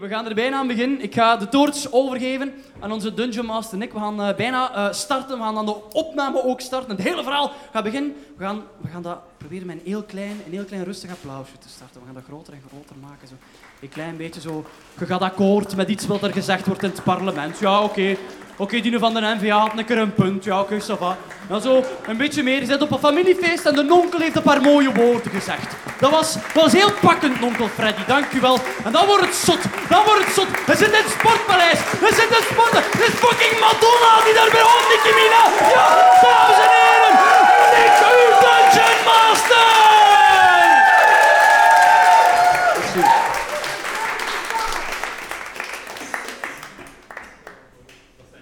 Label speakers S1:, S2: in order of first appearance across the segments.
S1: we gaan er bijna aan beginnen. Ik ga de toorts overgeven aan onze Dungeon Master Nick. We gaan eh, bijna eh, starten. We gaan dan de opname ook starten. Het hele verhaal gaat beginnen. We gaan, we gaan dat proberen met een heel klein, een heel klein rustig applausje te starten. We gaan dat groter en groter maken. Zo. Een klein beetje zo. Je gaat akkoord met iets wat er gezegd wordt in het parlement. Ja, oké. Oké, die van de NVA had een keer een punt. Ja, oké, ça va. Dan zo een beetje meer. Je zit op een familiefeest en de onkel heeft een paar mooie woorden gezegd. Dat was, dat was heel pakkend, onkel Freddy. Dank u wel. En dan wordt het zot. Dan wordt het zot. We zitten in het sportpaleis. We zitten in het sport. Het is fucking Madonna die daar bij ons Nicki Mina. Ja, dames en heren. Nick, uw Dungeon Master.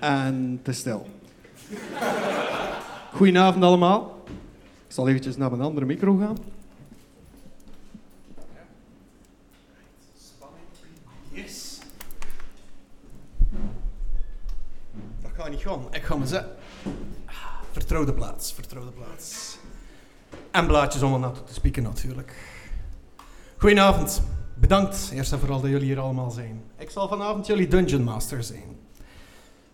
S2: En te stil. Goedenavond allemaal. Ik zal eventjes naar mijn andere micro gaan.
S3: Yes. Dat gaat niet gaan. Ik ga me zetten. Vertrouwde plaats, vertrouwde plaats. En blaadjes om er naartoe te spieken natuurlijk. Goedenavond. Bedankt eerst en vooral dat jullie hier allemaal zijn. Ik zal vanavond jullie Dungeon Master zijn.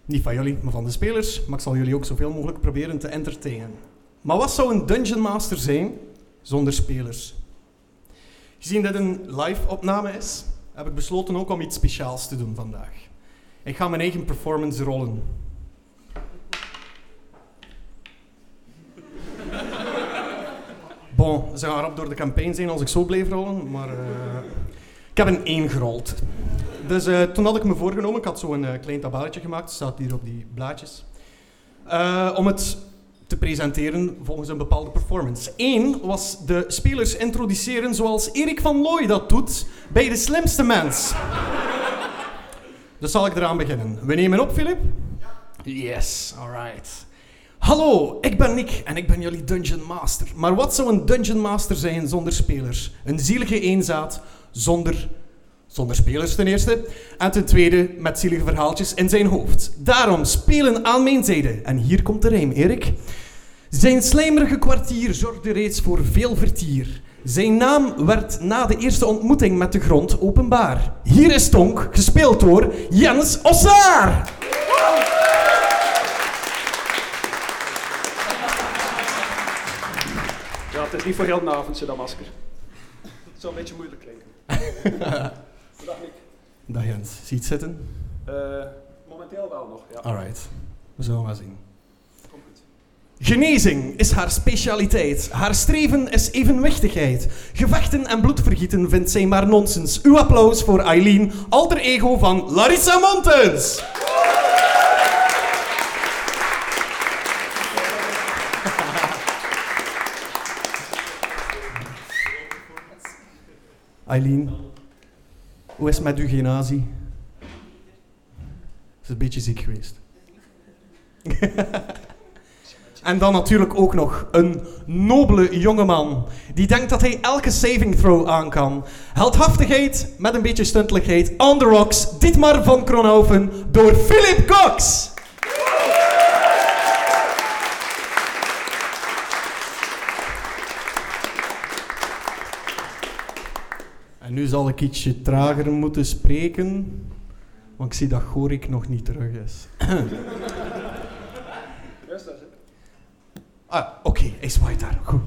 S3: Niet van jullie, maar van de spelers. Maar ik zal jullie ook zoveel mogelijk proberen te entertainen. Maar wat zou een Dungeon Master zijn zonder spelers? Gezien dit een live opname is, heb ik besloten ook om iets speciaals te doen vandaag. Ik ga mijn eigen performance rollen. Bon, ze gaan rap door de campaign zijn als ik zo bleef rollen, maar eh, ik heb een 1 gerold. Dus eh, toen had ik me voorgenomen, ik had zo'n eh, klein tabelletje gemaakt, staat hier op die blaadjes, eh, om het te presenteren volgens een bepaalde performance. Eén was de spelers introduceren zoals Erik van Looy dat doet bij de slimste mens. Dus zal ik eraan beginnen. We nemen op, Filip? Yes, alright. Hallo, ik ben Nick en ik ben jullie Dungeon Master. Maar wat zou een Dungeon Master zijn zonder spelers? Een zielige eenzaad zonder zonder spelers ten eerste. En ten tweede met zielige verhaaltjes in zijn hoofd. Daarom spelen aan mijn zijde. En hier komt de rijm, Erik. Zijn slijmerige kwartier zorgde reeds voor veel vertier. Zijn naam werd na de eerste ontmoeting met de grond openbaar. Hier is Tonk, gespeeld door Jens Ossaar.
S4: Ja, het is niet voor heel de avond, dat masker. Het zou een beetje moeilijk klinken. Dag Nick.
S3: Dag Jens, ziet zitten?
S4: Eh, momenteel wel nog, ja.
S3: Alright, we zullen maar zien.
S4: Komt goed.
S3: Genezing is haar specialiteit. Haar streven is evenwichtigheid. Gevechten en bloedvergieten vindt zij maar nonsens. Uw applaus voor Eileen, alter ego van Larissa Montens. Eileen, hoe is het met uw genazie? Is een beetje ziek geweest. En dan natuurlijk ook nog een nobele jongeman. Die denkt dat hij elke saving throw aan kan. Heldhaftigheid met een beetje stuntelijkheid. On the rocks, Dietmar van Kronhoven door Philip Cox. En nu zal ik ietsje trager moeten spreken. Want ik zie dat Gorik nog niet terug is.
S4: Rustig, hè.
S3: Ah, oké, hij zwaait daar. Goed.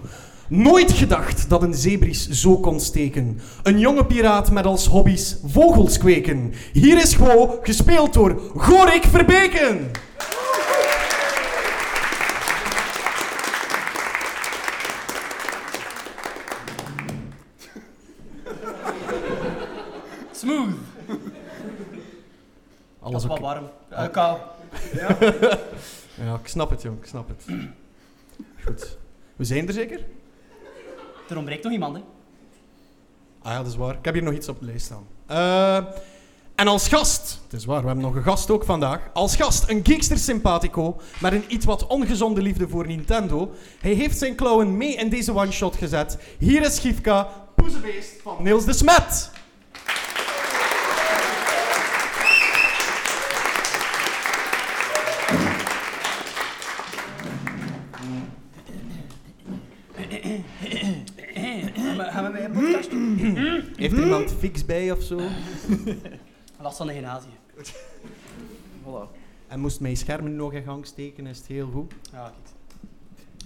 S3: Nooit gedacht dat een zeebries zo kon steken. Een jonge piraat met als hobby's vogels kweken. Hier is Go, gespeeld door Gorik Verbeken.
S1: Smooth.
S3: Alles
S1: wat
S3: oké.
S1: warm. Eh, kou.
S3: Ja, ik snap het, jong, ik snap het. Goed. We zijn er zeker?
S1: Er ontbreekt nog iemand, hè?
S3: Ah ja, dat is waar. Ik heb hier nog iets op de lijst staan. Eh, en als gast, het is waar, we hebben nog een gast ook vandaag. Als gast een geekster sympathico met een iets wat ongezonde liefde voor Nintendo. Hij heeft zijn klauwen mee in deze one-shot gezet. Hier is Gifka, poezebeest van Niels de Smet. Heeft er iemand fix bij of zo?
S5: Last van de genasiën.
S4: Voilà.
S3: En moest mijn schermen nog in gang steken, is het heel goed.
S5: Ja, kijk.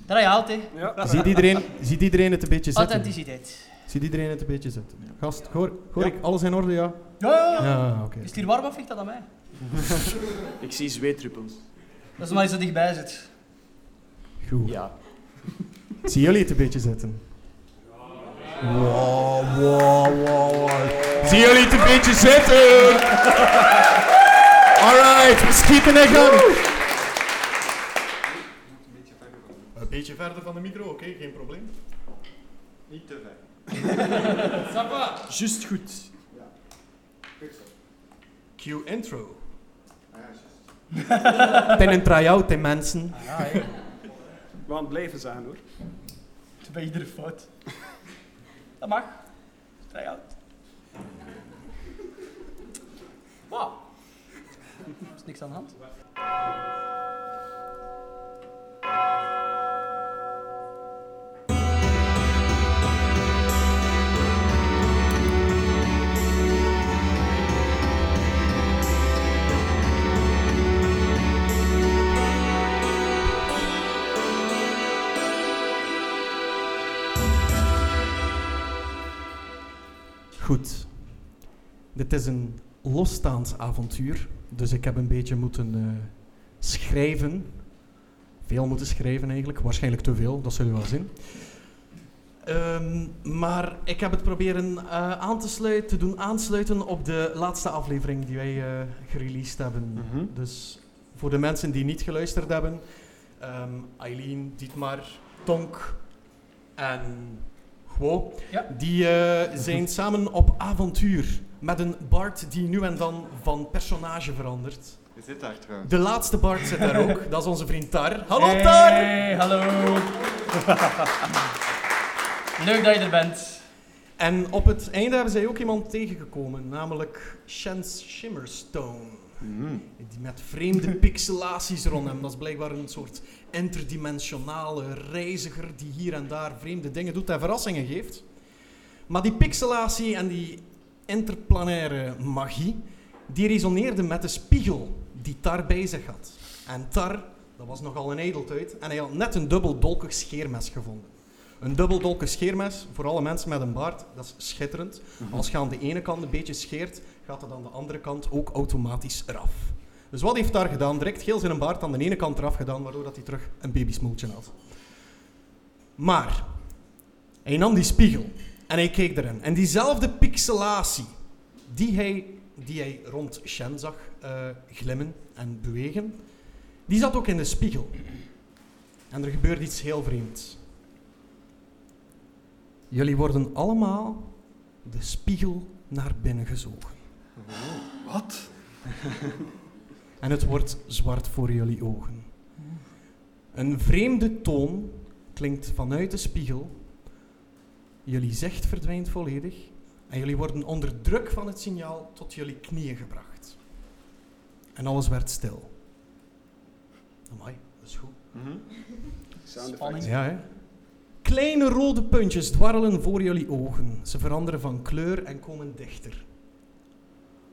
S5: Dat heb je altijd, hè.
S4: Ja.
S3: Ziet iedereen, ziet iedereen het een beetje zitten?
S5: Authenticiteit.
S3: Ziet iedereen het een beetje zitten? Gast, hoor, hoor ik alles in orde, ja?
S5: Ja, ja, ja.
S3: Ja, oké.
S5: Is het hier warm of ligt dat aan mij?
S4: Ik zie zweetruppels.
S5: Dat is maar eens zo dichtbij zit.
S3: Goed.
S4: Ja.
S3: Zien jullie het een beetje zitten? Wow, wow, wow, wow. Zien jullie het een beetje zitten? Alright, we schieten in gang.
S2: Een beetje verder van de micro, oké, geen probleem. Niet te ver.
S4: Just goed.
S2: Cue intro. Ah
S3: Ten een try-out, hè, mensen.
S4: We gaan het blijven zeggen hoor.
S5: Bij iedere fout. Dat mag. Try out. Wow. Is niks aan de hand?
S3: Goed. Dit is een losstaand avontuur, dus ik heb een beetje moeten eh, schrijven. Veel moeten schrijven eigenlijk, waarschijnlijk te veel, dat zullen we wel zien. Ehm, maar ik heb het proberen eh, aan te, sluiten, te doen aansluiten op de laatste aflevering die wij eh, gereleased hebben.
S4: Mhm.
S3: Dus voor de mensen die niet geluisterd hebben, ehm, Eileen, Dietmar, Tonk en Guo, die eh, zijn samen op avontuur met een Bart die nu en dan van personage verandert.
S2: Je zit daar trouwens.
S3: De laatste Bart zit daar ook, dat is onze vriend Tar. Hallo
S5: Hey,
S3: Tar!
S5: hallo. Leuk dat je er bent.
S3: En op het einde hebben zij ook iemand tegengekomen, namelijk Shens Shimmerstone.
S6: Mhm.
S3: Die met vreemde pixelaties rond hem. Dat is blijkbaar een soort interdimensionale reiziger die hier en daar vreemde dingen doet en verrassingen geeft. Maar die pixelatie en die interplanaire magie, die resoneerde met de spiegel die Tar bij zich had. En Tar, dat was nogal een edeltuit, en hij had net een dubbeldolkig scheermes gevonden. Een dubbeldolke scheermes, voor alle mensen met een baard, dat is schitterend. Als je aan de ene kant een beetje scheert, gaat het aan de andere kant ook automatisch eraf. Dus wat heeft daar gedaan? Direct heel zijn baard aan de ene kant eraf gedaan, waardoor dat hij terug een babysmoeltje had. Maar, hij nam die spiegel en hij keek erin. En diezelfde pixelatie die hij, die hij rond Shen zag eh, glimmen en bewegen, die zat ook in de spiegel. En er gebeurde iets heel vreemds. Jullie worden allemaal de spiegel naar binnen gezogen.
S4: Wat?
S3: En het wordt zwart voor jullie ogen. Een vreemde toon klinkt vanuit de spiegel. Jullie zicht verdwijnt volledig. En jullie worden onder druk van het signaal tot jullie knieën gebracht. En alles werd stil. Amai, dat is goed.
S4: Sound
S5: Spanning.
S4: effect.
S3: Ja, hè? Kleine rode puntjes dwarrelen voor jullie ogen. Ze veranderen van kleur en komen dichter.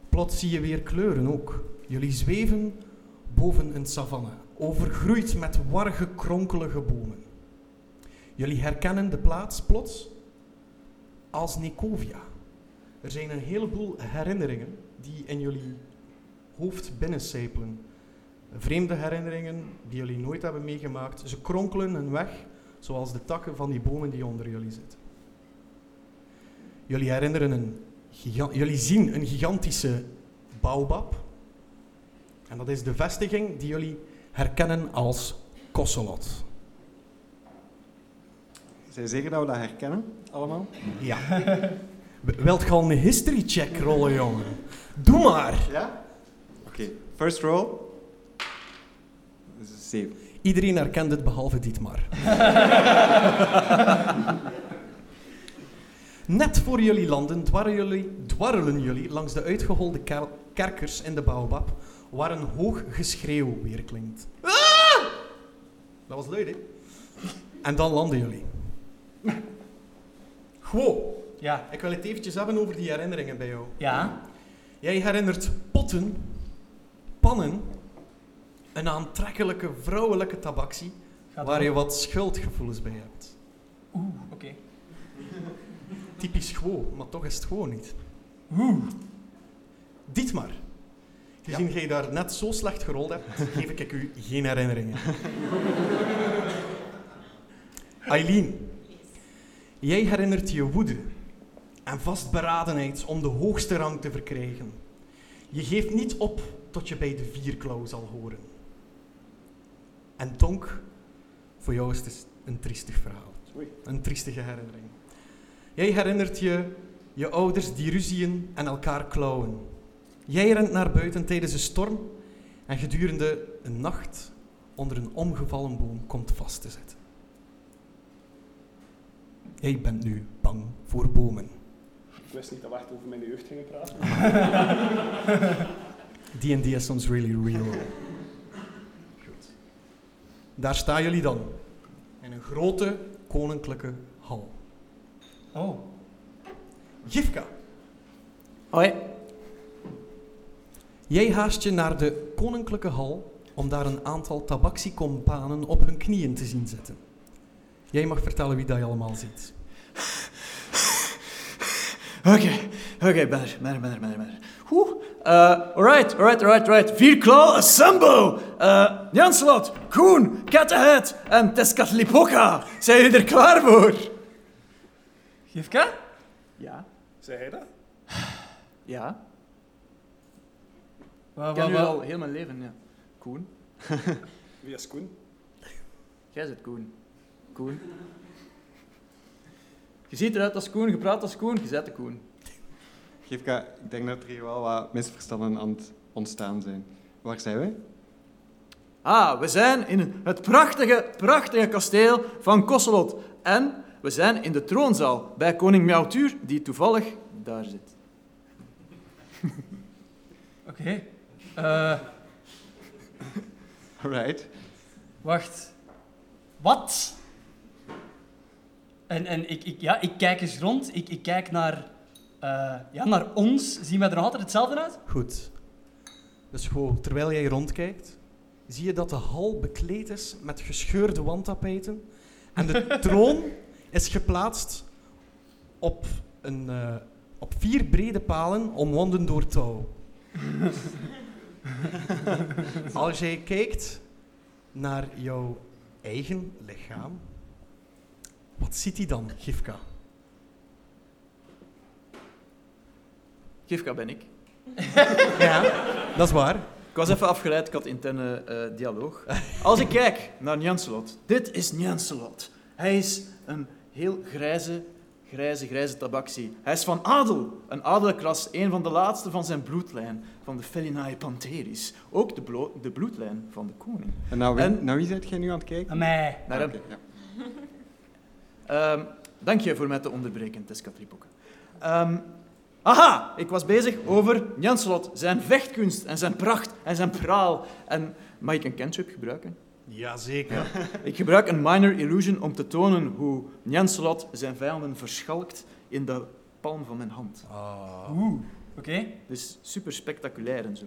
S3: Plots zie je weer kleuren ook. Jullie zweven boven een savanne, overgroeid met warrige, kronkelige bomen. Jullie herkennen de plaats plots als Nikovia. Er zijn een heleboel herinneringen die in jullie hoofd binnencijpelen. Vreemde herinneringen die jullie nooit hebben meegemaakt. Ze kronkelen hun weg, zoals de takken van die bomen die onder jullie zitten. Jullie, herinneren een giga- jullie zien een gigantische baobab. En dat is de vestiging die jullie herkennen als Kosselot.
S2: Zijn zeker dat we dat herkennen, allemaal?
S3: Ja. W- Wilt je al een history check rollen, jongen? Doe maar!
S2: Ja? Oké, first roll. Dat is een zeven.
S3: Iedereen herkent het behalve Dietmar. Net voor jullie landen dwarren jullie, dwarrelen jullie langs de uitgeholde ker- kerkers in de baobab, waar een hoog geschreeuw weer klinkt. Ah! Dat was luid, hè? En dan landen jullie. Gewoon,
S5: Ja.
S3: ik wil het eventjes hebben over die herinneringen bij jou.
S5: Ja.
S3: Je Jij herinnert potten, pannen, een aantrekkelijke vrouwelijke tabaksie waar je wat schuldgevoelens bij hebt.
S5: Oeh, oké.
S3: Typisch gewoon, maar toch is het gewoon niet.
S5: Oeh.
S3: Dietmar, gezien jij daar net zo slecht gerold hebt, geef ik u geen herinneringen. Eileen, jij herinnert je woede en vastberadenheid om de hoogste rang te verkrijgen. Je geeft niet op tot je bij de vierklauw zal horen. En Tonk, voor jou is het een triestig verhaal.
S4: Oei.
S3: Een triestige herinnering. Jij herinnert je je ouders die ruzien en elkaar klauwen. Jij rent naar buiten tijdens een storm en gedurende een nacht onder een omgevallen boom komt vast te zitten. Jij bent nu bang voor bomen
S4: Ik wist niet dat we echt over mijn jeugd gingen praten.
S3: D&D is soms really real. Goed. Daar staan jullie dan. In een grote koninklijke hal.
S5: Oh.
S3: Jivka,
S7: Hoi.
S3: jij haast je naar de koninklijke hal om daar een aantal tabaxi-companen op hun knieën te zien zitten. Jij mag vertellen wie dat je allemaal ziet.
S7: Oké, oké, better, better, better, better, better. Oeh. Eh, alright, alright, alright, alright. Vierklauw, Sambo, eh Janslot, Koen, Kattenhead en Teskatlipoca. Zijn jullie er klaar voor?
S5: Gifka?
S7: Ja,
S4: Zei hij dat?
S7: ja.
S5: Wa-
S7: Ik
S5: wa-
S7: ken u
S5: wa-
S7: al heel mijn leven, ja. Koen,
S4: Wie is Koen?
S7: jij zit Koen. Koen. Je ziet eruit als Koen, je praat als Koen, je zet de Koen.
S6: Gifka, ik denk dat er hier wel wat misverstanden aan het ontstaan zijn. Waar zijn wij?
S7: Ah, we zijn in het prachtige, prachtige kasteel van Kosselot. En we zijn in de troonzaal bij koning Miautuur, die toevallig daar zit.
S5: Oké. Eh,
S6: Alright.
S5: wacht. Wat? En, en ik, ik, ja, ik kijk eens rond. Ik, ik kijk naar, eh, ja, naar ons. Zien wij er nog altijd hetzelfde uit?
S3: Goed. Dus gewoon, terwijl jij rondkijkt, zie je dat de hal bekleed is met gescheurde wandtapijten. En de troon is geplaatst op, een, eh, op vier brede palen omwonden door touw. Als jij kijkt naar jouw eigen lichaam, wat ziet hij dan, Gifka?
S7: Gifka ben ik.
S3: Ja, dat is waar.
S7: Ik was even afgeleid, ik had interne eh, dialoog. Als ik kijk naar Njanselot. Dit is Njanselot. Hij is een heel grijze, grijze, grijze tabaksie. Hij is van adel. Een adelkras, een van de laatste van zijn bloedlijn. Van de Felinae Pantheris. Ook de, blo- de bloedlijn van de koning.
S6: En naar wie,
S7: En-
S6: naar wie zit jij nu aan het kijken?
S5: Aan mij.
S7: Naar hem.
S6: Oké, ja.
S7: Ehm, dank je voor mij te onderbreken, Teska Tripokken. Ehm, aha, ik was bezig over Janslot, zijn vechtkunst en zijn pracht en zijn praal. En mag ik een cantrip gebruiken?
S3: Jazeker.
S7: Ik gebruik een minor illusion om te tonen hoe Janslot zijn vijanden verschalkt in de palm van mijn hand.
S1: Ah.
S7: Oh.
S5: Oeh. Oké.
S7: Dus super spectaculair en zo.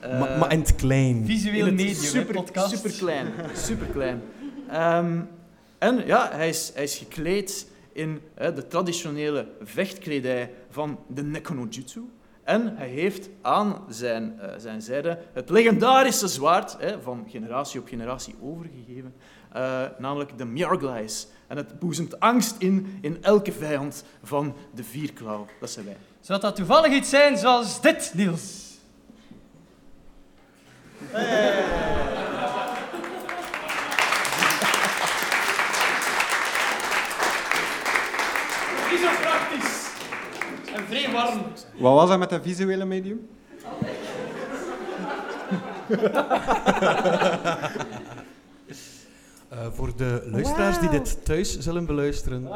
S3: Maar,
S7: Eh,
S3: maar in het klein.
S5: Visueel
S7: In het
S5: medium,
S7: super,
S5: hè, podcast.
S7: Super klein, super klein. en ja, hij is, hij is gekleed in hè, de traditionele vechtkledij van de Nekonojutsu. En hij heeft aan zijn, eh, zijn zijde het legendarische zwaard hè, van generatie op generatie overgegeven, eh, namelijk de Mjörglais. En het boezemt angst in in elke vijand van de Vierklauw. Dat zijn wij.
S5: Zou dat toevallig iets zijn zoals dit, Niels?
S4: Wie is dat praktisch?
S5: En vrij warm.
S6: Wat was dat met dat visuele medium?
S3: Eh, voor de luisteraars die dit thuis zullen beluisteren.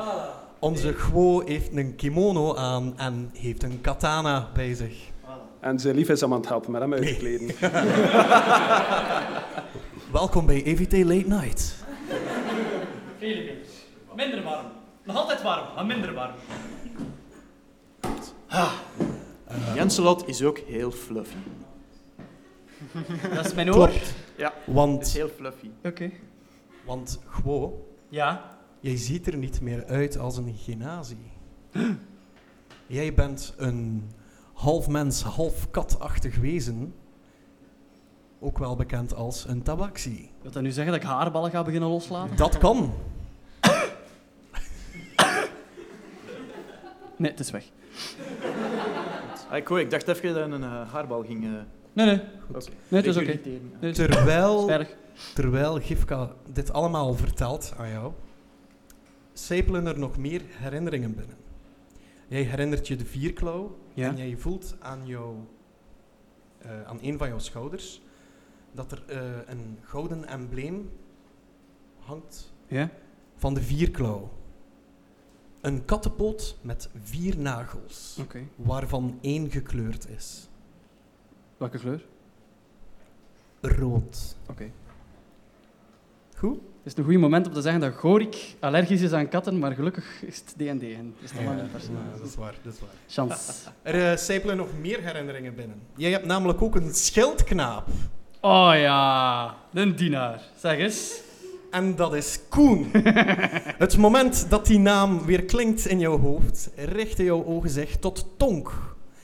S3: Onze Gwo heeft een kimono aan en heeft een katana bij zich.
S4: En zijn lief is hem aan het helpen met hem uitkleden.
S3: Welkom bij EVT Late Night.
S5: Vele Minder warm. Nog altijd warm, maar minder warm.
S3: Eh, Eh,
S7: Jenselot is ook heel fluffy.
S5: Dat is mijn oor.
S3: Klopt.
S7: Ja. Is
S3: Want,
S7: heel fluffy.
S3: want Gwo,
S5: Ja.
S3: jij ziet er niet meer uit als een genazie. Jij bent een half mens, half katachtig wezen. Ook wel bekend als een tabaxi.
S5: Wilt dat nu zeggen dat ik haarballen ga beginnen loslaten?
S3: Dat kan.
S5: Nee, het is weg.
S7: Ah, ik, hoor, ik dacht even dat je een eh, haarbal ging... eh
S5: Nee, nee.
S7: Oké.
S5: Nee, het is oké.
S7: regurgiteren.
S5: Nee, het is- het
S3: Terwijl
S5: is erg.
S3: Terwijl Gifka dit allemaal vertelt aan jou, sijpelen er nog meer herinneringen binnen. Jij herinnert je de vierklauw
S5: Ja.
S3: en jij voelt aan, jouw, eh, aan een van jouw schouders dat er eh, een gouden embleem hangt
S5: Ja.
S3: van de vierklauw. Een kattenpoot met vier nagels,
S5: Oké.
S3: waarvan één gekleurd is.
S5: Welke kleur?
S3: Rood.
S5: Oké.
S3: Goed?
S5: Het is een goed moment om te zeggen dat Gorik allergisch is aan katten, maar gelukkig is het D&D en is het allemaal een
S3: Ja, dat
S5: personage.
S3: is waar, dat is waar.
S5: Chance.
S3: Er eh, sijpelen nog meer herinneringen binnen. Jij hebt namelijk ook een schildknaap.
S5: Oh ja, een dienaar. Zeg eens.
S3: En dat is Koen. het moment dat die naam weer klinkt in jouw hoofd, richten jouw ogen zich tot Tonk,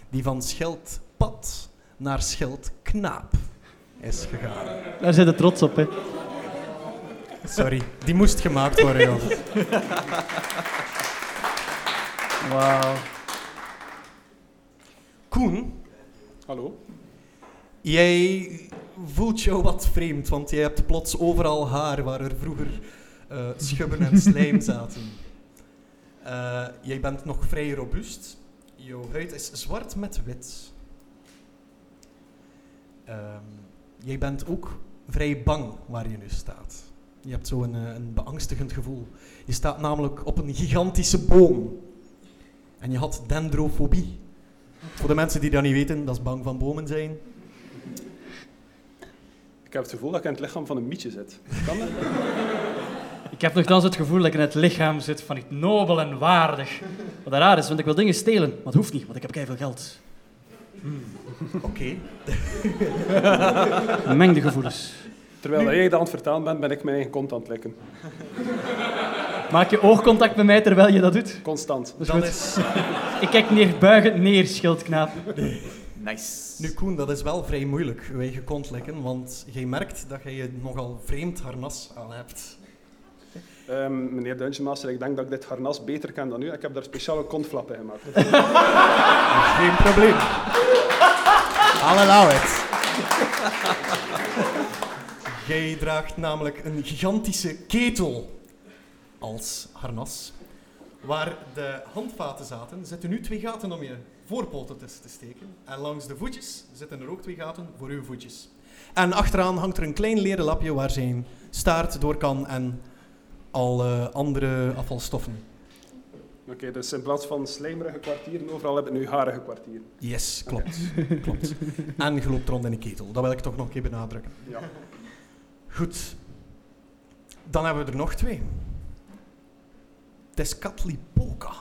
S3: die van schildpad naar schildknaap is gegaan.
S5: Daar zit het trots op, hè.
S3: Sorry, die moest gemaakt worden, joh.
S5: Wauw.
S3: Koen,
S4: Hallo?
S3: Jij voelt jou wat vreemd, want jij hebt plots overal haar waar er vroeger eh, schubben en slijm zaten. Eh, jij bent nog vrij robuust. Jouw huid is zwart met wit. Ehm, jij bent ook vrij bang waar je nu staat. Je hebt zo'n een, een beangstigend gevoel. Je staat namelijk op een gigantische boom. En je had dendrofobie. Voor de mensen die dat niet weten, dat is bang van bomen zijn.
S4: Ik heb het gevoel dat ik in het lichaam van een mietje zit. Kan dat?
S5: Ik heb nogthans het gevoel dat ik in het lichaam zit van iets nobel en waardig. Wat raar is, want ik wil dingen stelen. Maar het hoeft niet, want ik heb keiveel geld.
S3: Oké.
S5: Mengde gevoelens.
S4: Terwijl jij dat aan het vertalen bent, ben ik mijn eigen kont aan het likken.
S5: Maak je oogcontact met mij terwijl je dat doet.
S4: Constant.
S5: Dat is
S3: Dat
S5: goed.
S3: is,
S5: Ik kijk neerbuigend neer, schildknaap.
S7: Nice.
S3: nu Koen, dat is wel vrij moeilijk, je eigen kont likken, want jij merkt dat jij je nogal vreemd harnas aan hebt.
S4: Ehm meneer Dungeon Master, ik denk dat ik dit harnas beter ken dan u. Ik heb daar speciale kontflappen in gemaakt.
S3: Geen probleem. I'll allow it. Jij draagt namelijk een gigantische ketel als harnas. Waar de handvaten zaten, zitten nu twee gaten om je voorpoten tussen te steken. En langs de voetjes zitten er ook twee gaten voor uw voetjes. En achteraan hangt er een klein leren lapje waar zijn staart door kan en alle andere afvalstoffen.
S4: Oké, dus in plaats van slijmerige kwartieren overal heb ik nu harige kwartieren.
S3: Yes, klopt. klopt. En je loopt rond in een ketel. Dat wil ik toch nog een keer benadrukken.
S4: Ja.
S3: Goed. Dan hebben we er nog twee. Tezcatlipoca.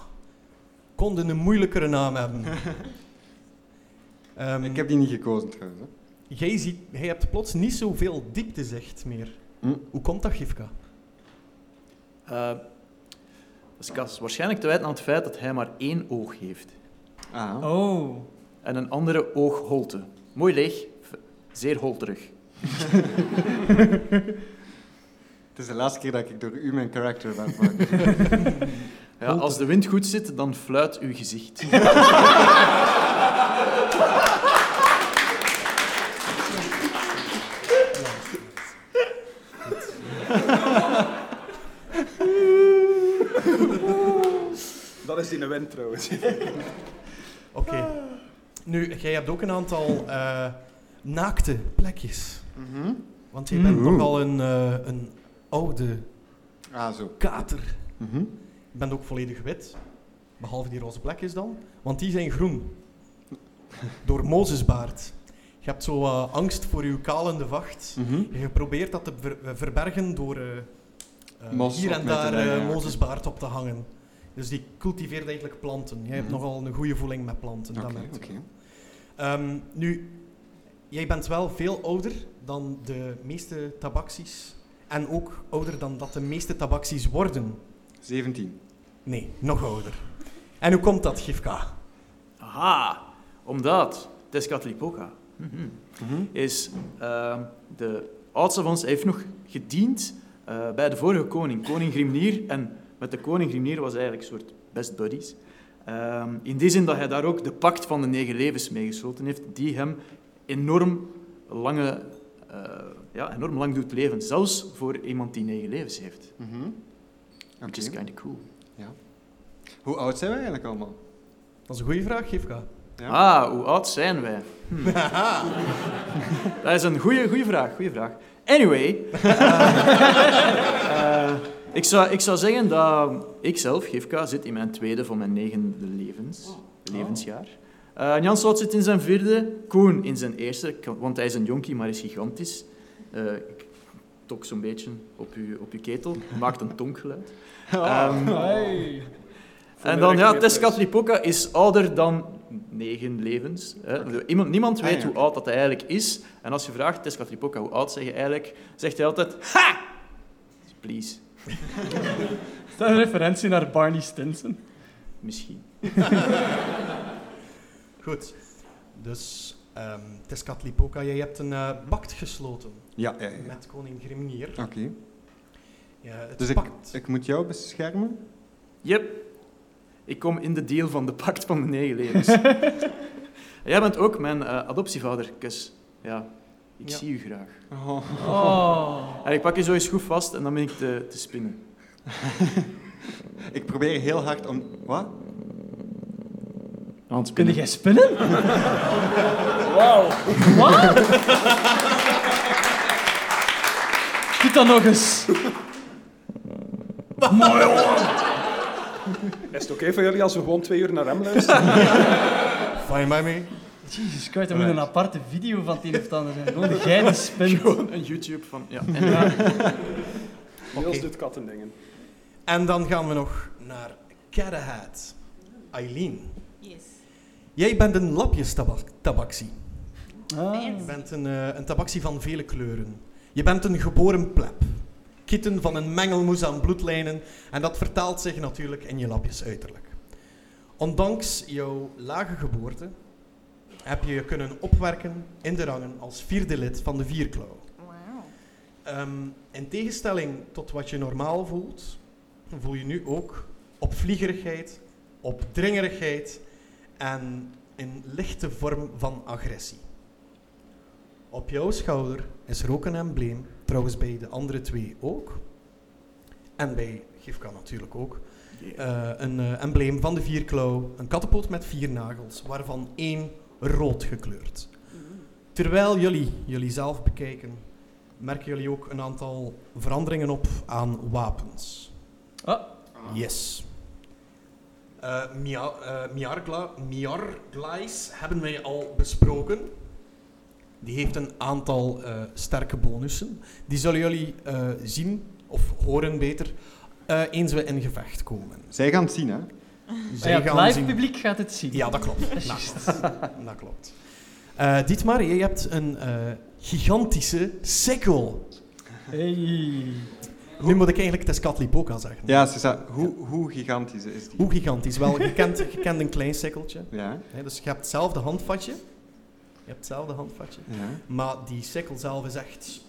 S3: Konden een moeilijkere naam hebben. Ehm,
S6: Ik heb die niet gekozen trouwens. Hè.
S3: jij, ziet, jij hebt plots niet zoveel dieptezicht meer.
S6: Hm.
S3: Hoe komt dat, Gifka?
S7: Eh, dus Cas, waarschijnlijk te wijten aan het feit dat hij maar één oog heeft.
S6: Ah,
S5: Oh.
S7: En een andere oogholte. Mooi leeg, v- zeer holterig.
S6: het is de laatste keer dat ik door u mijn character ben gemaakt.
S7: Ja, als de wind goed zit, dan fluit uw gezicht.
S4: Dat is die wind trouwens.
S3: Oké. Nu, jij hebt ook een aantal eh, naakte plekjes.
S6: Mhm.
S3: Want je bent
S6: Mm.
S3: nogal een, eh, een oude
S6: Ah, zo.
S3: kater.
S6: Mhm.
S3: Je bent ook volledig wit. Behalve die roze plekjes dan. Want die zijn groen. Door Mozesbaard. Je hebt zo wat angst voor uw kalende vacht.
S6: Mhm.
S3: Je probeert dat te ver- verbergen door eh, eh,
S6: Mos
S3: hier
S6: op
S3: en
S6: mee te
S3: daar
S6: leggen,
S3: eh,
S6: ja, oké.
S3: Mozesbaard op te hangen. Dus die cultiveert eigenlijk planten. Jij hebt
S6: Mhm.
S3: nogal een goede voeling met planten.
S6: Oké,
S3: dat merk
S6: oké.
S3: je. Ehm, nu, jij bent wel veel ouder dan de meeste tabaksies. En ook ouder dan dat de meeste tabaksies worden.
S6: 17.
S3: Nee, nog ouder. En hoe komt dat, Gifka?
S7: Aha, omdat Tezcatlipoca Mhm. is ehm, de oudste van ons. Hij heeft nog gediend eh, bij de vorige koning, koning Grimnir. En met de koning Grimnir was hij eigenlijk een soort best buddies. Ehm, in die zin dat hij daar ook de pact van de negen levens mee gesloten heeft, die hem enorm, lange, eh, ja, enorm lang doet leven. Zelfs voor iemand die negen levens heeft.
S6: Mhm. Oké.
S7: Which is kind of cool.
S6: Hoe oud zijn we eigenlijk allemaal?
S3: Dat is een goede vraag, Gifka.
S6: Ja.
S7: Ah, hoe oud zijn wij? Hm. dat is een goede goede vraag, goede vraag. Anyway, eh, eh, ik, zou, ik zou zeggen dat ik zelf, Gifka, zit in mijn tweede van mijn negende levens, levensjaar. Eh Jan Sout zit in zijn vierde, Koen in zijn eerste, k- want hij is een jonkie, maar is gigantisch. Eh, ik tok zo'n beetje op uw, op uw ketel, maakt een tonkgeluid. Ehm,
S4: Hey.
S7: en dan, ja, Tezcatlipoca is ouder dan negen levens. Hè. Iemand, niemand
S6: Ah,
S7: weet
S6: ja.
S7: hoe oud dat hij eigenlijk is. En als je vraagt, Tezcatlipoca, hoe oud zeg je eigenlijk? Zegt hij altijd, ha! Please,
S4: Is dat een referentie naar Barney Stinson?
S7: misschien.
S3: Goed. Dus, ehm Tezcatlipoca, jij hebt een eh, pact gesloten
S6: Ja, ja, ja.
S3: met koning Grimnir.
S6: Oké.
S3: Ja, het
S6: Dus ik,
S3: pact.
S6: ik moet jou beschermen?
S7: Yep. Ik kom in de deal van de pact van de negen levens. En Jij bent ook mijn eh, adoptievader, Kus. Ja, ik
S3: Ja.
S7: zie u graag.
S6: Oh.
S4: Oh.
S7: En ik pak je zo eens goed vast en dan ben ik te, te spinnen.
S6: Ik probeer heel hard om... Wat?
S7: Aan het
S4: Kun jij spinnen? Wauw. Wat? Doe dat nog eens. Mooi Is het oké voor jullie als we gewoon twee uur naar hem luisteren?
S3: Fine by me.
S4: Jezus Christ, dat moet een aparte video van het een of het ander zijn. Gewoon de geile spin.
S7: Gewoon een YouTube van... Ja, en-
S4: Niels doet kattendingen.
S3: En dan gaan we nog naar Carahat. Eileen,
S1: Yes.
S3: jij bent een lapjestabaksie.
S4: Ah.
S3: Je bent een, eh, een tabaksie van vele kleuren. Je bent een geboren pleb. Kitten van een mengelmoes aan bloedlijnen. En dat vertaalt zich natuurlijk in je lapjes uiterlijk. Ondanks jouw lage geboorte heb je je kunnen opwerken in de rangen als vierde lid van de Vierklauw.
S1: Wauw.
S3: Ehm, in tegenstelling tot wat je normaal voelt, voel je nu ook opvliegerigheid, opdringerigheid en een lichte vorm van agressie. Op jouw schouder is er ook een embleem, trouwens bij de andere twee ook. En bij Gifka natuurlijk ook. Eh, een eh, embleem van de vierklauw, een kattenpoot met vier nagels, waarvan één rood gekleurd. Terwijl jullie jullie zelf bekijken, merken jullie ook een aantal veranderingen op aan wapens.
S4: Ah.
S3: Yes. Eh Mia- eh, Miargla- Miarglais hebben wij al besproken. Die heeft een aantal eh, sterke bonussen. Die zullen jullie eh, zien, of horen beter, eh, eens we in gevecht komen.
S6: Zij gaan het zien, hè?
S3: Zij
S4: Ah, Ja, het
S3: gaan
S4: live
S3: zien-
S4: publiek gaat het zien.
S3: Ja, dat klopt.
S4: is
S3: Nou,
S4: juist.
S3: dat klopt. Eh Dietmar, jij hebt een eh, gigantische sikkel.
S4: Hey.
S3: Nu moet ik eigenlijk Tezcatlipoca zeggen.
S6: Ja, ze zei- hoe, hoe gigantisch is die?
S3: Hoe gigantisch? Wel, je kent, je kent een klein sikkeltje.
S6: Ja,
S3: Hè, dus je hebt hetzelfde handvatje. Je hebt hetzelfde handvatje.
S6: ja.
S3: Maar die sikkel zelf is echt...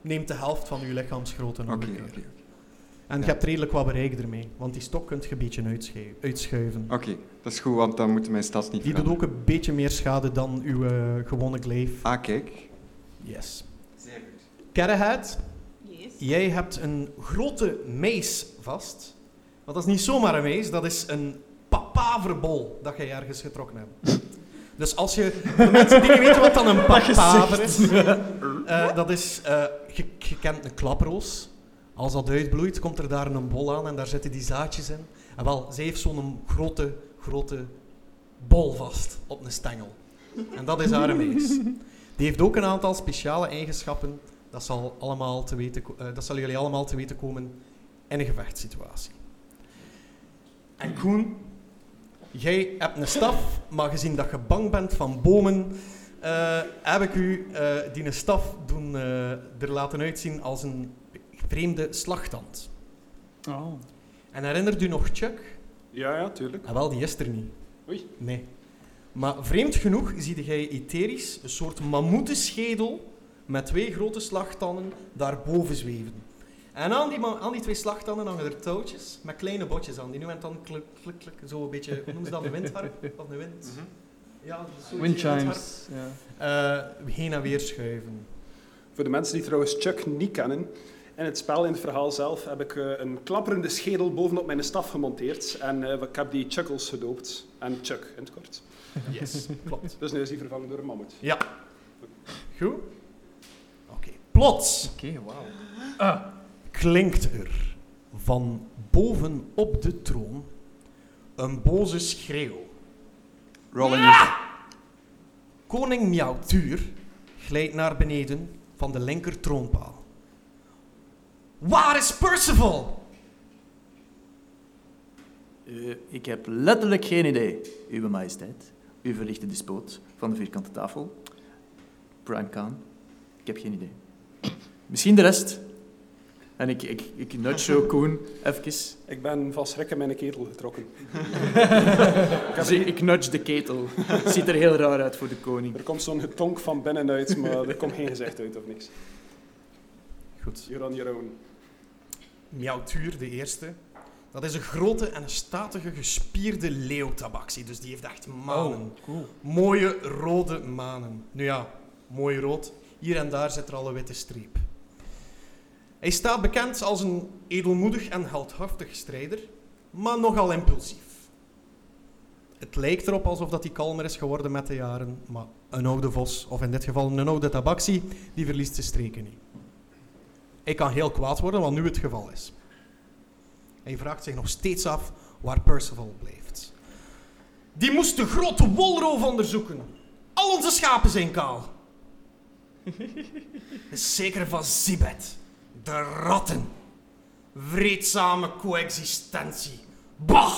S3: Neemt de helft van je lichaamsgrootte
S6: Oké,
S3: nog een
S6: oké.
S3: keer.
S6: oké.
S3: En je
S6: Ja.
S3: hebt redelijk wat bereik ermee. Want die stok kunt je een beetje uitschui- uitschuiven.
S6: Oké, dat is goed, want dan moeten mijn stads Oh, niet
S3: Die doet
S6: veranderen.
S3: ook een beetje meer schade dan uw eh, gewone gleef.
S6: Ah, kijk.
S3: Yes.
S6: Zeer goed.
S3: Kerreheid,
S1: Yes.
S3: jij hebt een grote mees vast. Want dat is niet zomaar een mees, dat is een papaverbol dat jij ergens getrokken hebt. Dus als je... Voor mensen die niet weten wat dan een papaver is... eh, dat is... eh, je, je kent een klaproos. Als dat uitbloeit, komt er daar een bol aan en daar zitten die zaadjes in. En wel, zij heeft zo'n grote, grote bol vast op een stengel. En dat is haar mees. Die heeft ook een aantal speciale eigenschappen. Dat, zal allemaal te weten, ko- eh, dat zal jullie allemaal te weten komen in een gevechtssituatie. En Koen, Jij hebt een staf, maar gezien dat je bang bent van bomen, eh, heb ik u eh, die een staf doen, eh, er laten uitzien als een vreemde slagtand.
S7: Oh.
S3: En herinnert u nog Chuck?
S4: Ja, ja, tuurlijk.
S3: Ah, wel, die is er niet.
S4: Oei.
S3: Nee. Maar vreemd genoeg zie jij etherisch een soort mammoetenschedel met twee grote slagtanden daarboven zweven. En aan die, ma- aan die twee slagtanden hangen er touwtjes met kleine botjes aan. Die nu en dan klik, klik, klik, zo een beetje, hoe noemen ze dat, een windharp? Of een wind? Ja, zo'n windharp.
S7: Windchimes. Ja.
S3: Eh, heen en weer schuiven.
S4: Voor de mensen die trouwens Chuck niet kennen, in het spel, in het verhaal zelf, heb ik eh, een klapperende schedel bovenop mijn staf gemonteerd. En eh, ik heb die Chuckles gedoopt. En Chuck, in het kort.
S3: Yes, klopt.
S4: Dus nu is hij vervangen door een mammoet.
S3: Goed? Oké. Plots
S7: Oké, wauw.
S3: klinkt er van boven op de troon een boze schreeuw.
S6: Rolling
S3: Koning Miautuur glijdt naar beneden van de linker troonpaal. Waar is Percival?
S7: Eh, ik heb letterlijk geen idee, Uwe Majesteit. U verlichte despoot van de vierkante tafel. Prime Khan. Ik heb geen idee. Misschien de rest. En ik, ik, ik nudge zo Koen even.
S4: Ik ben van schrik in mijn ketel getrokken.
S7: Dus ik, ik nudge de ketel. Ziet er heel raar uit voor de koning.
S4: Er komt zo'n getonk van binnenuit, maar er komt geen gezicht uit of niks.
S3: Goed.
S4: You're on your own.
S3: Miautuur de eerste. Dat is een grote en een statige gespierde leeuwtabaxi. Dus die heeft echt
S1: Oh.
S3: manen.
S7: cool.
S3: Mooie rode manen. Nu ja, mooi rood. Hier en daar zit er al een witte streep. Hij staat bekend als een edelmoedig en heldhaftig strijder, maar nogal impulsief. Het lijkt erop alsof dat hij kalmer is geworden met de jaren, maar een oude vos, of in dit geval een oude tabaxi, die verliest zijn streken niet. Hij kan heel kwaad worden, wat nu het geval is. Hij vraagt zich nog steeds af waar Percival blijft. Die moest de grote wolroof onderzoeken. Al onze schapen zijn kaal. Zeker van Zibet. De ratten. Vreedzame coexistentie. Bah!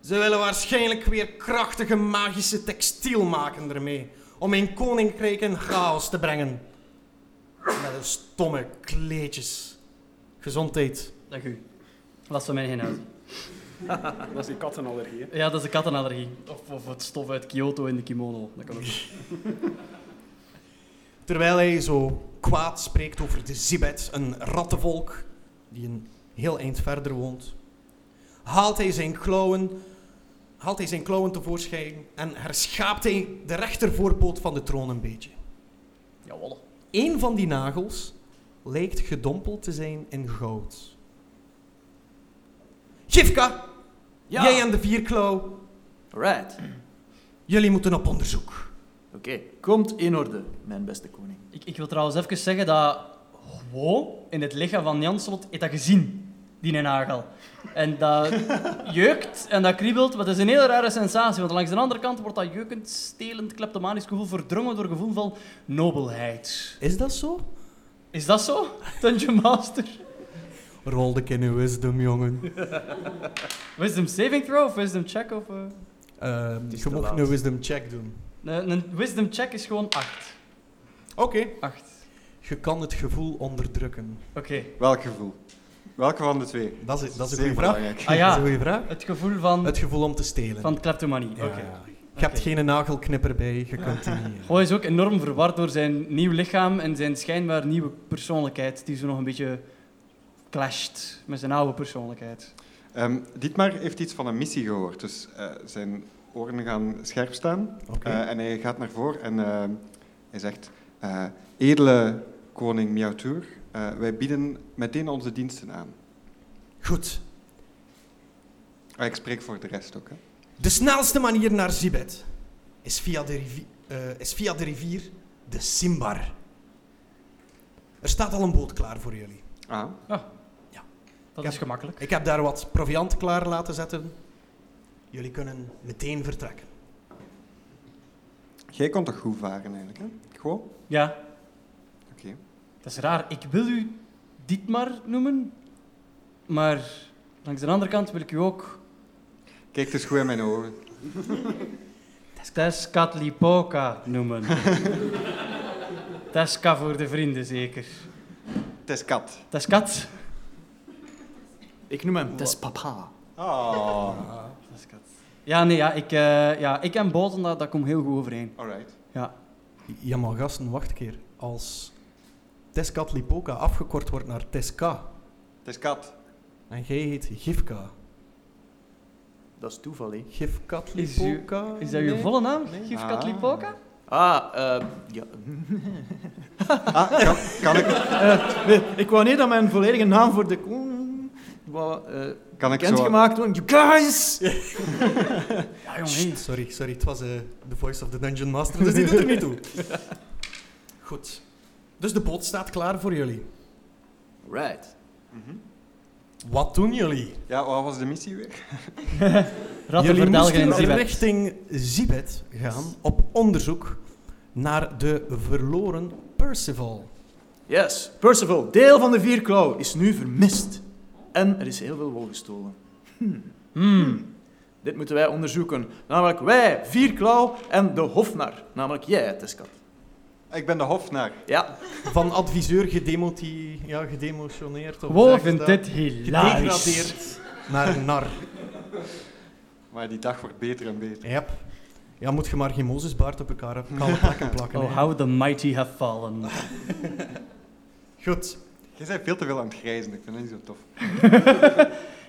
S3: Ze willen waarschijnlijk weer krachtige magische textiel maken ermee. Om een koninkrijk in chaos te brengen. Met hun stomme kleedjes. Gezondheid.
S1: Dank u. Dat is voor mij geen uit.
S4: Dat is die kattenallergie. hè.
S1: Ja, dat is de kattenallergie. Of, of het stof uit Kyoto in de kimono. Dat kan ook.
S3: Terwijl hij zo kwaad spreekt over de Zibet, een rattenvolk die een heel eind verder woont, haalt hij zijn klauwen, haalt hij zijn klauwen tevoorschijn en herschaapt hij de rechtervoorpoot van de troon een beetje.
S1: Jawel.
S3: Eén van die nagels lijkt gedompeld te zijn in goud. Gifka,
S7: Ja,
S3: jij en de vierklauw,
S7: right. Oké,
S3: jullie moeten op onderzoek.
S7: komt in orde, mijn beste koning.
S1: Ik, ik wil trouwens even zeggen dat gewoon in het lichaam van Janslot heeft dat gezien, die nagel. En dat jeukt en dat kriebelt, maar dat is een hele rare sensatie, want langs de andere kant wordt dat jeukend, stelend, kleptomanisch gevoel verdrongen door gevoel van nobelheid.
S3: Is dat zo?
S1: Is dat zo, Dungeon Master?
S3: Rol de in uw wisdom, jongen.
S1: Wisdom saving throw of wisdom check? Of, eh?
S3: Ehm
S7: is
S3: je
S7: te
S3: mocht
S7: laat.
S3: een wisdom check doen.
S1: Een, een wisdom check is gewoon 8.
S3: Oké.
S1: 8.
S3: Je kan het gevoel onderdrukken.
S1: Oké.
S6: Welk gevoel? Welke van de twee?
S3: Dat is, dat is een
S6: Zeer
S3: goede vraag.
S1: Ah
S6: belangrijk.
S3: Dat is een
S1: ja,
S3: goede vraag.
S1: het gevoel van,
S3: Het gevoel om te stelen.
S1: van kleptomanie. Oké.
S3: Ja. Je hebt
S1: Oké.
S3: geen nagelknipper bij, je kunt die niet. eh,
S1: Goh Oh, is ook enorm verward door zijn nieuw lichaam en zijn schijnbaar nieuwe persoonlijkheid, die zo nog een beetje clasht met zijn oude persoonlijkheid.
S6: Ehm, Dietmar heeft iets van een missie gehoord, dus eh, zijn oren gaan scherp staan.
S3: Oké.
S6: Eh, en hij gaat naar voren en ehm, hij zegt, eh, edele koning Miautour, eh, wij bieden meteen onze diensten aan.
S3: Goed.
S6: Ah, ik spreek voor de rest ook. Hè.
S3: De snelste manier naar Zibet is via de, rivi- eh, is via de rivier de Simbar. Er staat al een boot klaar voor jullie.
S6: Ah,
S1: Dat
S3: Ja.
S1: is gemakkelijk.
S3: Ik heb daar wat proviant klaar laten zetten. Jullie kunnen meteen vertrekken.
S6: jij kon toch goed varen eigenlijk, hè? Gewoon?
S1: Ja,
S6: Oké.
S1: dat is raar. Ik wil u Dietmar noemen, maar langs de andere kant wil ik u ook
S6: Kijk dus goed in mijn ogen.
S1: Teskatlipoca noemen. Teska voor de vrienden zeker.
S6: Het is kat.
S1: Teskat?
S7: Ik noem hem Tespapa.
S6: Ah,
S5: Ja, nee, ja, ik, eh, ja, ik en Bolton, dat, dat komt heel goed overeen.
S6: alright.
S3: Ja, maar gasten, wacht een keer. Als Tescatlipoca afgekort wordt naar Tesca
S6: Het is kat.
S3: en jij heet Gifka.
S7: Dat is toeval, hè.
S3: Gifkatlipoca?
S5: Is dat je
S3: Nee.
S5: volle naam?
S3: Nee.
S5: Gif
S6: Ah.
S5: Katlipoca?
S7: Ah, eh, ja.
S6: Ah, kan, kan ik,
S7: Nee, ik wou niet dat mijn volledige naam voor de koning wou, eh,
S6: kan ik zo...
S7: bekendgemaakt wordt. You guys!
S5: Ja, jongen. hey.
S3: Sst, Sorry, sorry, het was eh, de voice of the dungeon master, dus die doet er niet toe. Goed. Dus de boot staat klaar voor jullie.
S7: Right.
S6: Mhm.
S3: Wat doen jullie?
S6: Ja, wat was de missie weer?
S1: Ratten
S3: jullie
S1: verdelgen in
S3: moesten
S1: Zibet.
S3: richting Zibet gaan op onderzoek naar de verloren Percival.
S7: Yes, Percival, deel van de Vierklauw, is nu vermist. En er is heel veel wol gestolen.
S1: Hmm.
S7: Dit moeten wij onderzoeken. Namelijk wij, Vierklauw en de Hofnar. Namelijk jij, Teskat.
S6: Ik ben de hofnar.
S7: Ja,
S3: Van adviseur gedemoti, ja, gedemotioneerd. Of
S1: Wow,
S3: zeg je
S1: vindt
S3: dat?
S1: dit hilarisch.
S3: eh, Gedegradeerd naar nar.
S6: Maar die dag wordt beter en beter.
S3: Yep. Ja, moet je maar geen Mozesbaard op elkaar kale plakken plakken.
S1: Oh,
S3: hè.
S1: how the mighty have fallen.
S3: Goed.
S6: Je bent veel te veel aan het grijzen, ik vind dat niet zo tof.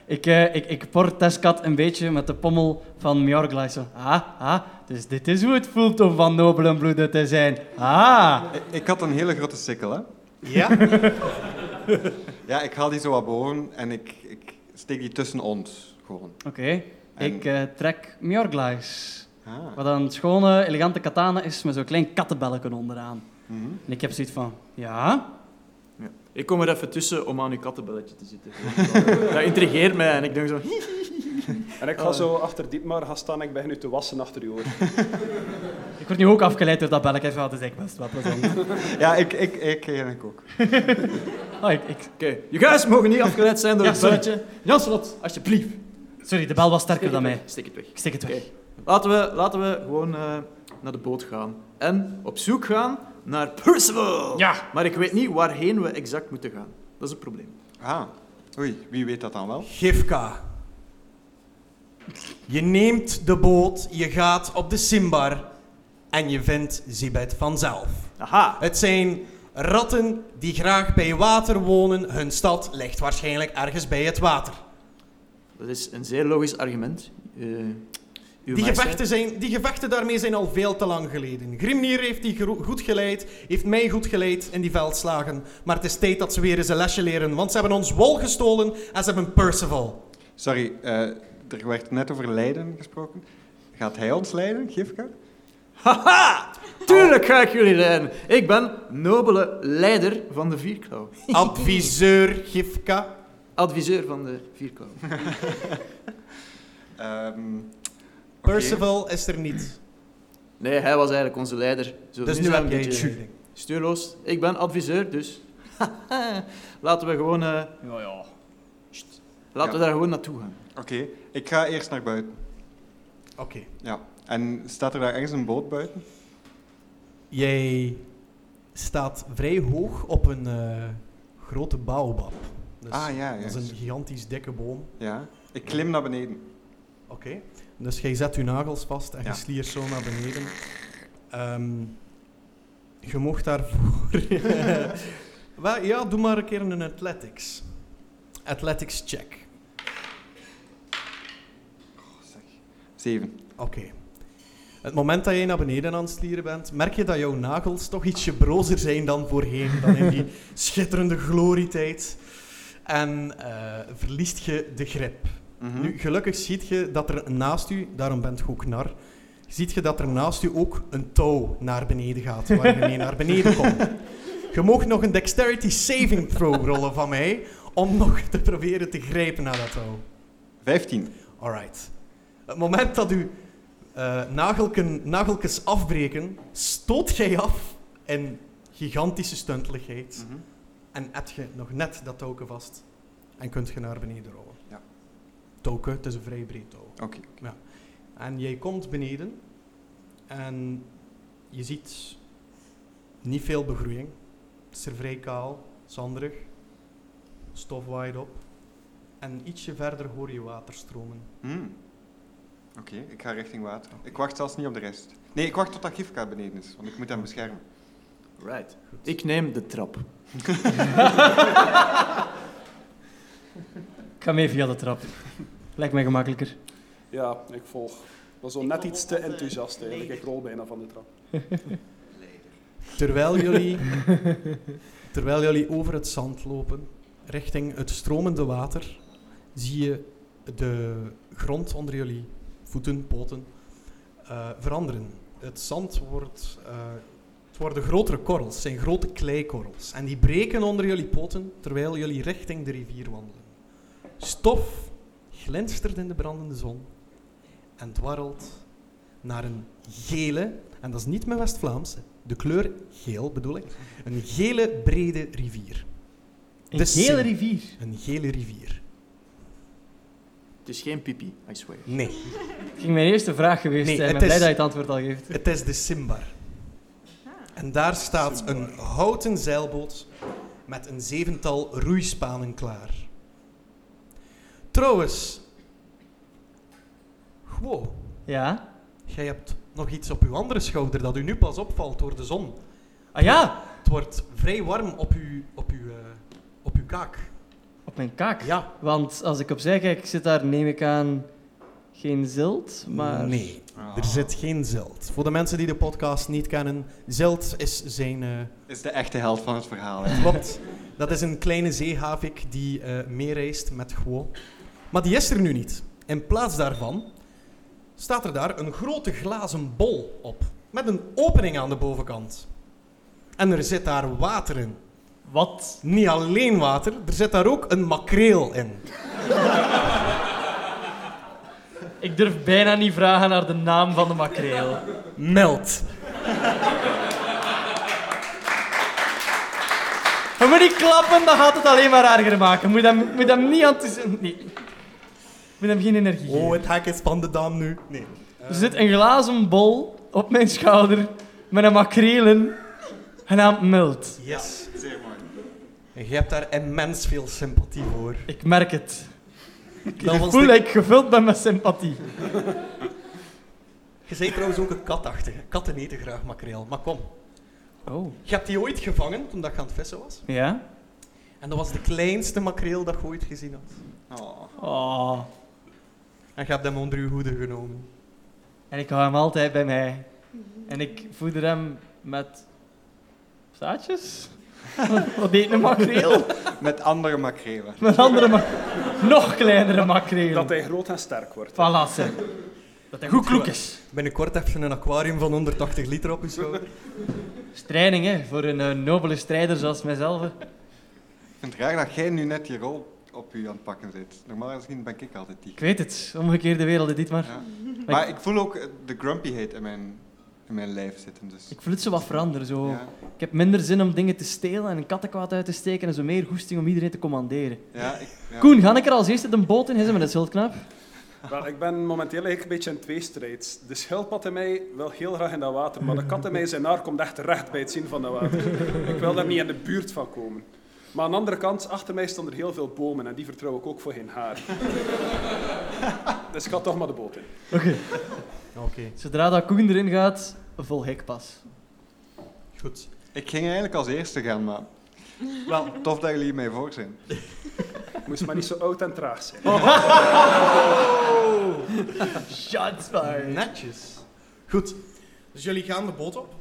S1: Ik, eh, ik, ik por Tescat een beetje met de pommel van Mjorglijs. Ah, ah, dus dit is hoe het voelt om van nobelen bloeden te zijn. Ah.
S6: Ik, ik had een hele grote sikkel, hè.
S3: Ja?
S6: Ja, ik haal die zo wat boven en ik, ik steek die tussen ons, gewoon.
S1: Oké,
S6: En-
S1: ik eh, trek Mjorglijs.
S6: Ah.
S1: Wat een schone, elegante katana is met zo'n klein kattenbelletje onderaan.
S6: Mhm.
S1: En ik heb zoiets van, ja,
S7: Ja. Ik kom er even tussen om aan uw kattenbelletje te zitten. Dat intrigeert mij en ik denk zo... "Hm, "Hi."
S4: En ik ga zo achter Dietmar gaan staan en ik begin nu te wassen achter uw oor.
S1: ik word nu ook afgeleid door dat belletje. Ja, dat is echt best wel plezant.
S6: Ja, ik, ik, ik, ik ook.
S1: Oh, ik, ik-
S7: Oké, you guys mogen niet afgeleid zijn door
S1: Ja,
S7: het
S1: sorry.
S7: belletje. Janslot, alsjeblieft.
S1: sorry, de bel was sterker
S7: Steek
S1: dan
S7: het
S1: mij.
S7: weg, Steek het weg.
S1: Ik steek het weg.
S7: Oké. Laten we, laten we gewoon eh, naar de boot gaan. En op zoek gaan naar
S3: Oh.
S7: Percival.
S1: Ja.
S7: Maar ik weet niet waarheen we exact moeten gaan. Dat is een probleem.
S6: Ah, oei, wie weet dat dan wel?
S3: Gifka. Je neemt de boot, je gaat op de Simbar en je vindt Zibet vanzelf.
S7: Aha.
S3: Het zijn ratten die graag bij water wonen. Hun stad ligt waarschijnlijk ergens bij het water.
S7: Dat is een zeer logisch argument. Eh, uw
S3: Die
S7: majesteit.
S3: gevechten, zijn, die gevechten daarmee zijn al veel te lang geleden. Grimnir heeft die gro- goed geleid, heeft mij goed geleid in die veldslagen. Maar het is tijd dat ze weer eens een lesje leren, want ze hebben ons wol gestolen en ze hebben Percival.
S6: Sorry, eh, er werd net over lijden gesproken. Gaat hij ons leiden, Gifka?
S7: Haha! Tuurlijk ga ik jullie leiden. Ik ben nobele leider van de Vierklauw.
S3: Adviseur Gifka.
S7: Adviseur van de Vierklauw.
S6: Ehm, oké.
S3: Percival is er niet.
S7: Nee, hij was eigenlijk onze leider. Zo,
S3: Dus
S7: nu
S3: nu
S7: zijn
S3: heb
S7: we
S3: jij
S7: een
S3: het
S7: beetje
S3: shooting.
S7: stuurloos. Ik ben adviseur, dus... Laten we gewoon... eh,
S1: Ja, ja.
S7: sst. Laten we
S6: Ja.
S7: daar gewoon naartoe gaan.
S6: Oké, ik ga eerst naar buiten.
S3: Oké.
S6: Ja. En staat er daar ergens een boot buiten?
S3: Jij staat vrij hoog op een eh, grote baobab. Dus
S6: ah, ja, ja.
S3: Dat is een gigantisch dikke boom.
S6: Ja, ik klim naar beneden.
S3: Oké. Dus jij zet je nagels vast en
S6: Ja.
S3: je sliert zo naar beneden. Ehm, je mocht daarvoor... Wel, ja, doe maar een keer een athletics. Athletics check.
S6: Zeven.
S3: Oké. Het moment dat jij naar beneden aan het slieren bent, merk je dat jouw nagels toch ietsje brozer zijn dan voorheen, dan in die schitterende glorietijd. En eh, verliest je de grip.
S6: Mhm.
S3: Nu, gelukkig ziet je dat er naast u, daarom bent je ook nar, ziet je dat er naast u ook een touw naar beneden gaat, waar je mee naar beneden komt. Je mag nog een dexterity saving throw rollen van mij, om nog te proberen te grijpen naar dat touw.
S6: Vijftien.
S3: Alright. Het moment dat u eh, nagelken, nagelkes afbreken, stoot jij af in gigantische stunteligheid.
S6: Mhm.
S3: En heb je nog net dat touwke vast en kunt je naar beneden rollen. touwke. Het is een vrij breed touw.
S6: Oké.
S3: En jij komt beneden en je ziet niet veel begroeiing. Het is er vrij kaal, zanderig, stof waait op. En ietsje verder hoor je water stromen.
S6: Hmm. Oké, ik ga richting water. Ik wacht zelfs niet op de rest. Nee, ik wacht totdat Gifka beneden is, want ik moet hem beschermen.
S7: Right. Ik neem de trap.
S1: Ik ga mee via de trap. Lijkt mij gemakkelijker.
S4: Ja, ik volg. Ik was zo net iets te enthousiast eigenlijk. Ik rol bijna van de trap.
S3: Terwijl jullie, terwijl jullie over het zand lopen, richting het stromende water, zie je de grond onder jullie voeten, poten, eh, veranderen. Het zand wordt, eh, het worden grotere korrels, het zijn grote kleikorrels. En die breken onder jullie poten terwijl jullie richting de rivier wandelen. Stof glinstert in de brandende zon en dwarrelt naar een gele, en dat is niet mijn West-Vlaams, de kleur geel bedoel ik, een gele brede rivier.
S1: Een
S3: Dus-
S1: hele rivier.
S3: Een gele rivier.
S7: Het is geen pipi, I swear.
S3: Nee.
S1: Het ging mijn eerste vraag geweest
S3: Nee,
S1: zijn. Ik
S3: het
S1: ben blij dat
S3: is-
S1: je het antwoord al geeft.
S3: Het is de Simbar. En daar staat een houten zeilboot met een zevental roeispanen klaar. Trouwens, Gwo,
S1: Ja?
S3: jij hebt nog iets op uw andere schouder dat u nu pas opvalt door de zon.
S1: Ah ja!
S3: Het wordt vrij warm op uw, op uw, eh, op uw kaak.
S1: Op mijn kaak.
S3: Ja,
S1: Want als ik opzij kijk, zit daar, neem ik aan, geen zilt, maar...
S3: Nee,
S6: Ah.
S3: er zit geen zilt. Voor de mensen die de podcast niet kennen, zilt is zijn... eh,
S6: Ah. Is de echte held van het verhaal. Hè.
S3: Klopt. Dat is een kleine zeehavik die eh meereist met Guo. Maar die is er nu niet. In plaats daarvan staat er daar een grote glazen bol op. Met een opening aan de bovenkant. En er zit daar water in.
S1: Wat?
S3: Niet alleen water, er zit daar ook een makreel in.
S1: Ik durf bijna niet vragen naar de naam van de makreel.
S3: Meld.
S1: Je moet niet klappen, dan gaat het alleen maar erger maken. Moet hem, moet hem niet enthousiast... Nee. Moet hem geen energie geven.
S3: Oh, het hek is van de dam nu. Nee.
S1: Er zit een glazen bol op mijn schouder met een makrelen genaamd Milt.
S3: Yes.
S6: Zeer mooi.
S3: En je hebt daar immens veel sympathie voor.
S1: Ik merk het.
S3: Dat
S1: ik
S3: was
S1: voel
S3: de-
S1: dat ik gevuld ben met sympathie.
S3: Je bent trouwens ook een katachtige. Katten eten graag makreel. Maar kom,
S1: Oh.
S3: Je hebt die ooit gevangen toen dat je aan het vissen was.
S1: Ja?
S3: En dat was de kleinste makreel dat je ooit gezien had.
S6: Oh.
S1: Oh.
S3: En je hebt hem onder je hoede genomen.
S1: En ik hou hem altijd bij mij. En ik voeder hem met... Zaadjes? Wat- Wat deed een makreel?
S6: Met andere makrelen.
S1: Met andere mak- Nog kleinere makreel.
S4: Dat hij groot en sterk wordt.
S1: Voilà, zeg. Dat hij goed kloek is.
S3: Binnenkort heb je een aquarium van 180 liter op je schouder.
S1: Strijding, hè. Voor een eh, nobele strijder zoals mijzelf. hè.
S6: Ik vind het raar dat jij nu net die rol op u aan het pakken zit. Normaal gezien ben ik altijd die.
S1: Ik weet het. Omgekeerde wereld, dit maar.
S6: Ja. Maar ik voel ook eh, de grumpyheid in mijn, in mijn lijf zitten. Dus.
S1: Ik voel het zo wat veranderen. Zo.
S6: Ja.
S1: Ik heb minder zin om dingen te stelen en een kattenkwaad uit te steken en zo meer goesting om iedereen te commanderen.
S6: Ja, ik, ja.
S1: Koen, ga ik er als eerste de boot in hissen met een schildknaap?
S4: Wel, ik ben momenteel eigenlijk een beetje in tweestrijd. De schildpad in mij wil heel graag in dat water, maar de kat in mij zijn haar komt echt recht bij het zien van dat water. Ik wil daar niet in de buurt van komen. Maar aan de andere kant, achter mij stonden er heel veel bomen en die vertrouw ik ook voor geen haar. Dus ik ga toch maar de boot in.
S1: Oké.
S3: Oké,
S1: Zodra dat Koen erin gaat, vol hek pas.
S3: goed.
S6: ik ging eigenlijk als eerste gaan, maar
S3: Wel,
S6: tof dat jullie mij voor zijn.
S4: Moest maar niet zo oud en traag zijn.
S1: Shots fired.
S3: netjes. Goed. Dus jullie gaan de boot op.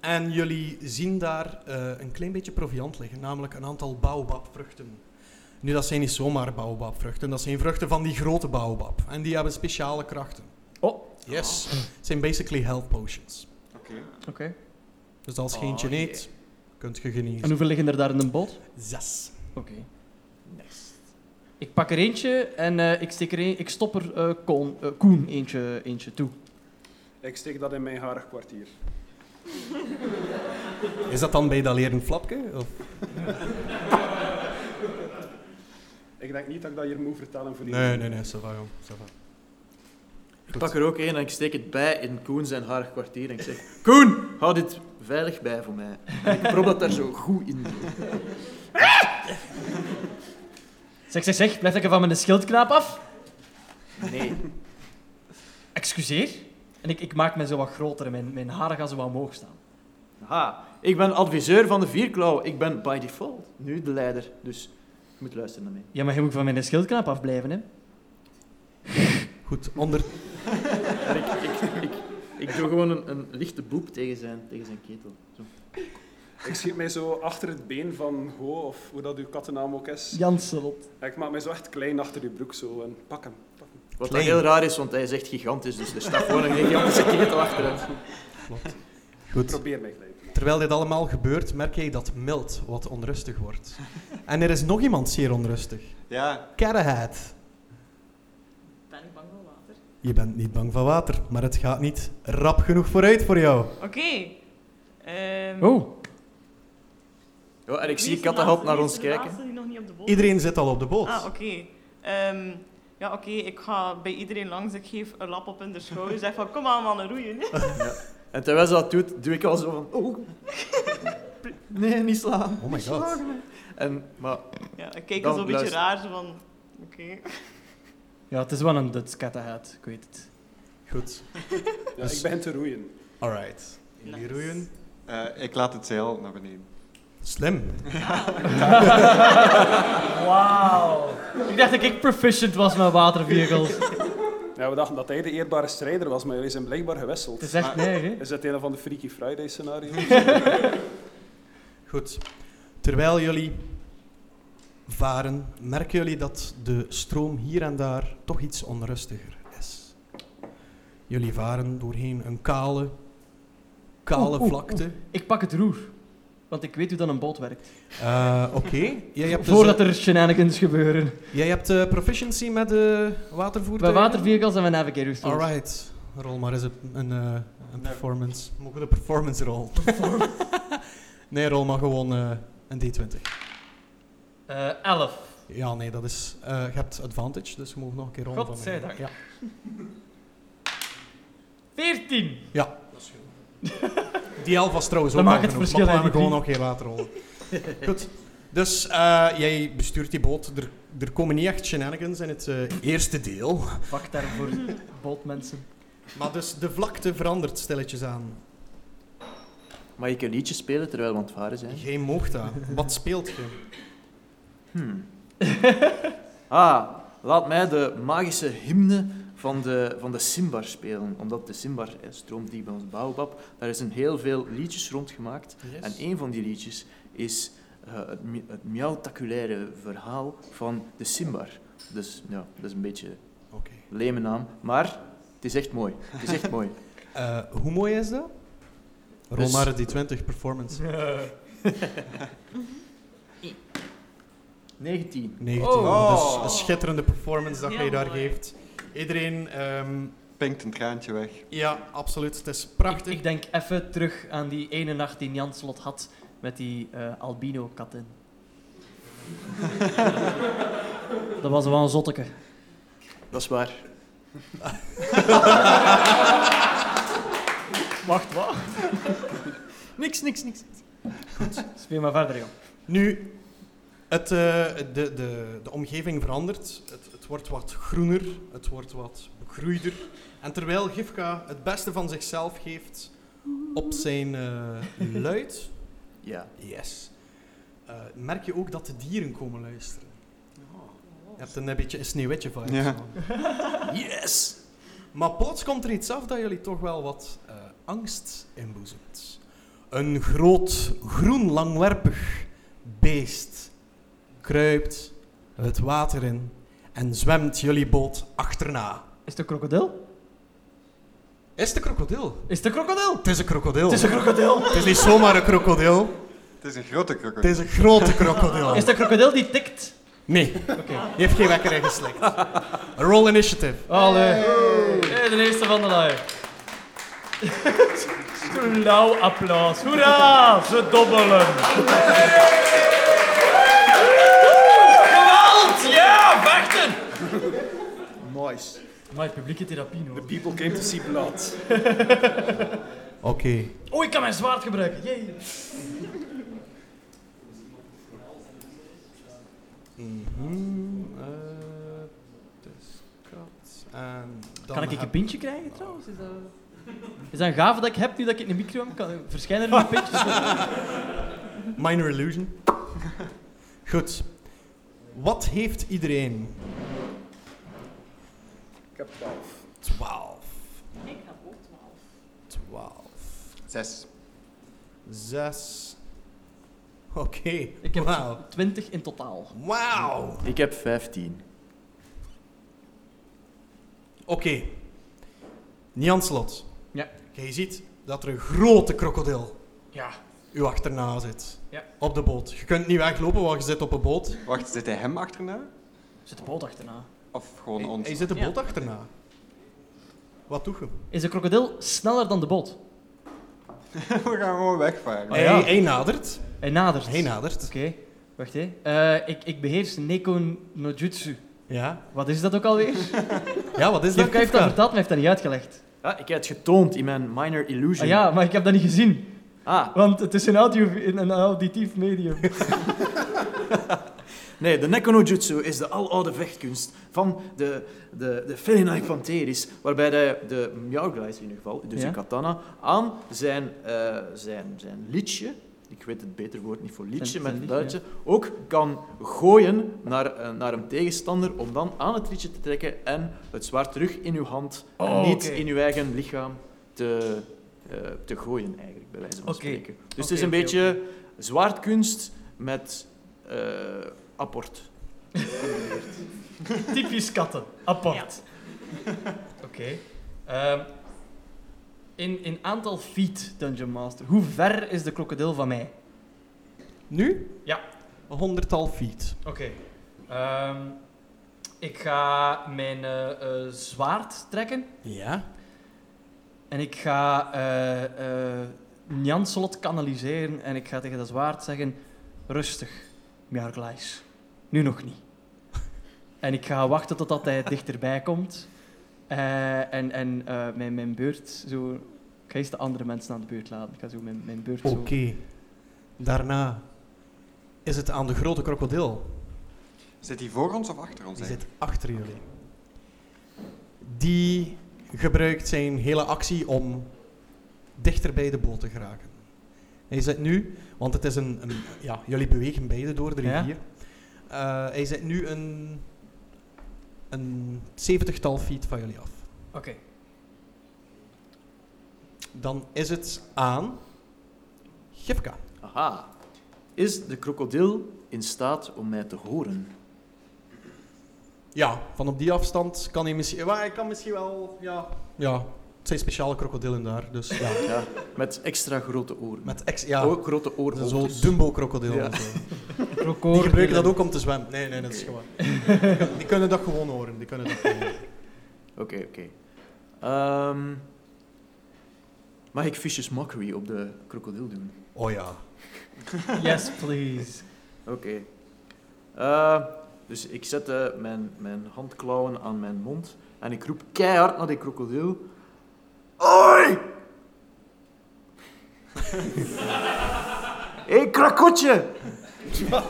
S3: En jullie zien daar eh, een klein beetje proviant liggen, namelijk een aantal baobabvruchten. Nu, dat zijn niet zomaar baobabvruchten, dat zijn vruchten van die grote baobab. En die hebben speciale krachten.
S1: Oh.
S3: Yes. Het zijn basically health potions.
S6: Oké.
S1: Oké.
S3: Dus als je eentje eet, kunt je
S1: En
S3: genezen.
S1: hoeveel liggen er daar in een boot?
S3: Zes.
S1: Oké. Ik pak er eentje en eh, ik, steek er een- ik stop er eh, Koen, eh, Koen eentje, eentje toe.
S4: Ik steek dat in mijn harig kwartier.
S3: Is dat dan bij dat leren flapje? Of?
S4: Ik denk niet dat ik dat hier moet vertellen voor die
S3: Nee, nee, nee, ça va, jong. Ça va.
S7: Ik pak er ook één en ik steek het bij in Koen zijn haar kwartier. En ik zeg, Koen, hou dit veilig bij voor mij. En ik probeer dat daar zo goed in.
S1: Zeg, zeg, zeg, blijf lekker van mijn schildknaap af.
S7: Nee.
S1: Excuseer. En ik, ik maak me zo wat groter en mijn, mijn haren gaan zo wat omhoog staan.
S7: Aha, ik ben adviseur van de Vierklauw. Ik ben by default nu de leider. Dus je moet luisteren naar mij.
S1: Ja, maar je moet van mijn schildknaap afblijven, hè.
S3: Goed, onder...
S7: En ik, ik, ik, ik doe gewoon een, een lichte boep tegen zijn, tegen zijn ketel. Zo.
S4: Ik schiet mij zo achter het been van Ho, of hoe dat uw kattennaam ook is.
S1: Janselot.
S4: En Ik maak mij zo echt klein achter uw broek zo en pak hem. Pak hem.
S7: Wat dan heel raar is, want hij is echt gigantisch. Dus er staat gewoon een gigantische ketel achteruit.
S3: Goed.
S4: Probeer mij klein te maken.
S3: Terwijl dit allemaal gebeurt, merk jij dat Milt wat onrustig wordt. En er is nog iemand zeer onrustig.
S6: Ja,
S3: Carrahat.
S8: Ben ik bang voor water?
S3: Je bent niet bang van water, maar het gaat niet rap genoeg vooruit voor jou.
S8: Oké. Ehm,
S1: Oh,
S7: Ja, en ik
S8: wie
S7: zie
S8: is de
S7: Kattenhap
S8: laatste-
S7: naar
S8: wie
S7: ons
S8: is de
S7: kijken.
S8: laatste die nog niet op de boot
S3: Iedereen zit al op de boot.
S8: Ah, oké. Ehm, ja, oké, ik ga bij iedereen langs. Ik geef een lap op dus, in de schouder. Zeg van, kom aan mannen, roeien.
S7: En terwijl ze dat doet, doe ik al zo van... Oh. Nee, niet slaan.
S3: Oh my god.
S7: En, maar
S8: Ja, ik kijk
S7: Dan
S8: al zo'n beetje
S7: luister.
S8: raar, zo van... Oké.
S1: ja, het is wel een Duts kattenhuid, ik weet het.
S3: Goed.
S4: Ja,
S1: Dus-
S4: ik begin te roeien.
S3: Alright. Jullie
S8: Nice.
S3: roeien.
S6: eh, ik laat het zeil naar beneden.
S3: Slim.
S1: Wauw. Ik dacht dat ik proficient was met watervehicles.
S4: Ja, we dachten dat hij de eerbare strijder was, maar jullie zijn blijkbaar gewisseld.
S1: Het is echt neig, hè.
S4: Is dat een van de Freaky Friday scenario's?
S3: Goed. Terwijl jullie varen, merken jullie dat de stroom hier en daar toch iets onrustiger is. Jullie varen doorheen een kale, kale
S1: Oeh, oeh,
S3: vlakte.
S1: Ik pak het roer. Want ik weet hoe dan een boot werkt.
S3: Eh, Oké. Jij hebt, dus,
S1: Voordat
S3: eh,
S1: er shenanigans gebeuren.
S3: jij hebt eh, proficiency met eh
S1: Bij
S3: watervoertuigen?
S1: watervehicles en bij navigators. tools.
S3: Alright. Rol maar eens een, een, eh, een performance. Mogen we een performance rol? nee, rol maar gewoon eh, een D20.
S1: Eh, elf.
S3: Ja, nee, dat is... eh, je hebt advantage, dus je mag nog een keer rollen. van mij.
S1: Godzijdank.
S3: Ja.
S1: Veertien.
S3: Ja. Die elf was trouwens ook
S1: Dat
S3: al
S1: maakt het
S3: genoeg,
S1: verschil,
S3: maar
S1: hè,
S3: we
S1: die
S3: gaan hem gewoon nog heel later rollen. Goed. Dus eh, jij bestuurt die boot. Er, er komen niet echt shenanigans in het eh, eerste deel.
S1: Fuck daarvoor, bootmensen.
S3: Maar dus de vlakte verandert stilletjes aan.
S7: mag ik een liedje spelen terwijl we aan het varen zijn?
S3: Jij moogt dat. Wat speelt je?
S7: Hmm. ah, laat mij de magische hymne van de, van de Simbar spelen. Omdat de Simbar eh, stroomt die bij ons Baobab. Daar is een heel veel liedjes rondgemaakt. En een van die liedjes is eh, het, mi- het miauwtaculaire verhaal van de Simbar. Dus ja, dat is een beetje een
S3: Oké.
S7: leme naam. Maar het is echt mooi. Het is echt mooi.
S3: Eh, hoe mooi is dat? Rol
S7: Dus-
S3: maar die 20 performance.
S7: 19.
S3: 19.
S1: Oh.
S3: Dus een schitterende performance dat
S8: Heel
S3: jij daar
S8: mooi.
S3: geeft. Iedereen, ehm,
S6: Pinkt een traantje weg.
S3: ja, absoluut. Het is
S1: Ik,
S3: prachtig.
S1: ik denk even terug aan die ene nacht die Jan Slot had met die eh, albino-katten. dat was wel een zotteke.
S7: Dat is waar.
S1: Wacht, wat? niks, niks, niks. Goed, speel maar verder, joh.
S3: Nu, het, eh, de, de, de omgeving verandert. Het, het wordt wat groener, het wordt wat begroeider. En terwijl Gifka het beste van zichzelf geeft op zijn eh, luid,
S7: Ja.
S3: yes, eh, merk je ook dat de dieren komen luisteren. Je hebt een, beetje een sneeuwwitje van.
S6: Ja.
S7: Yes!
S3: Maar plots komt er iets af dat jullie toch wel wat eh, angst inboezemt. Een groot, groen, langwerpig beest kruipt het water in en zwemt jullie boot achterna.
S1: Is het een krokodil?
S3: Is het een krokodil?
S1: Is het een krokodil?
S3: Het is een krokodil.
S1: Het is een krokodil.
S3: Het is niet zomaar een krokodil.
S6: Het is een grote
S3: Het
S6: krokodil.
S3: is een grote krokodil.
S1: Is het een krokodil die tikt?
S3: Nee,
S1: Oké.
S3: die heeft geen wekker ingeslikt. Roll initiative.
S1: Allee. Hey, de eerste van de live. Een lauw applaus. Hoera, ze dobbelen. Geweld, ja!
S7: gaan vechten! Nice.
S1: Maar publieke therapie
S4: The
S1: nodig.
S4: people came to see blood.
S3: Oké.
S1: Oh, ik kan mijn zwaard gebruiken. Jee.
S3: Mhm, eh, dus kat en dan
S1: Kan ik een
S3: heb-
S1: pintje krijgen trouwens? Is dat... Is dat een gave dat ik heb nu dat ik in de micro heb? Kan... Verschijnen er nog pintjes?
S3: Minor illusion. Goed. Wat heeft iedereen?
S4: Ik heb 12.
S3: 12.
S8: Ik heb ook 12.
S3: 12.
S6: Zes.
S3: 6. Oké.
S1: Ik heb
S3: Wauw.
S1: 20 in totaal.
S3: Wauw.
S7: Ik heb 15.
S3: Oké. Nian Slot.
S1: Ja.
S3: Jij ziet dat er een grote krokodil
S1: Ja.
S3: u achterna zit.
S1: Ja.
S3: Op de boot. Je kunt niet weglopen, want je zit op een boot.
S6: Wacht, zit hij hem achterna?
S1: Er zit een boot achterna.
S6: Of gewoon
S3: Hij,
S6: ons?
S3: hij zit de
S1: Ja.
S3: boot achterna. Wat doe je?
S1: Is de krokodil sneller dan de boot?
S6: We gaan gewoon wegvaren.
S1: Ah,
S3: hij,
S1: ja.
S3: hij nadert.
S1: Hij nadert.
S3: Hij nadert.
S1: Oké, wacht hé. Eh, ik, ik beheers Neko no Jutsu.
S3: Ja.
S1: Wat is dat ook alweer?
S3: Ja, wat is dat?
S1: Jeffke heeft dat
S3: Kafka?
S1: verteld, maar heeft dat niet uitgelegd.
S7: Ja, Ah, ik heb het getoond in mijn minor illusion.
S1: Ah ja, maar ik heb dat niet gezien,
S7: Ah,
S1: want het is een, audio, een auditief medium.
S7: nee, de Neko no Jutsu is de aloude vechtkunst van de, de, de Felinae Pantheris, waarbij de, de Mjauwglijs in ieder geval, dus
S1: Ja.
S7: de katana, aan zijn, eh, zijn, zijn liedje, ik weet het beter woord niet voor liedje,
S1: Zijn-
S7: met
S1: zijn
S7: het
S1: liedje,
S7: buitje, ook kan gooien naar, een- naar een tegenstander om dan aan het liedje te trekken en het zwaard terug in uw hand en
S1: Oh,
S7: niet
S1: oké.
S7: in uw eigen lichaam te, eh, te gooien eigenlijk, bij wijze van
S1: Oké.
S7: spreken. Dus het
S1: Oké,
S7: is een
S1: oké,
S7: beetje zwaardkunst met eh, apport.
S1: Typisch katten, apart. Oké. Ehm, in, in aantal feet, Dungeon Master, hoe ver is de krokodil van mij?
S3: Nu?
S1: Ja.
S3: Een honderdtal feet.
S1: Oké. Ehm, ik ga mijn eh, eh, zwaard trekken.
S3: Ja.
S1: En ik ga eh eh Njanslot kanaliseren en ik ga tegen dat zwaard zeggen: Rustig, Mjarglais. Nu nog niet. En ik ga wachten totdat hij dichterbij komt. Eh, en en eh, mijn, mijn beurt zo. Ik ga eerst de andere mensen aan de beurt laten. Ik ga zo mijn, mijn beurt
S3: Oké.
S1: zo.
S3: Daarna is het aan de grote krokodil.
S6: Zit hij voor ons of achter ons?
S3: Die
S6: eigenlijk?
S3: zit achter jullie. Die gebruikt zijn hele actie om dichter bij de boot te geraken. Hij zit nu, want het is een, een ja, jullie bewegen beide door de
S1: Ja.
S3: rivier. Eh, hij zit nu een, een zeventigtal feet van jullie af.
S1: Oké.
S3: Dan is het aan Gifka.
S7: Aha. Is de krokodil in staat om mij te horen?
S3: Ja, van op die afstand kan hij misschien... Wel, hij kan misschien wel... Ja, ja het zijn speciale krokodillen daar, dus ja.
S7: Ja, met extra grote oren.
S3: Met ex... Ja,
S7: Ook grote
S3: dat zijn
S7: oren.
S3: zo Dumbo-krokodillen.
S7: Ja.
S3: of zo. Die gebruiken dat ook om te zwemmen. Nee, nee, dat is gewoon... Die kunnen dat gewoon horen. Die kunnen dat gewoon horen.
S7: Oké, oké. Ehm, mag ik Fish's Mockery op de krokodil doen?
S3: Oh ja.
S1: Yes, please.
S7: Oké. Eh, dus ik zet eh, mijn, mijn handklauwen aan mijn mond en ik roep keihard naar die krokodil. Oi! Hé, hey, krakotje! Je,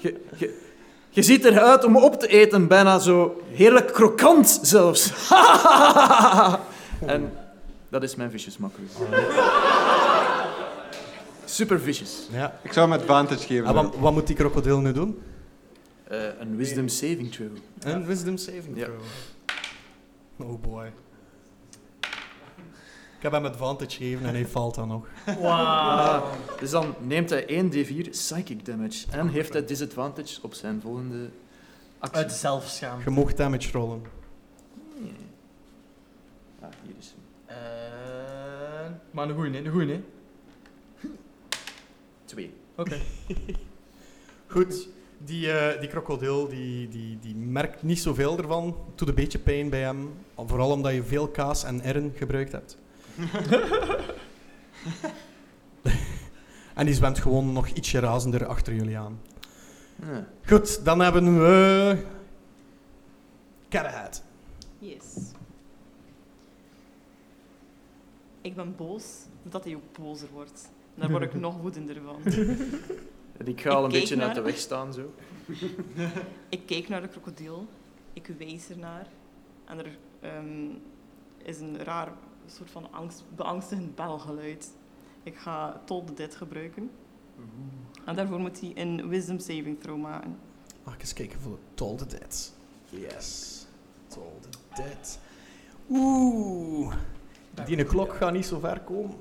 S7: je, je, je ziet eruit om op te eten, bijna zo heerlijk krokant zelfs. en dat is mijn vicious makker. Super vicious.
S3: ja.
S6: Ik zou hem advantage geven.
S3: En wat, wat moet die krokodil nu doen?
S7: Eh, een wisdom saving throw.
S3: Een wisdom saving
S7: Ja.
S3: throw. Oh boy. Ik heb hem advantage gegeven en hij valt dan nog.
S1: Wow.
S7: Dus dan neemt hij 1d4 psychic damage en heeft hij disadvantage op zijn volgende actie.
S1: Uit zelfschaam.
S3: Je mocht damage rollen.
S7: Nee. Ah, hier is hij.
S1: Eh, maar een goeie, nee, een goeie, nee.
S7: Twee.
S1: Oké.
S3: Goed. Die, eh, die krokodil die, die, die merkt niet zoveel ervan. Het doet een beetje pijn bij hem. Vooral omdat je veel kaas en erren gebruikt hebt. en die zwemt gewoon nog ietsje razender achter jullie aan.
S7: Ja.
S3: Goed, dan hebben we... Carahad.
S8: Yes. Ik ben boos, omdat hij ook bozer wordt. En daar word ik nog woedender van.
S7: En ik ga al een
S8: Ik keek
S7: beetje uit
S8: naar
S7: de
S8: hem.
S7: weg staan zo.
S8: Ik kijk naar de krokodil, ik wijs ernaar. En er ehm, is een raar soort van angst, beangstigend belgeluid. Ik ga tot dit gebruiken. En daarvoor moet hij een wisdom saving throw maken.
S3: Mag ik eens kijken voor Toll the Dead. Yes. Toll the Dead. Oeh. Die klok gaat niet zo ver komen.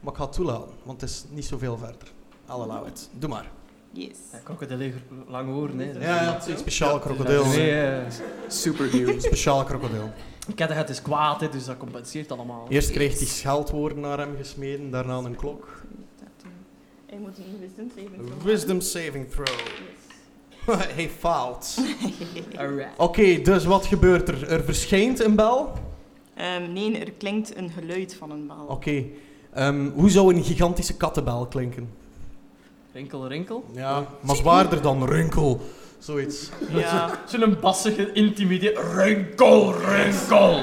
S3: Maar ik ga het toelaten, want het is niet zoveel verder. I'll allow it. Doe maar.
S8: Yes.
S1: Ja, krokodil heeft lang horen, hè.
S3: Ja, ja, het is een speciaal krokodil.
S1: Nee, eh,
S7: Supernieuw.
S3: Speciaal krokodil.
S1: Kettenhet is kwaad, hè, dus dat compenseert allemaal.
S3: Eerst kreeg hij scheldwoorden naar hem gesmeden, daarna een klok.
S8: Hij moet een wisdom saving throw maken.
S3: Wisdom saving throw. Hij faalt.
S8: Yes.
S1: Alright.
S3: Oké, dus wat gebeurt er? Er verschijnt een bel. Oké.
S8: Ehm, nee, er klinkt een geluid van een
S3: Oh.
S8: bal.
S3: ehm, hoe zou een gigantische kattenbel klinken?
S1: Rinkel, rinkel.
S3: Ja, maar zwaarder dan rinkel. Zoiets.
S8: Ja,
S1: Zo'n bassige, intimiderende... Rinkel, rinkel!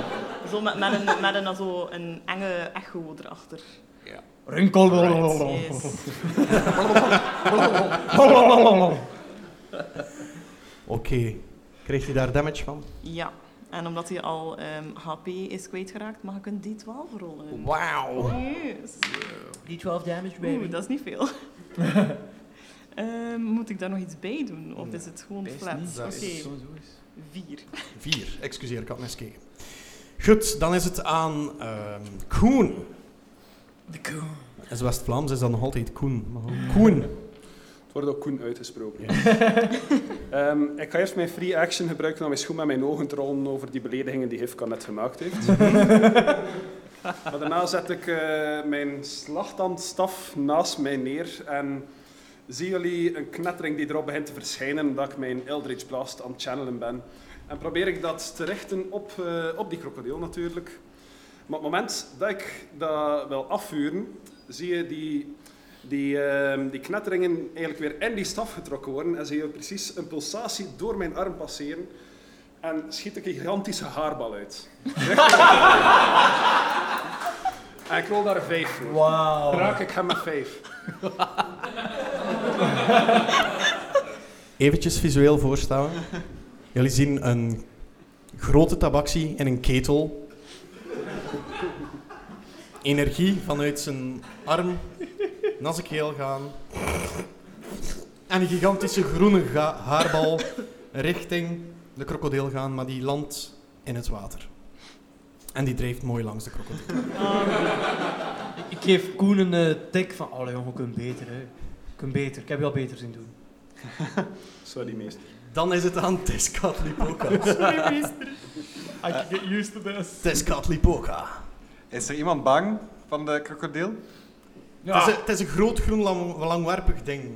S8: zo met, met een, met een, zo een enge echo erachter.
S1: Rinkel,
S8: Yes.
S3: Oké. Krijgt hij daar damage van?
S8: Ja, en omdat hij al ehm, HP is kwijtgeraakt, mag ik een D12 rollen.
S3: Wauw.
S8: Yes.
S1: Die 12 damage,
S8: Oeh, dat is niet veel. Ehm, moet ik daar nog iets bij doen? Of is het gewoon flat? Oké, vier.
S3: Vier. Excuseer, ik had net gekeken. Goed, dan is het aan ehm, Koen.
S1: De koe.
S3: Dat is West-Vlaams, is dat nog altijd Koen. maar goed. Koen.
S4: Het wordt ook Koen uitgesproken. Ehm, ik ga eerst mijn free action gebruiken om eens goed met mijn ogen te rollen over die beledigingen die Hifka net gemaakt heeft. maar daarna zet ik eh, mijn slachtandstaf naast mij neer en zien jullie een knettering die erop begint te verschijnen dat ik mijn Eldritch Blast aan het channelen ben. En probeer ik dat te richten op, eh, op die krokodil natuurlijk. Maar op het moment dat ik dat wil afvuren, zie je die die, ehm, die knetteringen eigenlijk weer in die staf getrokken worden en ze je precies een pulsatie door mijn arm passeren en schiet ik een gigantische haarbal uit. en ik rol daar een vijf voor.
S1: Wauw.
S4: Raak ik hem een vijf.
S3: Eventjes visueel voorstellen. Jullie zien een grote tabaksie in een ketel. Energie vanuit zijn arm naar zijn keel gaan. En een gigantische groene ga- haarbal richting de krokodil gaan, maar die landt in het water. En die drijft mooi langs de krokodil.
S1: Ik geef Koen een eh, tik van... Allee, jongen, je kunt beter, hè. Je kunt beter. Ik heb je al beter zien doen.
S4: Sorry meester.
S3: Dan is het aan Tezcatlipoca.
S1: I can get Ah, used to this.
S3: Tezcatlipoca.
S6: Is er iemand bang van de krokodil?
S3: Het, is een, het is een groot groen lang- langwerpig ding.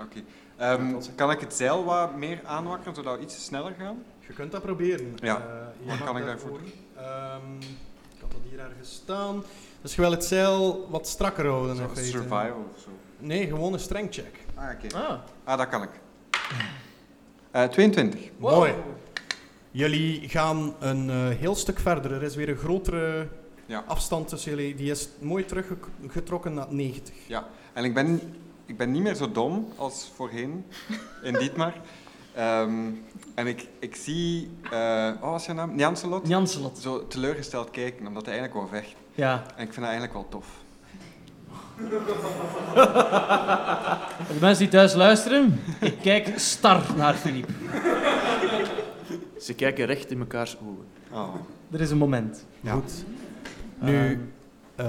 S6: Oké. Ehm, kan ik het zeil wat meer aanwakkeren zodat we iets sneller gaan?
S3: Je kunt dat proberen.
S6: Ja.
S3: Eh, je
S6: Wat
S3: mag
S6: kan ik
S3: dat
S6: daarvoor
S3: doen? Ehm, ik had dat hier ergens staan. Dus je wil het zeil wat strakker houden. in
S6: Zo,
S3: feite.
S6: survival of zo.
S3: Nee, gewoon een strengcheck.
S6: Ah, oké.
S1: Ah.
S6: Ah, dat kan ik. Eh, 22.
S3: Mooi. Jullie gaan een eh, heel stuk verder. Er is weer een grotere
S6: Ja.
S3: afstand tussen jullie. Die is mooi teruggetrokken naar 90.
S6: En ik ben, ik ben niet meer zo dom als voorheen, in Dietmar. Ehm, en ik, ik zie... eh wat was je naam? Njanselot?
S1: Janselot.
S6: Zo teleurgesteld kijken, omdat hij eigenlijk wel weg.
S1: Ja.
S6: En ik vind dat eigenlijk wel tof.
S1: Voor de mensen die thuis luisteren, ik kijk star naar Filip.
S7: Ze kijken recht in mekaars ogen.
S6: Oh.
S1: Er is een moment.
S3: Goed.
S1: Ah,
S6: Ehm.
S3: Nu, eh,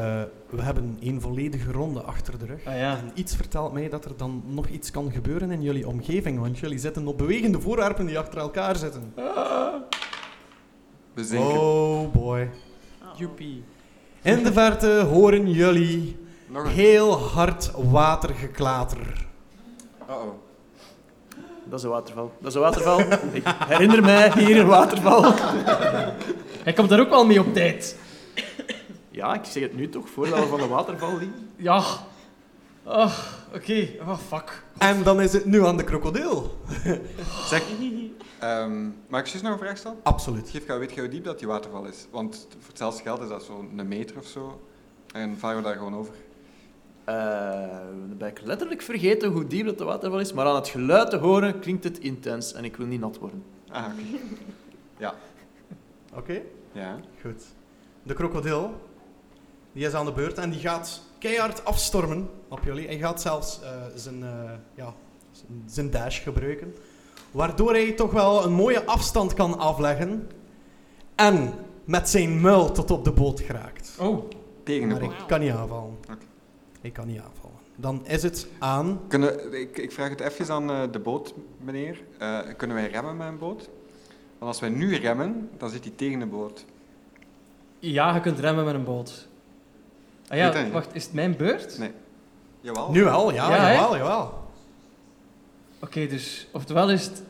S3: we hebben een volledige ronde achter de rug.
S1: Ah ja.
S3: En iets vertelt mij dat er dan nog iets kan gebeuren in jullie omgeving, want jullie zitten op bewegende voorwerpen die achter elkaar zitten.
S6: We zinken.
S3: Oh boy.
S8: Oh.
S1: Joepie.
S3: In de verte horen jullie
S6: Nog een.
S3: heel hard watergeklater.
S6: Uh-oh.
S7: Dat is een waterval. Dat is een waterval. ik herinner mij hier een waterval.
S1: Hij komt er ook wel mee op tijd.
S7: Ja, ik zeg het nu toch, voordat we van de waterval liepen.
S1: Ja. Oh, oké. Oh, fuck.
S3: En dan is het nu aan de krokodil.
S6: Zeg, ehm, mag ik juist nog een vraag stellen?
S3: Absoluut.
S6: Geef, weet je hoe diep dat die waterval is? Want voor hetzelfde geld is dat zo'n meter of zo. En varen we daar gewoon over.
S7: Eh, dan ben ik letterlijk vergeten hoe diep dat de waterval is, maar aan het geluid te horen klinkt het intens en ik wil niet nat worden.
S6: Ah, oké.
S3: Oké,
S6: Ja.
S3: goed. De krokodil, die is aan de beurt en die gaat keihard afstormen op jullie. Hij gaat zelfs eh, zijn, eh, ja, zijn- zijn dash gebruiken. Waardoor hij toch wel een mooie afstand kan afleggen. En met zijn muil tot op de boot geraakt.
S1: Oh.
S6: Tegen de
S3: Maar
S6: boot.
S3: ik kan niet aanvallen.
S6: Oké.
S3: Ik kan niet aanvallen. Dan is het aan.
S6: Kunnen, ik, ik vraag het even aan eh, de boot, meneer. Eh, kunnen wij remmen met een boot? Want als wij nu remmen, dan zit hij tegen de boot.
S1: Ja, je kunt remmen met een boot. Ah
S6: Weet dat
S1: ja,
S6: niet.
S1: wacht, is het mijn beurt?
S6: Nee. Jawel.
S3: Nu wel, ja,
S1: Ja, hè?
S3: jawel, jawel.
S1: Oké, dus oftewel is het...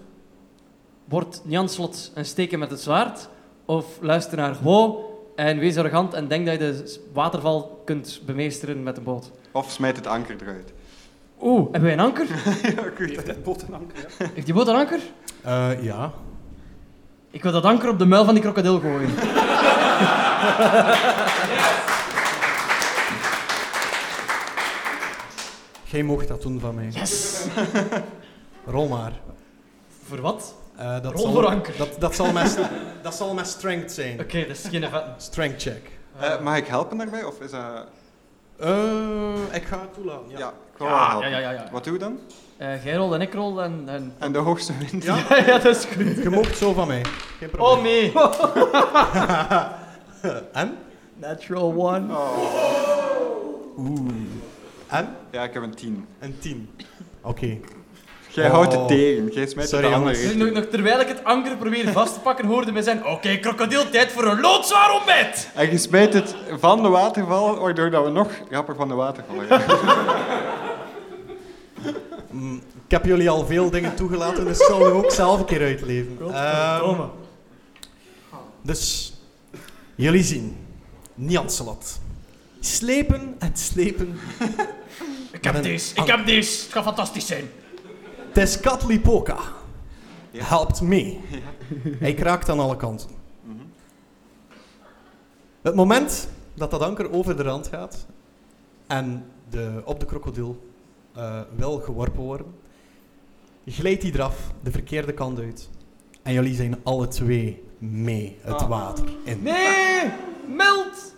S1: Word Janslot en steken met het zwaard, of luister naar Wo en wees arrogant en denk dat je de s- waterval kunt bemeesteren met een boot.
S6: Of smijt het anker eruit.
S1: Oeh, hebben wij een anker?
S6: ja, goed.
S4: Heeft dit bot een anker? ja?
S1: Heeft die boot een anker?
S3: Eh, ja.
S1: Ik wil dat anker op de muil van die krokodil gooien.
S3: Jij mocht dat doen van mij.
S1: Yes!
S3: Rol maar.
S1: Voor wat?
S3: Eh, dat
S1: Rol
S3: zal,
S1: voor anker.
S3: Dat, dat, zal mijn, st- dat zal mijn strength zijn.
S1: Oké, dat is geen vet.
S3: Strength check.
S6: Eh, mag ik helpen daarbij? Of is dat...
S3: Eh, ik ga het toelaten,
S6: Ja,
S3: ja.
S6: ik wil wel helpen.
S1: Ja, ja, ja. ja.
S6: Wat doen we dan?
S1: Eh, jij rolt en ik rol en... en...
S6: En de hoogste wint.
S1: Ja, ja, dat is goed.
S3: Je mocht zo van mij. Geen probleem.
S1: Oh nee!
S3: en?
S1: Natural one.
S3: En?
S6: Ja, ik heb een 10.
S3: Een 10. Oké.
S6: Jij
S3: Oh.
S6: houdt het tegen. Jij smijt
S3: Sorry,
S6: het de andere
S3: jongens.
S1: Dus nog, nog terwijl ik het anker probeer vast te pakken, hoorde mij zijn... Oké, krokodil, tijd voor een loodzwaar ontbijt!
S6: En je smijt het van de waterval, waardoor dat we nog rapper van de waterval gaan.
S3: Mm, ik heb jullie al veel dingen toegelaten, dus ik zal nu ook zelf een keer uitleven. Ehm, dus, jullie zien. Nianselat. Slepen en slepen.
S1: Ik
S3: heb
S1: heb
S3: deze,
S1: deze,
S3: ik
S1: ik heb deze. Het gaat fantastisch zijn.
S3: Tezcatlipoca helpt mee. Hij kraakt aan alle kanten. Het moment dat dat anker over de rand gaat en de, op de krokodil eh, wil geworpen worden, glijdt hij eraf de verkeerde kant uit. En jullie zijn alle twee mee het
S6: Ah.
S3: water in.
S1: Nee! Meld!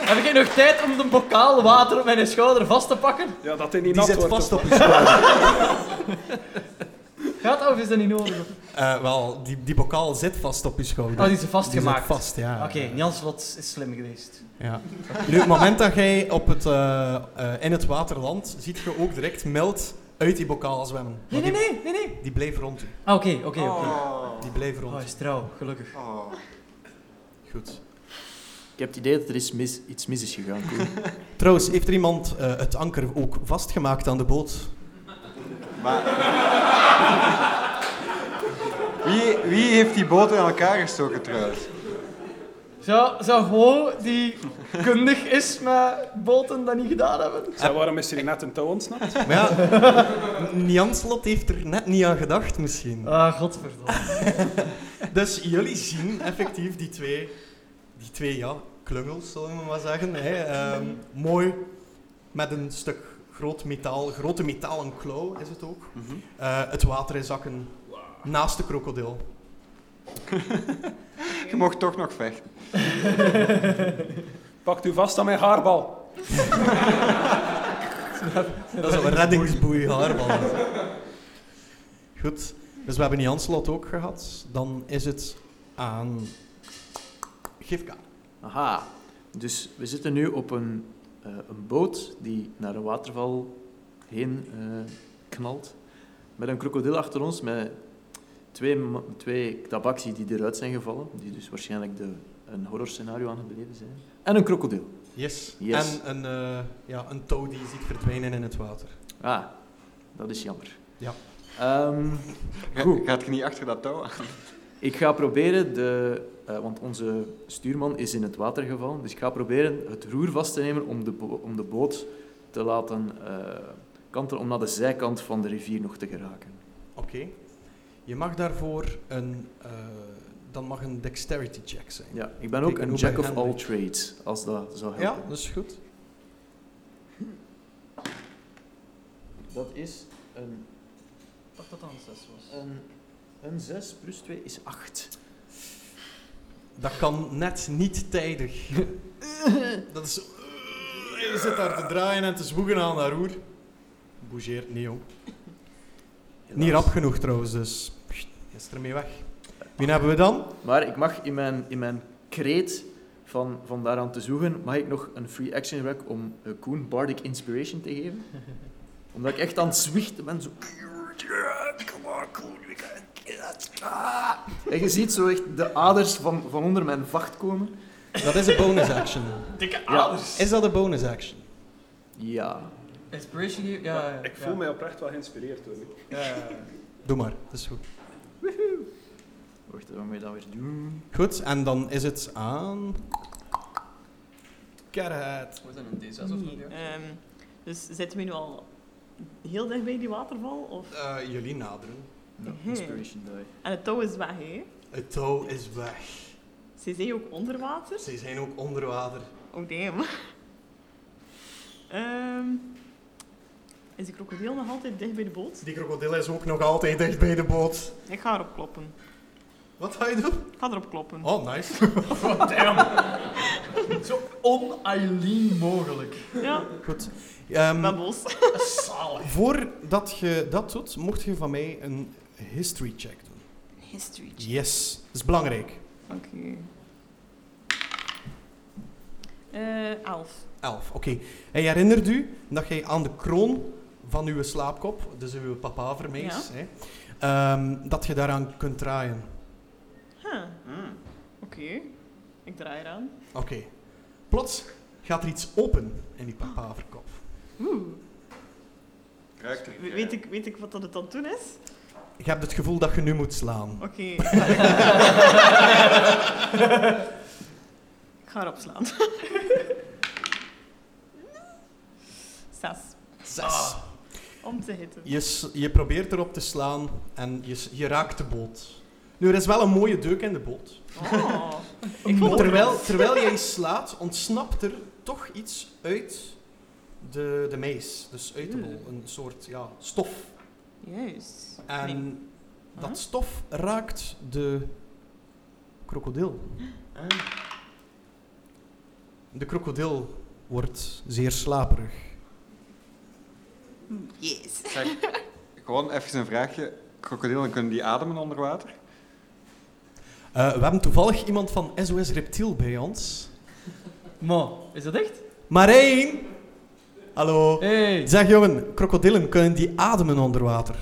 S1: Heb ik nog tijd om de bokaal water op mijn schouder vast te pakken?
S4: Ja, dat hij niet
S3: Die
S4: nat
S3: zit
S4: wordt.
S3: vast
S4: of-
S3: op je schouder.
S1: Gaat dat of is dat niet nodig?
S3: Eh, wel, die, die bokaal zit vast op je schouder.
S1: Oh, die is
S3: Die zit
S1: vastgemaakt.
S3: vast, ja.
S1: Ah. Oké, Jans wat is slim geweest.
S3: Ja. Nu, het moment dat jij op het, eh, eh, in het water landt, ziet je ook direct meld uit die bokaal zwemmen. Want
S1: Nee, nee,
S3: Die,
S1: nee, nee, nee.
S3: die bleef rond. u.
S1: Ah, oké, oké, oké.
S6: Oh.
S3: Die bleef
S1: Oh, hij
S3: rond.
S1: is trouw, gelukkig.
S6: Oh.
S3: u. Goed.
S7: Ik heb het idee dat er is mis, iets mis is gegaan. Koen.
S3: Trouwens, heeft er iemand eh, het anker ook vastgemaakt aan de boot?
S6: Maar... Wie, wie heeft die boot in elkaar gestoken trouwens?
S1: Zou, zou gewoon die kundig is met boten dat niet gedaan hebben?
S4: Zeg, waarom is er hier net een touw ontsnapt?
S3: Maar ja, Nianslot heeft er net niet aan gedacht misschien.
S1: Ah, godverdomme.
S3: Dus jullie zien effectief die twee, die twee ja, klungels, zullen we maar zeggen. Hè. Ehm, mooi, met een stuk groot metaal, grote metalen klauw is het ook.
S6: Mhm.
S3: Eh, het water in zakken naast de krokodil.
S6: Je mocht toch nog vechten.
S4: Pakt u vast aan mijn haarbal.
S3: Dat is een reddingsboei, haarbal. Goed, dus we hebben Janslot ook gehad. Dan is het aan Gifka.
S7: Aha, dus we zitten nu op een, eh, een boot die naar een waterval heen eh, knalt. Met een krokodil achter ons, met twee, ma- twee tabaksie die eruit zijn gevallen. Die dus waarschijnlijk de, een horrorscenario aan het beleven zijn. En een krokodil.
S3: Yes.
S7: Yes.
S3: En een, eh, ja, een touw die je ziet verdwijnen in het water.
S7: Ah, dat is jammer.
S3: Ja.
S7: Ehm,
S6: Ga-
S7: Goed.
S6: Gaat je niet achter dat touw aan?
S7: Ik ga proberen de... eh, want onze stuurman is in het water gevallen. Dus ik ga proberen het roer vast te nemen om de, bo- om de boot te laten eh kantelen. Om naar de zijkant van de rivier nog te geraken.
S3: Oké. Je mag daarvoor een... eh, dan mag een dexterity check zijn.
S7: Ja, ik ben ook
S3: Kijk,
S7: een
S3: hoe
S7: jack
S3: ben
S7: of
S3: jij?
S7: all trades, als dat zou
S3: Ja,
S7: helpen.
S3: dat is goed.
S7: Dat is een,
S1: Dat dat dan zes was.
S7: een, een 6 plus 2 is 8.
S3: Dat kan net niet tijdig.
S2: Dat is...
S3: eh,
S2: Je zit daar te draaien en te zwoegen aan dat roer.
S3: Bougeert niet, jong. Niet rap genoeg trouwens, dus... pst, Is ermee weg. Wie hebben we dan?
S7: Maar ik mag in mijn, in mijn kreet van, van daaraan te zoeken, mag ik nog een free action rack om eh, Koen Bardic Inspiration te geven? Omdat ik echt aan het zwichten ben, zo... Come on, Koen, we can get it. Ah. En je ziet zo echt de aders van, van onder mijn vacht komen.
S3: Dat is een bonus action.
S1: Dikke
S7: Ja.
S3: Is dat een bonus action?
S7: Ja.
S1: Inspiration hier? Ja, ja,
S4: Ik
S1: ja.
S4: voel mij oprecht wel geïnspireerd hoor.
S1: Ja, ja, ja.
S3: Doe maar, dat is goed.
S7: Wacht, wat moet je dat weer doen?
S3: Goed, en dan is het aan... Carrot.
S1: Wordt dat een D6 of zo? ja?
S8: Ehm, dus zitten we nu al heel dicht bij die waterval? Of?
S3: Eh, jullie naderen.
S7: No,
S8: Mhm.
S7: inspiration die.
S8: En het touw is weg, hè?
S3: Het touw is weg.
S8: Ze zijn ook onder water?
S3: Ze zijn ook onder water.
S8: Oh, damn. Ehm, is die krokodil nog altijd dicht bij de boot?
S2: Die krokodil is ook nog altijd dicht bij de boot.
S8: Ik ga erop kloppen.
S2: Wat ga je doen?
S8: Ik ga erop kloppen.
S2: Oh, nice.
S1: Zo on-Eileen mogelijk.
S8: Ja,
S3: Goed.
S8: ik
S3: Ehm,
S8: ben boos.
S3: voordat je dat doet, mocht je van mij een history check doen.
S8: History check.
S3: Yes, dat is belangrijk.
S8: Oké. Eh, elf.
S3: Elf, oké. En je herinnert u dat jij aan de kroon van uw slaapkop, dus uw papavermees, hè, ehm, dat je daaraan kunt draaien.
S8: Huh. Oké. Ik draai eraan.
S3: Oké. Plots gaat er iets open in die papaverkop.
S8: Oeh.
S6: Ruikt er
S8: We- Weet ik, weet ik wat dat het dan toen is?
S3: Je hebt het gevoel dat je nu moet slaan.
S8: Oké. ik ga erop slaan. Zes.
S3: Zes.
S8: Ah. Om te hitten.
S3: Je, s- je probeert erop te slaan en je, s- je raakt de boot. Nu, er is wel een mooie deuk in de boot.
S8: Oh. ik vond het
S3: Terwijl, terwijl jij slaat, ontsnapt er toch iets uit de, de meis. Dus uit de
S8: Hmm.
S3: bol. Een soort ja, stof.
S8: Juist.
S3: En
S8: Nee. Huh?
S3: dat stof raakt de krokodil.
S1: Ah.
S3: De krokodil wordt zeer slaperig.
S8: Yes.
S6: Zeg, gewoon even een vraagje. Krokodillen kunnen die ademen onder water?
S3: Eh, we hebben toevallig iemand van SOS Reptiel bij ons.
S1: Mo, is dat echt?
S3: Marijn! Hallo.
S1: Hey.
S3: Zeg jongen, krokodillen kunnen die ademen onder water?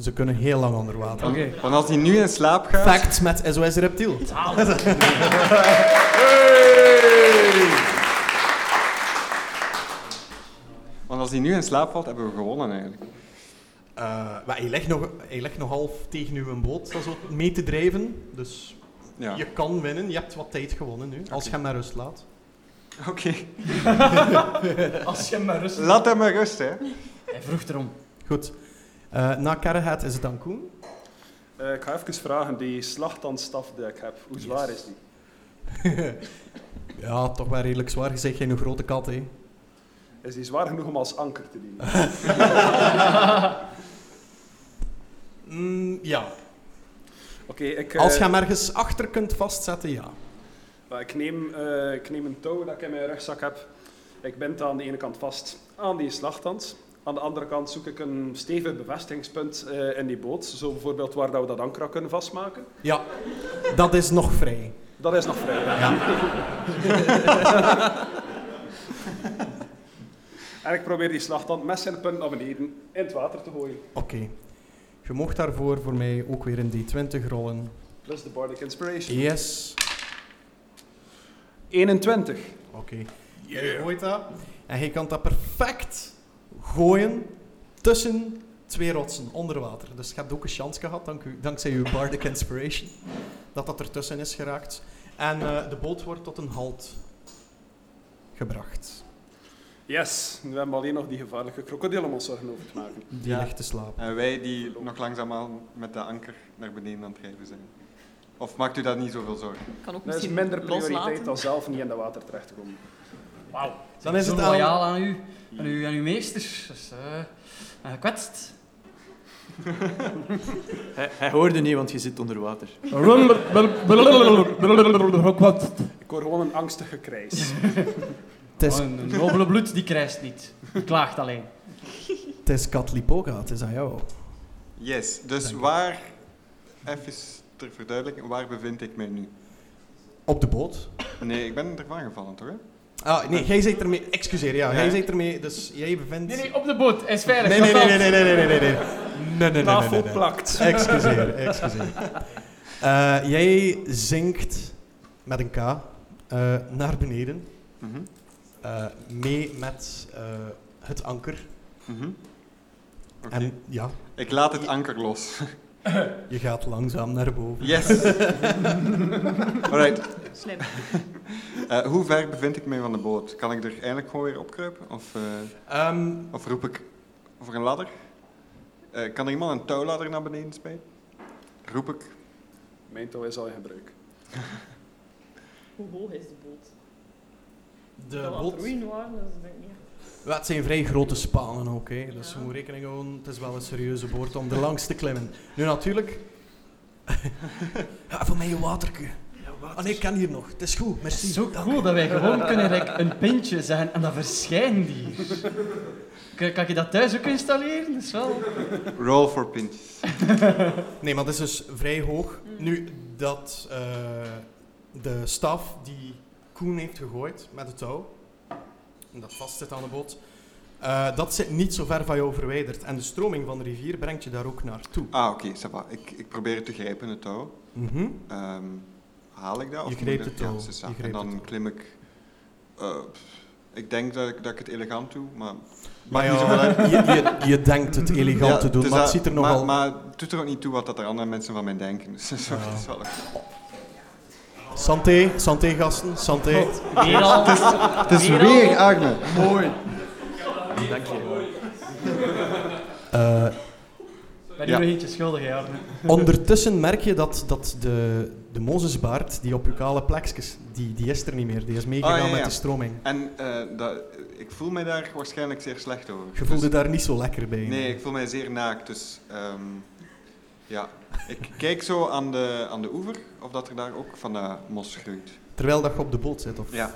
S3: Ze kunnen heel lang onder water.
S1: Oké.
S6: Want als die nu in slaap gaat...
S3: Fact met SOS Reptiel.
S6: Want als die nu in slaap valt, hebben we gewonnen eigenlijk.
S3: Eh, maar hij ligt, nog, hij ligt nog half tegen uw boot, dat is ook mee te drijven. Dus
S6: Ja.
S3: Je kan winnen, je hebt wat tijd gewonnen nu, als je hem naar rust laat.
S6: Oké.
S1: Als je maar rustig...
S6: Laat hem maar rust, hè.
S1: Hij vroeg erom.
S3: Goed. Eh, na Carragher is het dan Koen.
S4: Eh, ik ga even vragen, die slagtandstaf die ik heb, hoe zwaar is die?
S3: ja, toch wel redelijk zwaar. Je zegt geen grote kat, hè.
S4: Is die zwaar genoeg om als anker te dienen?
S3: Mm, ja.
S4: Oké, ik, eh,
S3: Als je hem ergens achter kunt vastzetten, ja.
S4: maar ik, neem, eh, ik neem een touw dat ik in mijn rugzak heb. Ik bind aan de ene kant vast aan die slagtand. Aan de andere kant zoek ik een stevig bevestigingspunt eh, in die boot. Zo bijvoorbeeld waar dat we dat anker aan kunnen vastmaken.
S3: Ja, dat is nog vrij.
S4: Dat is nog vrij. en ik probeer die slagtand met zijn punt naar beneden in het water te gooien.
S3: Oké. Je mocht daarvoor voor mij ook weer een D20 rollen.
S4: Plus de Bardic Inspiration.
S3: Yes.
S4: 21.
S3: Oké. Je gooit dat. En je kan dat perfect gooien tussen Twee rotsen onder water. Dus je hebt ook een chance gehad, dank u, dankzij uw Bardic Inspiration, dat dat ertussen is geraakt. En eh, de boot wordt tot een halt gebracht.
S4: Yes, nu hebben we alleen nog die gevaarlijke krokodil om ons zorgen over te maken.
S3: Die
S5: Ja.
S3: ligt te slapen.
S6: En wij die nog langzaamaan met de anker naar beneden aan het rijden zijn. Of maakt u daar niet zoveel zorgen?
S8: kan ook
S4: Dat is
S8: misschien
S4: minder prioriteit
S8: loslaten.
S4: dan zelf niet in dat water terecht te komen.
S3: Dan is
S1: Zo
S3: het
S1: loyaal
S3: aan...
S1: aan u, aan u, aan uw meesters. Dat is eh, eh, gekwetst.
S7: Hij, hij hoorde niet, want je zit onder water.
S1: Oh,
S4: Ik hoor gewoon een angstig gekrijs.
S3: Het is,
S1: Oh, een een nobele bloed, die krijst niet. Die klaagt alleen.
S3: het is Katlipoga, het is aan jou.
S6: Yes, dus
S3: Dank u.
S6: waar, even ter verduidelijking, waar bevind ik mij nu?
S3: Op de boot?
S6: Nee, ik ben ervan gevallen, toch? hè?
S3: Ah, nee, jij zit ermee. Excuseer, ja,
S6: Ja.
S3: jij zit ermee. Dus jij bevindt...
S1: Nee, nee, op de boot. Hij is veilig.
S3: nee, nee, nee, nee, nee, nee, nee, nee, nee, nee, nee, nee, nee,
S4: Tafel
S3: nee, nee.
S4: plakt.
S3: Excuseer, excuseer. Eh, jij zinkt met een K eh, naar beneden,
S6: Mhm.
S3: eh, mee met eh, het anker.
S6: Mhm. Oké.
S3: En ja,
S6: Ik laat het anker los.
S3: je gaat langzaam naar boven.
S6: Yes! Alright,
S8: Slim.
S6: eh, hoe ver bevind ik mij van de boot? Kan ik er eindelijk gewoon weer opkruipen? Of, eh,
S3: Ehm,
S6: of roep ik voor een ladder? Eh, kan er iemand een touwladder naar beneden spijten? Roep ik.
S4: Mijn touw is al in gebruik.
S8: Hoe hoog is de boot?
S3: de boot...
S8: Roei noir, dat is denk ik niet.
S3: Ja, het zijn vrij grote spanen ook, hè. dus
S8: Ja.
S3: je moet rekening houden, het is wel een serieuze boord om er langs te klimmen. Nu natuurlijk... ja, voor mij een waterke. Ah nee, ik kan hier nog. Het is goed,
S1: Het
S3: merci.
S1: is zo
S3: Dank.
S1: cool dat wij gewoon kunnen like, een pintje zeggen en dan verschijnen die. hier. Kan, kan je dat thuis ook installeren? Dat is wel...
S6: Roll for pinches.
S3: Nee, maar dat is dus vrij hoog. Nu, dat eh, de staf die Koen heeft gegooid met het touw, en dat vast zit aan de boot, eh, dat zit niet zo ver van jou verwijderd. En de stroming van de rivier brengt je daar ook naartoe.
S6: Ah, oké, ça va. Ik, ik probeer het te grijpen, het touw.
S3: Mhm.
S6: Ehm, haal ik dat?
S3: Je
S6: of
S3: greep
S6: moet ik
S3: het
S6: dat-
S3: al.
S6: Ja, c'est ça.
S3: Je greep
S6: en dan
S3: het al.
S6: klim ik... eh, pff, ik denk dat ik, dat ik het elegant doe, maar...
S3: Maar
S6: Maakt niet zoveel uit.
S3: ja, je, je, je denkt het elegant
S6: Ja,
S3: te doen,
S6: is
S3: maar het
S6: dat-
S3: ziet er
S6: maar-
S3: nogal...
S6: Maar het doet er ook niet toe wat dat er andere mensen van mij denken. Dus dat is wel- dat is wel...
S3: Santé, santé gasten, santé.
S6: Oh.
S1: Meer al.
S6: Het is weer Agne.
S3: Eh,
S1: Ik ben nu
S6: Ja.
S1: nog eentje schuldig, hè, Arne.
S3: ondertussen merk je dat, dat de, de Mozesbaard, die op je kale plekjes, die, die is er niet meer. Die is meegegaan
S6: Ah, ja, ja.
S3: met de stroming.
S6: En eh, dat, ik voel mij daar waarschijnlijk zeer slecht over.
S3: Je voelde
S6: Dus-
S3: daar niet zo lekker bij.
S6: Nee, ik voel mij zeer naakt. Dus ehm, ja, ik kijk zo aan de, aan de oever of dat er daar ook van dat mos groeit.
S3: Terwijl dat je op de boot zit. Of...
S6: Ja.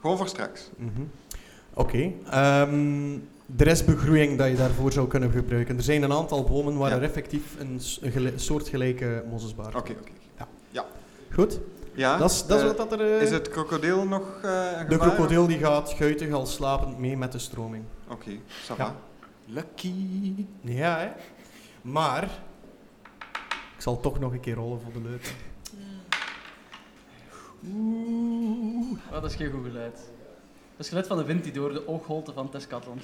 S6: Gewoon voor straks.
S3: Mhm. Oké. Ehm, er is begroeiing dat je daarvoor zou kunnen gebruiken. Er zijn een aantal bomen waar
S6: Ja.
S3: er effectief een, s- een gele- soortgelijke Mozesbaard
S6: Oké,
S3: is.
S6: oké.
S3: Goed?
S6: Ja,
S3: dat is, dat is wat
S6: eh,
S3: dat er... Ah, eh,
S6: is het krokodil nog eh een
S3: De
S6: gevaar?
S3: krokodil die gaat guitig al slapend mee met de stroming.
S6: Oké, ça va.
S3: Ja.
S7: Lucky.
S3: Ja, hè? Maar. Ik zal toch nog een keer rollen voor de leut.
S1: Oh, dat is geen goed geluid. Dat is het geluid van de wind die door de oogholte van Tescathlon.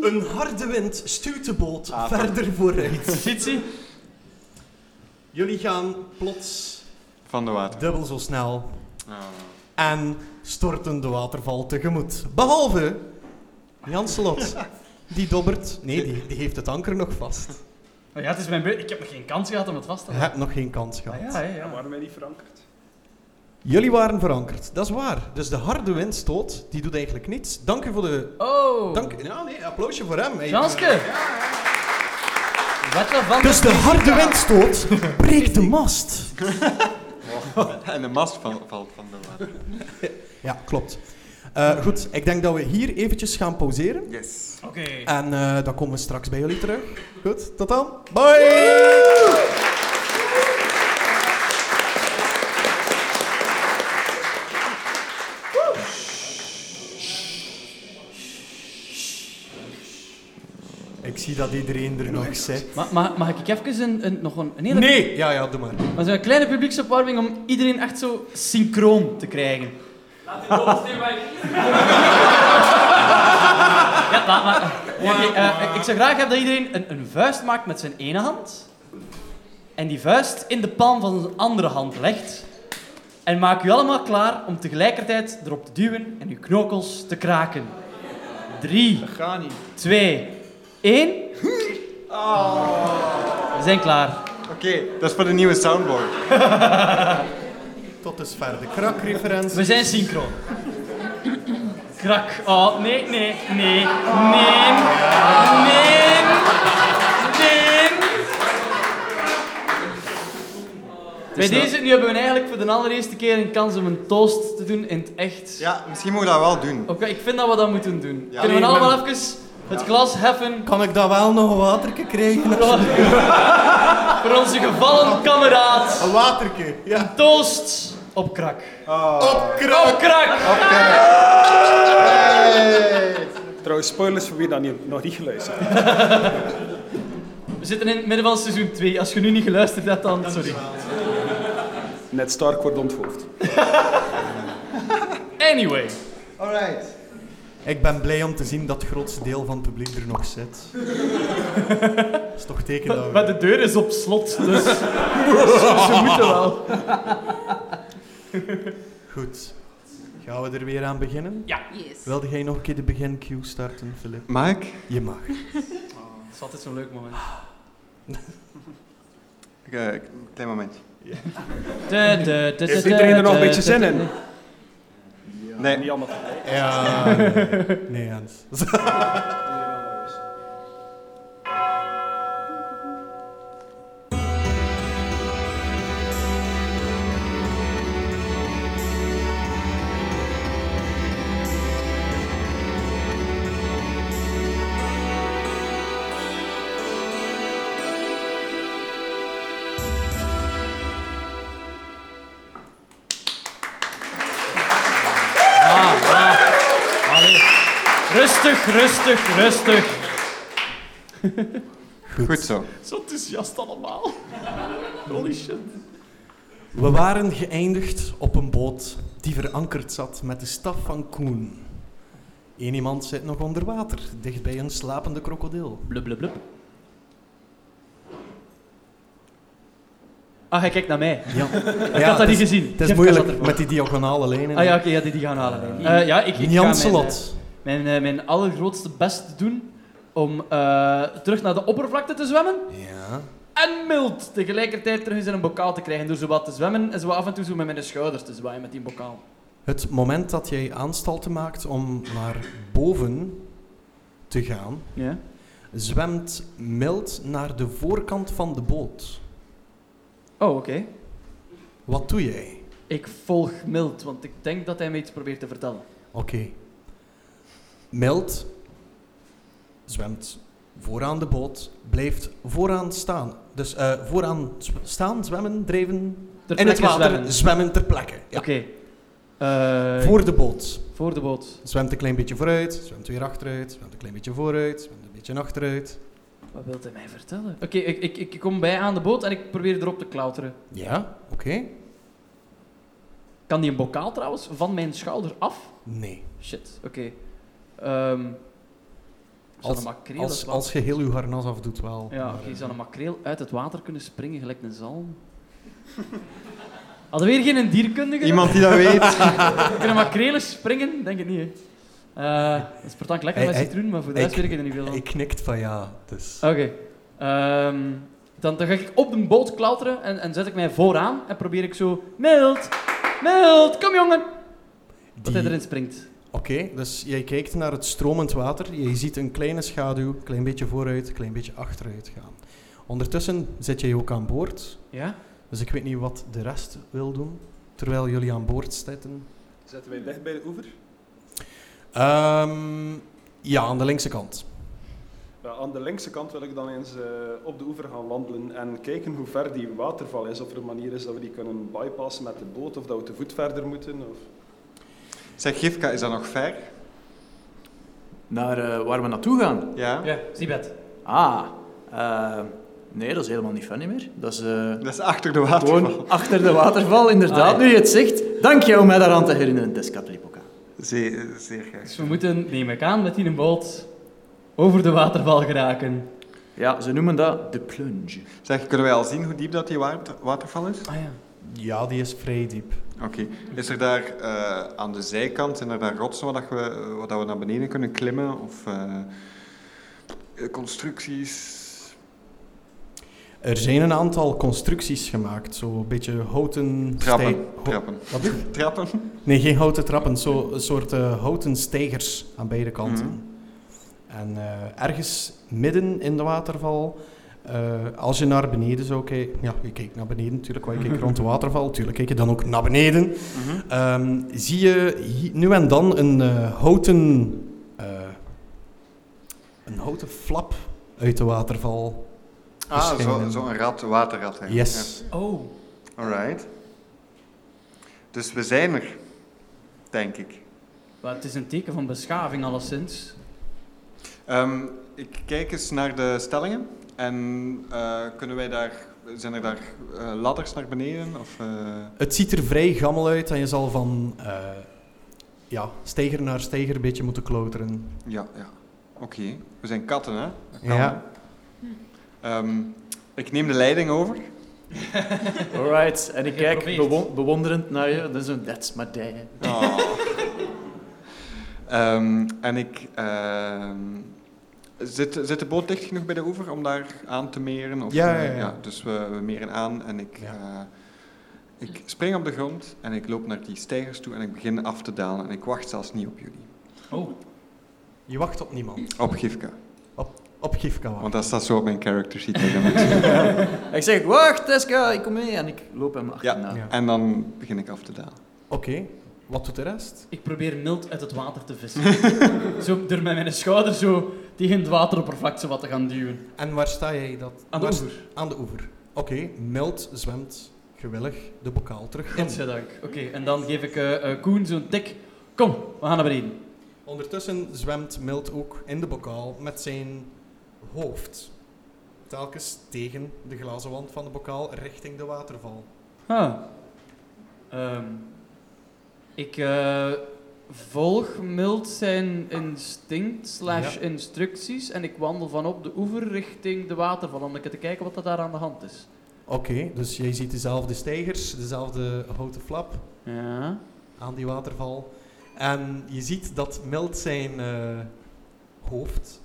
S3: Een harde wind stuwt de boot
S6: Ah,
S3: verder vooruit.
S1: Sitsi?
S3: Jullie gaan plots
S6: Van de water.
S3: dubbel zo snel
S6: Ah.
S3: en storten de waterval tegemoet. Behalve Janselot. Die dobbert. Nee, die, die heeft het anker nog vast.
S1: Maar ja, het is mijn beurt. Ik heb nog geen kans gehad om het vast te
S3: Je
S1: leggen.
S3: hebt nog geen kans gehad.
S1: Ah, ja, ja,
S4: Ja,
S1: ja.
S4: waarom ben je niet verankerd?
S3: Jullie waren verankerd, dat is waar. Dus de harde windstoot, die doet eigenlijk niets. Dank u voor de
S1: Oh!
S3: Dank, ja, nee, applausje voor hem. Hij-
S1: Janske! Wat van
S3: Dus de harde windstoot breekt de mast.
S6: En de mast val- valt van de water.
S3: Ja, klopt. Eh, goed, ik denk dat we hier eventjes gaan pauzeren.
S6: Yes.
S1: Oké.
S3: En eh, dan komen we straks bij jullie terug. Goed, tot dan. Bye! Ik zie dat iedereen er nog zit.
S1: Ma ma- mag ik even een, een, nog een, een hele...
S3: Nee! Ja, ja, doe maar.
S1: Maar zo'n kleine publieksopwarming om iedereen echt zo synchroon te krijgen. Laat die boven Ja, laat maar. Oké, eh, ik zou graag hebben dat iedereen een, een vuist maakt met zijn ene hand. En die vuist in de palm van zijn andere hand legt. En maak u allemaal klaar om tegelijkertijd erop te duwen en uw knokkels te kraken. Drie,
S7: Dat gaat niet.
S1: twee, één.
S7: Ah.
S1: We zijn klaar.
S6: Oké, dat is voor de nieuwe soundboard.
S2: Tot dusver de
S1: We zijn synchro. Krak. Oh, nee, nee, nee. Nee. Nee. Nee. Bij deze, nu hebben we eigenlijk voor de allereerste keer een kans om een toast te doen in het echt.
S6: Ja, misschien moeten we dat wel doen.
S1: Oké, ik vind dat we dat moeten doen.
S6: Ja.
S1: Kunnen we
S6: Nee,
S1: allemaal even het glas heffen
S3: Kan ik daar wel nog een waterke krijgen?
S1: voor, voor onze gevallen kameraad?
S2: Een waterke, ja.
S1: Toast op krak.
S2: Op
S1: Op krak!
S4: Trouwens, spoilers voor wie dat niet, nog niet geluisterd heeft.
S1: We zitten in het midden van seizoen 2. Als je nu niet geluisterd hebt, dan sorry.
S4: Ned Stark wordt onthoofd.
S1: Anyway.
S6: Alright.
S2: Ik ben blij om te zien dat het grootste deel van het publiek er nog zit. dat is toch teken dat we-
S1: Maar de deur is op slot, dus ze, ze moeten wel.
S2: Goed. Gaan we er weer aan beginnen?
S8: Yes.
S2: Wilde jij nog een keer de begin queue starten, Filip?
S6: Mike?
S2: Je mag.
S1: Het is altijd zo'n leuk moment.
S6: Oké, eh, klein momentje.
S4: Heeft iedereen er nog een beetje zin in?
S6: Nee.
S4: Niet allemaal.
S2: Ja. Nee, nee Hans.
S1: Rustig, rustig, rustig.
S6: Goed zo.
S1: Zo enthousiast allemaal. Holy shit.
S3: We waren geëindigd op een boot die verankerd zat met de staf van Koen. Eén iemand zit nog onder water, dicht bij een slapende krokodil.
S1: Blub, blub, blub. Ah, hij kijkt naar mij.
S3: Ja.
S1: ik had dat niet gezien.
S3: Het
S1: Jeffke
S3: is
S1: zat
S3: moeilijk
S1: ervoor.
S3: met die diagonale lijnen.
S1: Ah ja, oké, ja, die, die gaan we halen. Eh, ja, ik, ik ga
S3: Jan
S1: mijn, eh,
S3: Slot.
S1: mijn, eh, mijn allergrootste best doen om eh, terug naar de oppervlakte te zwemmen.
S3: Ja.
S1: en mild tegelijkertijd terug eens in een bokaal te krijgen door zo wat te zwemmen en zo af en toe zo met mijn schouders te zwaaien met die bokaal.
S3: Het moment dat jij aanstalten maakt om naar boven te gaan,
S1: Ja.
S3: zwemt mild naar de voorkant van de boot.
S1: Oh, oké.
S3: Wat doe jij?
S1: Ik volg mild, want ik denk dat hij me iets probeert te vertellen.
S3: Oké. Mild zwemt vooraan de boot, blijft vooraan staan. Dus eh, vooraan z- staan, zwemmen, drijven.
S1: Ter
S3: in het
S1: plekke
S3: water,
S1: zwemmen.
S3: zwemmen, ter plekke. Ja.
S1: Oké. Eh,
S3: Voor de boot.
S1: voor de boot.
S3: Zwemt een klein beetje vooruit, zwemt weer achteruit, zwemt een klein beetje vooruit, zwemt een beetje achteruit.
S1: Wat wil hij mij vertellen? Oké, ik, ik, ik kom bij aan de boot en ik probeer erop te klauteren.
S3: Ja, oké.
S1: Kan die een bokaal trouwens van mijn schouder af?
S3: Nee.
S1: Shit, oké. Ehm zou
S3: Als-
S1: een makreel uit
S3: Als,
S1: het
S3: als je heel je harnas afdoet wel.
S1: Ja,
S3: Maar,
S1: oké,
S3: eh,
S1: zou een makreel uit het water kunnen springen, gelijk een zalm? Hadden we hier geen dierkundige?
S6: Iemand die dat weet.
S1: Kunnen makrelen springen? Denk het niet, hè. Eh, dat is pertank lekker
S3: Hey,
S1: met
S3: hey,
S1: citroen, maar voor de rest
S3: ik-
S1: weet ik er niet veel van.
S3: Hij knikt van ja, dus...
S1: Oké. Ehm, dan, dan ga ik op de boot klauteren en, en zet ik mij vooraan en probeer ik zo... Mild! Mild! Kom, jongen! Dat hij
S3: Die-
S1: erin springt.
S3: Oké, dus jij kijkt naar het stromend water. Je ziet een kleine schaduw, een klein beetje vooruit, een klein beetje achteruit gaan. Ondertussen zit jij ook aan boord.
S1: Ja?
S3: Dus ik weet niet wat de rest wil doen, terwijl jullie aan boord zitten.
S4: Zetten wij dicht bij de oever?
S3: Ehm, ja, aan de linkse kant.
S4: Ja, aan de linkse kant wil ik dan eens eh, op de oever gaan wandelen en kijken hoe ver die waterval is. Of er een manier is dat we die kunnen bypassen met de boot of dat we te voet verder moeten. Of...
S6: Zeg, Gifka, is dat nog ver?
S7: Naar eh, waar we naartoe gaan?
S6: Ja.
S1: Ja, zie bed.
S7: Ah, eh, nee, dat is helemaal niet funny meer. Dat is eh,
S6: Dat is achter de waterval.
S7: gewoon achter de waterval, inderdaad.
S1: Ah, ja.
S7: Nu je het zegt, dank je om mij daaraan te herinneren, Descat Lipoca.
S6: Zeer, zeer graag.
S1: Dus we moeten, neem ik aan, met die een boot over de waterval geraken.
S7: Ja, ze noemen dat de plunge.
S6: Zeg, kunnen wij al zien hoe diep dat die water- waterval is?
S1: Ah ja.
S3: Ja, die is vrij diep.
S6: Oké. Is er daar eh, aan de zijkant, zijn er daar rotsen waar dat we, waar dat we naar beneden kunnen klimmen? Of eh, constructies?
S3: Er zijn een aantal constructies gemaakt, zo'n beetje houten...
S6: Trappen.
S3: stij- ho-
S6: Trappen.
S3: Wat is
S6: Trappen?
S3: Nee, geen houten trappen, zo, een soort eh, houten steigers aan beide kanten.
S6: Mhm.
S3: En eh, ergens midden in de waterval, eh, als je naar beneden zou kijken, ja, je kijkt naar beneden natuurlijk, want je kijkt rond de waterval, natuurlijk kijk je dan ook naar beneden,
S6: Mhm.
S3: ehm, zie je hi- nu en dan een eh, houten, eh, een houten flap uit de waterval.
S6: Ah, zo'n
S3: Verschijnen.
S6: zo een rat, waterrat. eigenlijk.
S3: Yes.
S1: Oh.
S6: Ja. Alright. Dus we zijn er, denk ik.
S1: Maar het is een teken van beschaving, alleszins.
S6: Ehm, ik kijk eens naar de stellingen. En eh, kunnen wij daar, zijn er daar eh, ladders naar beneden? Of, eh,
S3: Het ziet er vrij gammel uit en je zal van eh ja, steiger naar steiger een beetje moeten klauteren.
S6: Ja, ja. Oké. We zijn katten, hè? Dat kan,
S3: Ja.
S6: hè? Ehm, ik neem de leiding over.
S7: Alright, en ik
S1: Hij
S7: kijk
S1: probeert.
S7: bewo- bewonderend naar je. Dat is een that's my day.
S6: Oh. Ehm, en ik... ehm, zit, zit de boot dicht genoeg bij de oever om daar aan te meren? Of,
S3: Ja,
S6: eh,
S3: ja, ja.
S6: dus we, we meren aan en ik...
S3: Ja.
S6: eh, ik spring op de grond en ik loop naar die stijgers toe en ik begin af te dalen. En ik wacht zelfs niet op jullie.
S1: Oh.
S3: Je wacht op niemand.
S6: Op Gifka.
S3: Op Gifka wacht.
S6: Want dat staat zo op mijn character sheet. dat ik dat moet doen.
S7: Ik zeg, wacht Tesca, ik kom mee. En ik loop hem achterna.
S3: Ja.
S6: En dan begin ik af te dalen.
S3: Oké, wat doet de rest?
S1: Ik probeer mild uit het water te vissen. zo door met mijn schouder zo tegen het wateroppervlak zo wat te gaan duwen.
S3: En waar sta jij dat?
S1: Aan de
S3: waar-
S1: oever.
S3: Aan de oever. Oké, Milt zwemt gewillig de bokaal terug in.
S1: Godzijdank. Oké, en dan geef ik eh, eh, Koen zo'n tik. Kom, we gaan naar beneden.
S3: Ondertussen zwemt Milt ook in de bokaal met zijn hoofd. Telkens tegen de glazen wand van de bokaal richting de waterval.
S1: Ah. Ehm, ik eh, volg mild zijn instinct slash
S3: Ja.
S1: instructies en ik wandel vanop de oever richting de waterval om te kijken wat er daar aan de hand is.
S3: Oké, dus jij ziet dezelfde steigers, dezelfde houten flap.
S1: Ja.
S3: aan die waterval. En je ziet dat Milt zijn eh, hoofd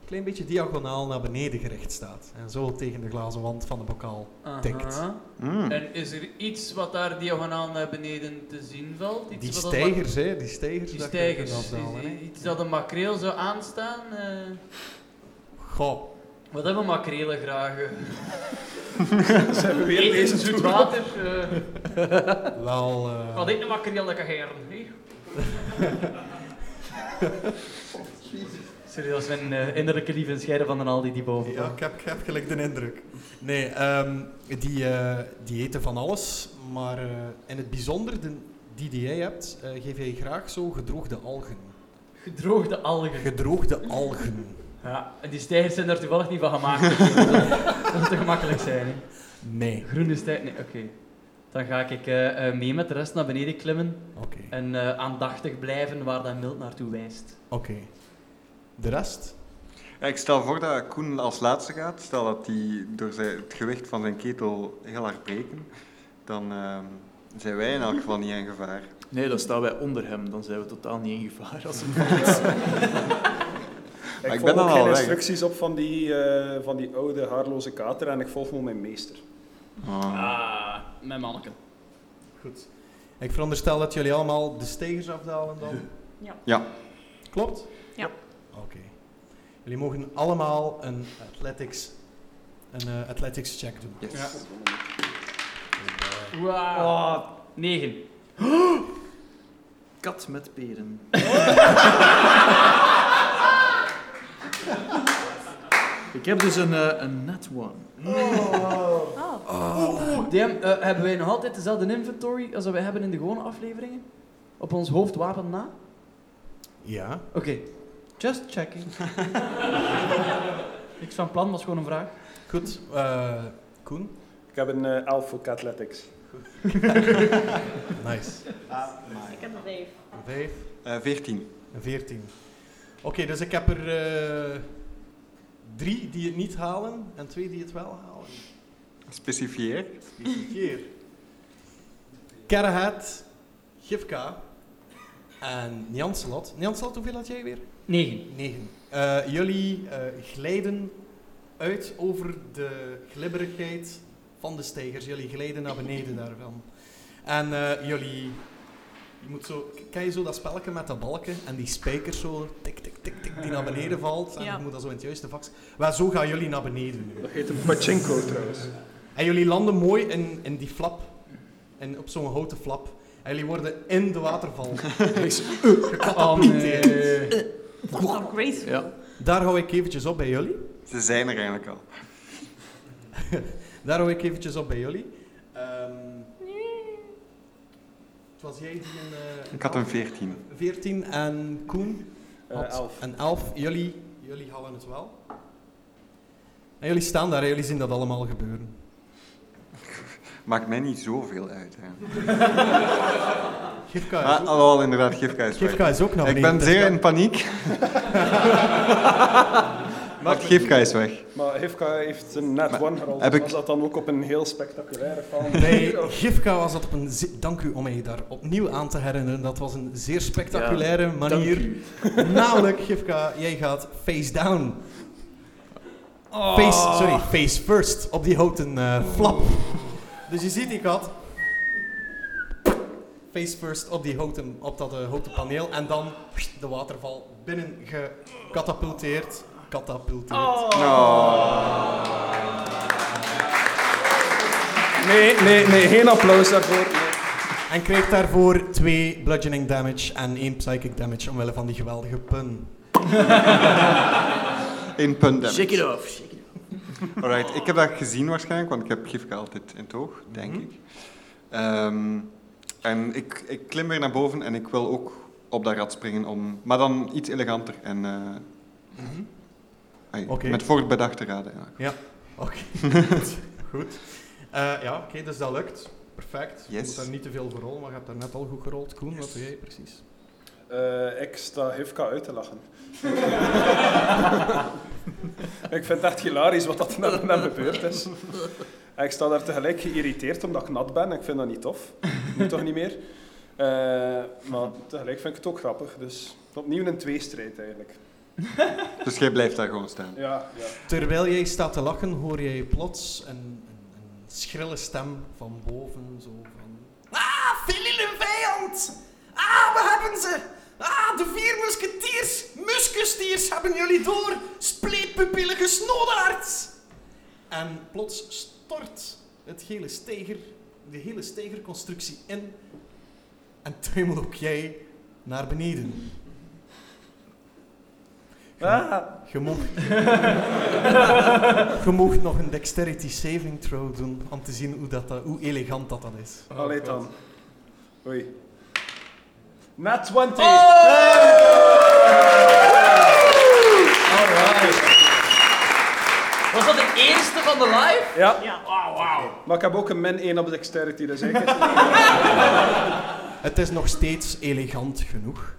S3: een klein beetje diagonaal naar beneden gericht staat. En zo tegen de glazen wand van de bokaal. Tikt.
S1: Aha.
S6: Mm.
S1: En is er iets wat daar diagonaal naar beneden te zien valt? Iets
S3: Die
S1: wat dat-
S3: stijgers, hè? Die stijgers.
S1: Die
S3: dat je kunt
S1: stijgers.
S3: afdalen, hè.
S1: Is- Iets dat een makreel zou aanstaan? eh?
S3: Goh,
S1: wat hebben makrelen graag? eh?
S4: Ze hebben weer
S1: Eten,
S4: deze
S1: zoet
S4: toe.
S1: water. eh.
S3: wel. eh,
S1: wat eet een makreel dat kan geren? hè? Sorry, dat is mijn eh, innerlijke lief en scheiden van een Aldi die boven
S3: ja, ik heb, ik heb gelijk de indruk. Nee, ehm, die, eh, die eten van alles. Maar eh, in het bijzonder, de, die die jij hebt, eh, geef jij graag zo gedroogde algen.
S1: Gedroogde algen.
S3: Gedroogde algen.
S1: Ja, en die stijgers zijn daar toevallig niet van gemaakt. dat moet te gemakkelijk zijn. hè.
S3: Nee.
S1: Groene stijger, nee, oké. Dan ga ik eh, eh, mee met de rest naar beneden klimmen
S3: Oké.
S1: en eh, aandachtig blijven waar dat mild naartoe wijst.
S3: Oké. De rest?
S6: Ja, ik stel voor dat Koen als laatste gaat. Stel dat hij door zijn, het gewicht van zijn ketel heel hard breken, dan ehm, zijn wij in elk geval niet in gevaar.
S7: Nee, dan staan wij onder hem. Dan zijn we totaal niet in gevaar als hem valt.
S6: Maar ik
S4: Ik
S6: ben
S4: volg
S6: al
S4: ook
S6: weg,
S4: geen
S6: hè.
S4: instructies op van die, eh, van die oude haarloze kater en ik volg me mijn meester.
S6: Oh.
S1: Ah, mijn manneke.
S3: Goed. Ik veronderstel dat jullie allemaal de stegers afdalen dan?
S8: Ja.
S6: Ja.
S3: Klopt?
S8: Ja.
S3: Oké. Jullie mogen allemaal een athletics, een, eh, athletics check doen.
S6: Yes.
S7: Oh.
S1: Wauw. Negen.
S7: Kat met peren. ik heb dus een, eh, een net one.
S8: Ah,
S1: Damn, eh, hebben wij nog altijd dezelfde inventory als dat wij hebben in de gewone afleveringen? Op ons hoofdwapen na?
S3: Ja.
S1: Oké. Just checking. Niks van plan, was gewoon een vraag.
S3: Goed. eh, Koen?
S4: Ik heb een eh elf voor Athletics.
S3: Nice.
S8: ik heb een vijf.
S3: Een vijf.
S6: Eh, 14.
S3: Een veertien. dus ik heb er eh, drie die het niet halen en twee die het wel halen.
S6: Specifieer.
S3: Keer. Karahat, Gifka en Njanselot. Njanselot, hoeveel had jij weer?
S9: 9.
S3: 9. Eh, jullie eh, glijden uit over de glibberigheid van de steigers. Jullie glijden naar beneden daarvan. En eh, jullie... Je moet zo, kan je zo dat spelletje met dat balken en die spijkers zo tik, tik, tik, tik, die naar beneden valt. En
S8: Ja.
S3: je moet dat zo in het juiste vak... Maar zo gaan jullie naar beneden nu.
S4: Dat heet een pachinko trouwens.
S3: En jullie landen mooi in, in die flap. En op zo'n houten flap. En jullie worden in de waterval. Dus, eh,
S6: Oh,
S3: Gecatapulteerd.
S8: Oh, Grace.
S7: Ja.
S3: Daar hou ik eventjes op bij jullie.
S6: Ze zijn er eigenlijk al.
S3: Daar hou ik eventjes op bij jullie. Ehm, het was jij die een... eh,
S6: Ik had een 14.
S3: 14 en Koen
S4: Eh,
S3: had
S4: elf.
S3: een 11. Jullie, jullie halen het wel. En jullie staan daar en jullie zien dat allemaal gebeuren.
S6: Maakt mij niet zoveel uit. Hè.
S3: Gifka
S4: Ah.
S6: Maar
S3: is ook,
S6: alhoewel, inderdaad, Gifka is weg.
S3: Gifka is dus ook naar
S6: Ik
S3: beneden.
S6: ben zeer in paniek. maar Gifka is weg.
S4: Maar Hivka heeft een net
S6: Maar
S4: one gerold.
S6: heb ik-
S4: Was dat dan ook op een heel spectaculaire val?
S3: Bij Gifka was dat op een... ze- Dank u om mij daar opnieuw aan te herinneren. Dat was een zeer spectaculaire manier. Namelijk, Gifka, jij gaat face down. Face, sorry, face first op die houten eh, flap. Dus je ziet die kat. Face first op, die houten, op dat eh, houten paneel. En dan de waterval binnen gecatapulteerd. Catapulteerd.
S7: Oh.
S4: Nee, nee, nee, geen applaus daarvoor. Nee.
S3: En kreeg daarvoor twee bludgeoning damage en één psychic damage omwille van die geweldige pun.
S6: In punt damage.
S7: Shake it off. Shake it off.
S6: Alright, ik heb dat gezien waarschijnlijk, want ik heb Gifka altijd in het oog, denk ik. Ehm, en ik, ik klim weer naar boven en ik wil ook op dat rad springen, om, maar dan iets eleganter en eh, ai,
S3: Oké.
S6: met voorbedachte raden. Ja.
S3: Oké, goed. Eh, ja, oké, dus dat lukt. Perfect. Je
S6: Yes.
S3: moet daar niet te veel voor rollen, maar je hebt daar net al goed gerold. Koen, wat doe jij precies?
S4: Eh, ik sta Hivka uit te lachen. ik vind het echt hilarisch wat dat net, net gebeurd is. En ik sta daar tegelijk geïrriteerd omdat ik nat ben. Ik vind dat niet tof. Moet toch niet meer? Eh, maar tegelijk vind ik het ook grappig. Dus opnieuw een tweestrijd eigenlijk.
S6: Dus jij blijft daar gewoon staan.
S4: Ja, ja.
S3: Terwijl jij staat te lachen, hoor jij plots een, een, een schrille stem van boven, zo van... Ah, Philile vijand! Ah, we hebben ze! Ah, de vier musketiers, muskestiers hebben jullie door! Spleetpupillige snodaards! En plots stort het hele steger, de hele stegerconstructie in. En tuimelt ook jij naar beneden.
S4: Ah,
S3: Je mocht, je mocht nog een dexterity saving throw doen om te zien hoe, dat, dat- hoe elegant dat, dat is.
S4: allee dan. Oei. Nat 20!
S1: Was dat de eerste van de live?
S4: Ja,
S8: Ja. Wauw, wauw.
S4: maar ik heb ook een min 1 op dexterity, dus ik...
S3: Het is nog steeds elegant genoeg.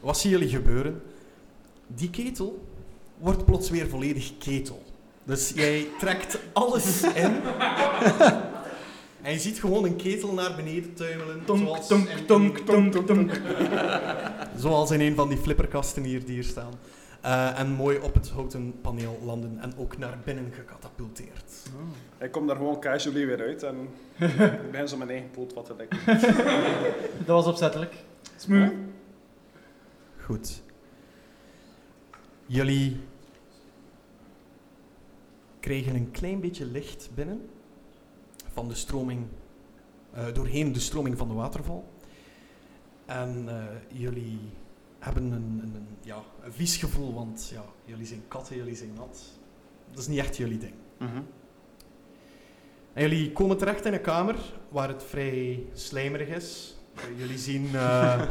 S3: Wat zien jullie gebeuren? Die ketel wordt plots weer volledig ketel. Dus jij trekt alles in. En je ziet gewoon een ketel naar beneden tuimelen. zoals in- Zoals in een van die flipperkasten hier die hier staan. Eh, en mooi op het houten paneel landen en ook naar binnen gecatapulteerd.
S4: Ik kom daar gewoon casually weer uit en ik begin zo mijn eigen poot wat te denken.
S1: Dat was opzettelijk.
S3: Goed. Jullie kregen een klein beetje licht binnen van de stroming, eh, doorheen de stroming van de waterval. En eh, jullie hebben een, een, een, ja, een vies gevoel, want ja, jullie zijn katten, jullie zijn nat. Dat is niet echt jullie ding.
S6: Mhm.
S3: En jullie komen terecht in een kamer waar het vrij slijmerig is. Eh, jullie zien eh,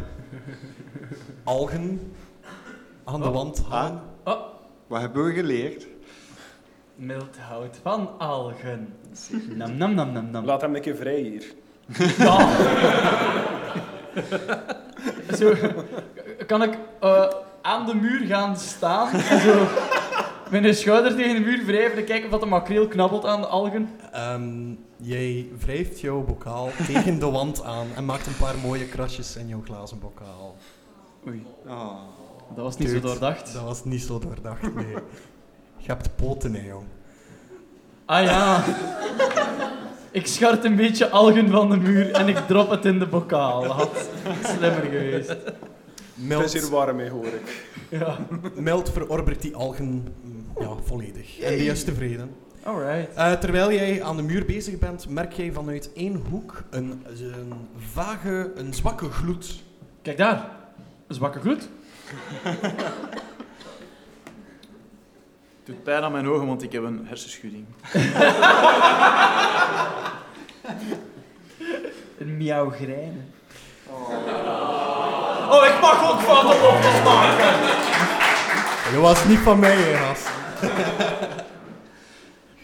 S3: algen aan de wand hangen.
S6: Wat hebben we geleerd?
S1: Mild hout van algen. Nam nam nam nam nam.
S4: Laat hem een keer vrij hier.
S1: Ja. Zo, kan ik eh, aan de muur gaan staan. En zo met een schouder tegen de muur wrijven en kijken of dat de makreel knabbelt aan de algen.
S3: Ehm, jij wrijft jouw bokaal tegen de wand aan en maakt een paar mooie krasjes in jouw glazen bokaal.
S1: Oei,
S6: Oh.
S1: dat was niet
S3: Dude,
S1: zo doordacht.
S3: Dat was niet zo doordacht, nee. Je hebt poten, hè, jong.
S1: Ah ja. Ik schart een beetje algen van de muur en ik drop het in de bokaal. Dat had slimmer geweest.
S4: Het is
S3: Meld,
S4: hier warm mee, hoor ik.
S1: Ja.
S3: meld verorbert die algen mm, ja, volledig. En die is tevreden.
S1: Alright.
S3: Eh, terwijl jij aan de muur bezig bent, merk jij vanuit één hoek een, een vage, een zwakke gloed.
S1: Kijk daar. Zwakke gloed.
S7: Het doet pijn aan mijn ogen, want ik heb een hersenschudding.
S1: Een miauwgrijne.
S7: Oh, ik mag ook fouten op te maken!
S3: Dat was niet van mij, hè, gast.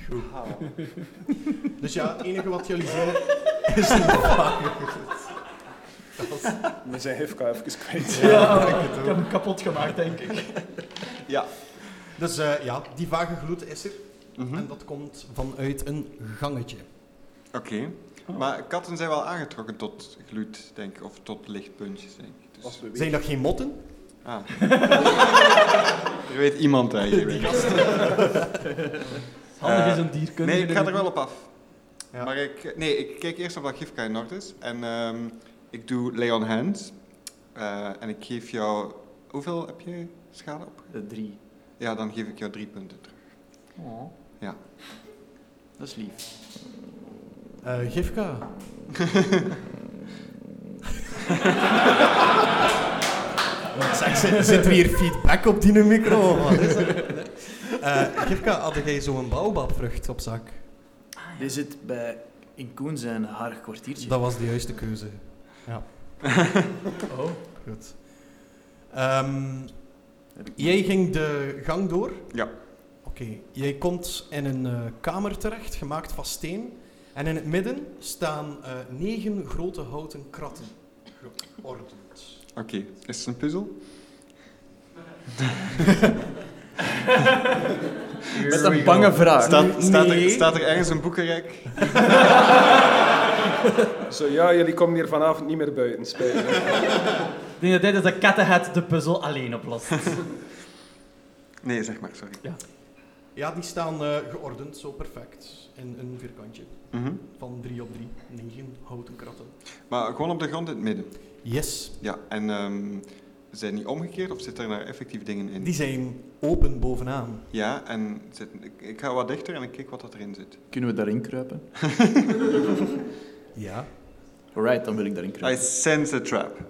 S3: Goed. Dus ja, het enige wat jullie zien is een vage gloed.
S4: We zijn Hifka even kwijt.
S1: Ja, ik heb hem kapot gemaakt, denk
S6: Eh,
S1: ik.
S3: Dus eh, ja, die vage gloed is er.
S6: Mhm.
S3: En dat komt vanuit een gangetje.
S6: Oké. Maar katten zijn wel aangetrokken tot gloed, denk ik. Of tot lichtpuntjes, denk ik. Dus-
S4: Als we weten.
S3: Zijn dat geen motten?
S6: Ah. er weet iemand eigenlijk.
S1: Handig
S6: Eh,
S1: is een dier kunnen.
S6: Nee, ik ga er
S1: jullie-
S6: wel op af.
S3: Ja.
S6: Maar ik, nee, ik kijk eerst of dat gifka in orde is. En ehm, ik doe lay on hands. Eh, en ik geef jou... Hoeveel heb je schade op?
S7: De Eh, drie.
S6: Ja, dan geef ik jou drie punten terug.
S7: Oh.
S6: Ja.
S7: Dat is lief.
S3: Eh Gifka. zeg, zit, zit er hier feedback op die micro? Wat is dat? Eh, Gifka, had jij zo'n baobabvrucht op zak?
S7: Die zit bij in Koen zijn harig kwartiertje.
S3: Dat was de juiste keuze. Ja.
S1: Oh.
S3: Goed. Ehm, jij ging de gang door.
S6: Ja.
S3: Oké, jij komt in een eh, kamer terecht, gemaakt van steen. En in het midden staan eh, negen grote houten kratten. Geordend.
S6: Oké, is het een puzzel?
S7: Met een bange vraag.
S6: Staat, staat, er,
S7: Ah, Nee.
S6: staat er ergens een boekenrek?
S4: Zo, ja, jullie komen hier vanavond niet meer buiten, spijt me.
S1: Ik denk dat dit is dat kattenhead de puzzel alleen oplost.
S6: Nee, zeg maar, sorry.
S3: Ja, die staan eh, geordend, zo perfect. In een vierkantje
S6: Mhm.
S3: van drie op drie. Negen houten kratten.
S6: Maar gewoon op de grond in het midden.
S3: Yes.
S6: Ja, en ehm, zijn die omgekeerd of zitten er daar effectief dingen in?
S3: Die zijn open bovenaan.
S6: Ja, en zit, ik, ik ga wat dichter en ik kijk wat dat erin zit.
S7: Kunnen we daarin kruipen?
S3: Ja.
S7: Alright, dan wil ik daarin
S6: I
S7: kruipen.
S6: sense a trap.
S7: Ik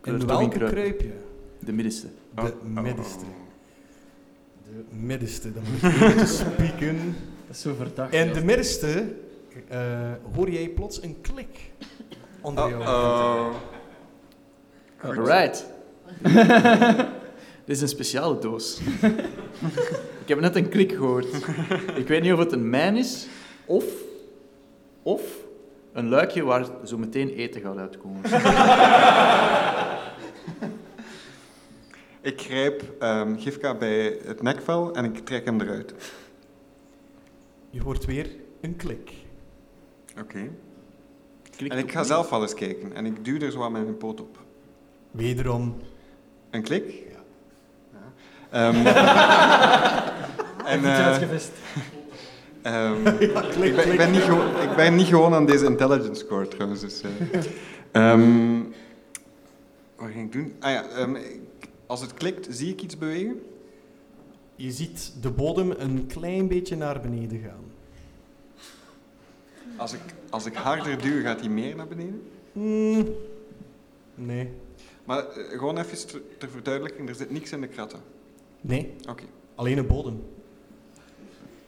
S7: wil er
S3: En
S7: toch in
S3: welke
S7: kruipen.
S3: kruip je?
S7: De middenste.
S6: Oh,
S3: De
S6: oh,
S3: middenste.
S6: oh.
S3: De middenste, dan moet ik even spieken.
S1: Dat is zo verdacht.
S3: In
S1: En
S3: de middenste eh, hoor jij plots een klik
S6: Oh,
S3: onder jou.
S6: Uh-oh. Goed.
S7: Alright. Dit is een speciale doos. ik heb net een klik gehoord. Ik weet niet of het een mijn is, of, of een luikje waar zo meteen eten gaat uitkomen.
S6: Ik grijp ehm, Gifka bij het nekvel en ik trek hem eruit.
S3: Je hoort weer een klik.
S6: Oké.
S7: Klik
S6: En ik ga
S7: opnieuw.
S6: zelf wel eens kijken en ik duw er zo aan mijn poot op.
S3: Wederom.
S6: Een klik?
S3: Ja.
S6: Ja. Ehm, en,
S1: iets
S6: eh,
S1: uitgevist.
S6: ehm,
S3: klik,
S6: ik, ben, ik, ben niet gewo- ik ben niet gewoon aan deze intelligence score trouwens. Dus, eh. Ehm, wat ging ik doen? Ah ja, ehm, ik- als het klikt, zie ik iets bewegen.
S3: Je ziet de bodem een klein beetje naar beneden gaan.
S6: Als ik, als ik harder duw, gaat hij meer naar beneden.
S3: Hmm. Nee.
S6: Maar eh, gewoon even ter, ter verduidelijking, er zit niks in de kratten.
S3: Nee,
S6: Oké.
S3: alleen een bodem.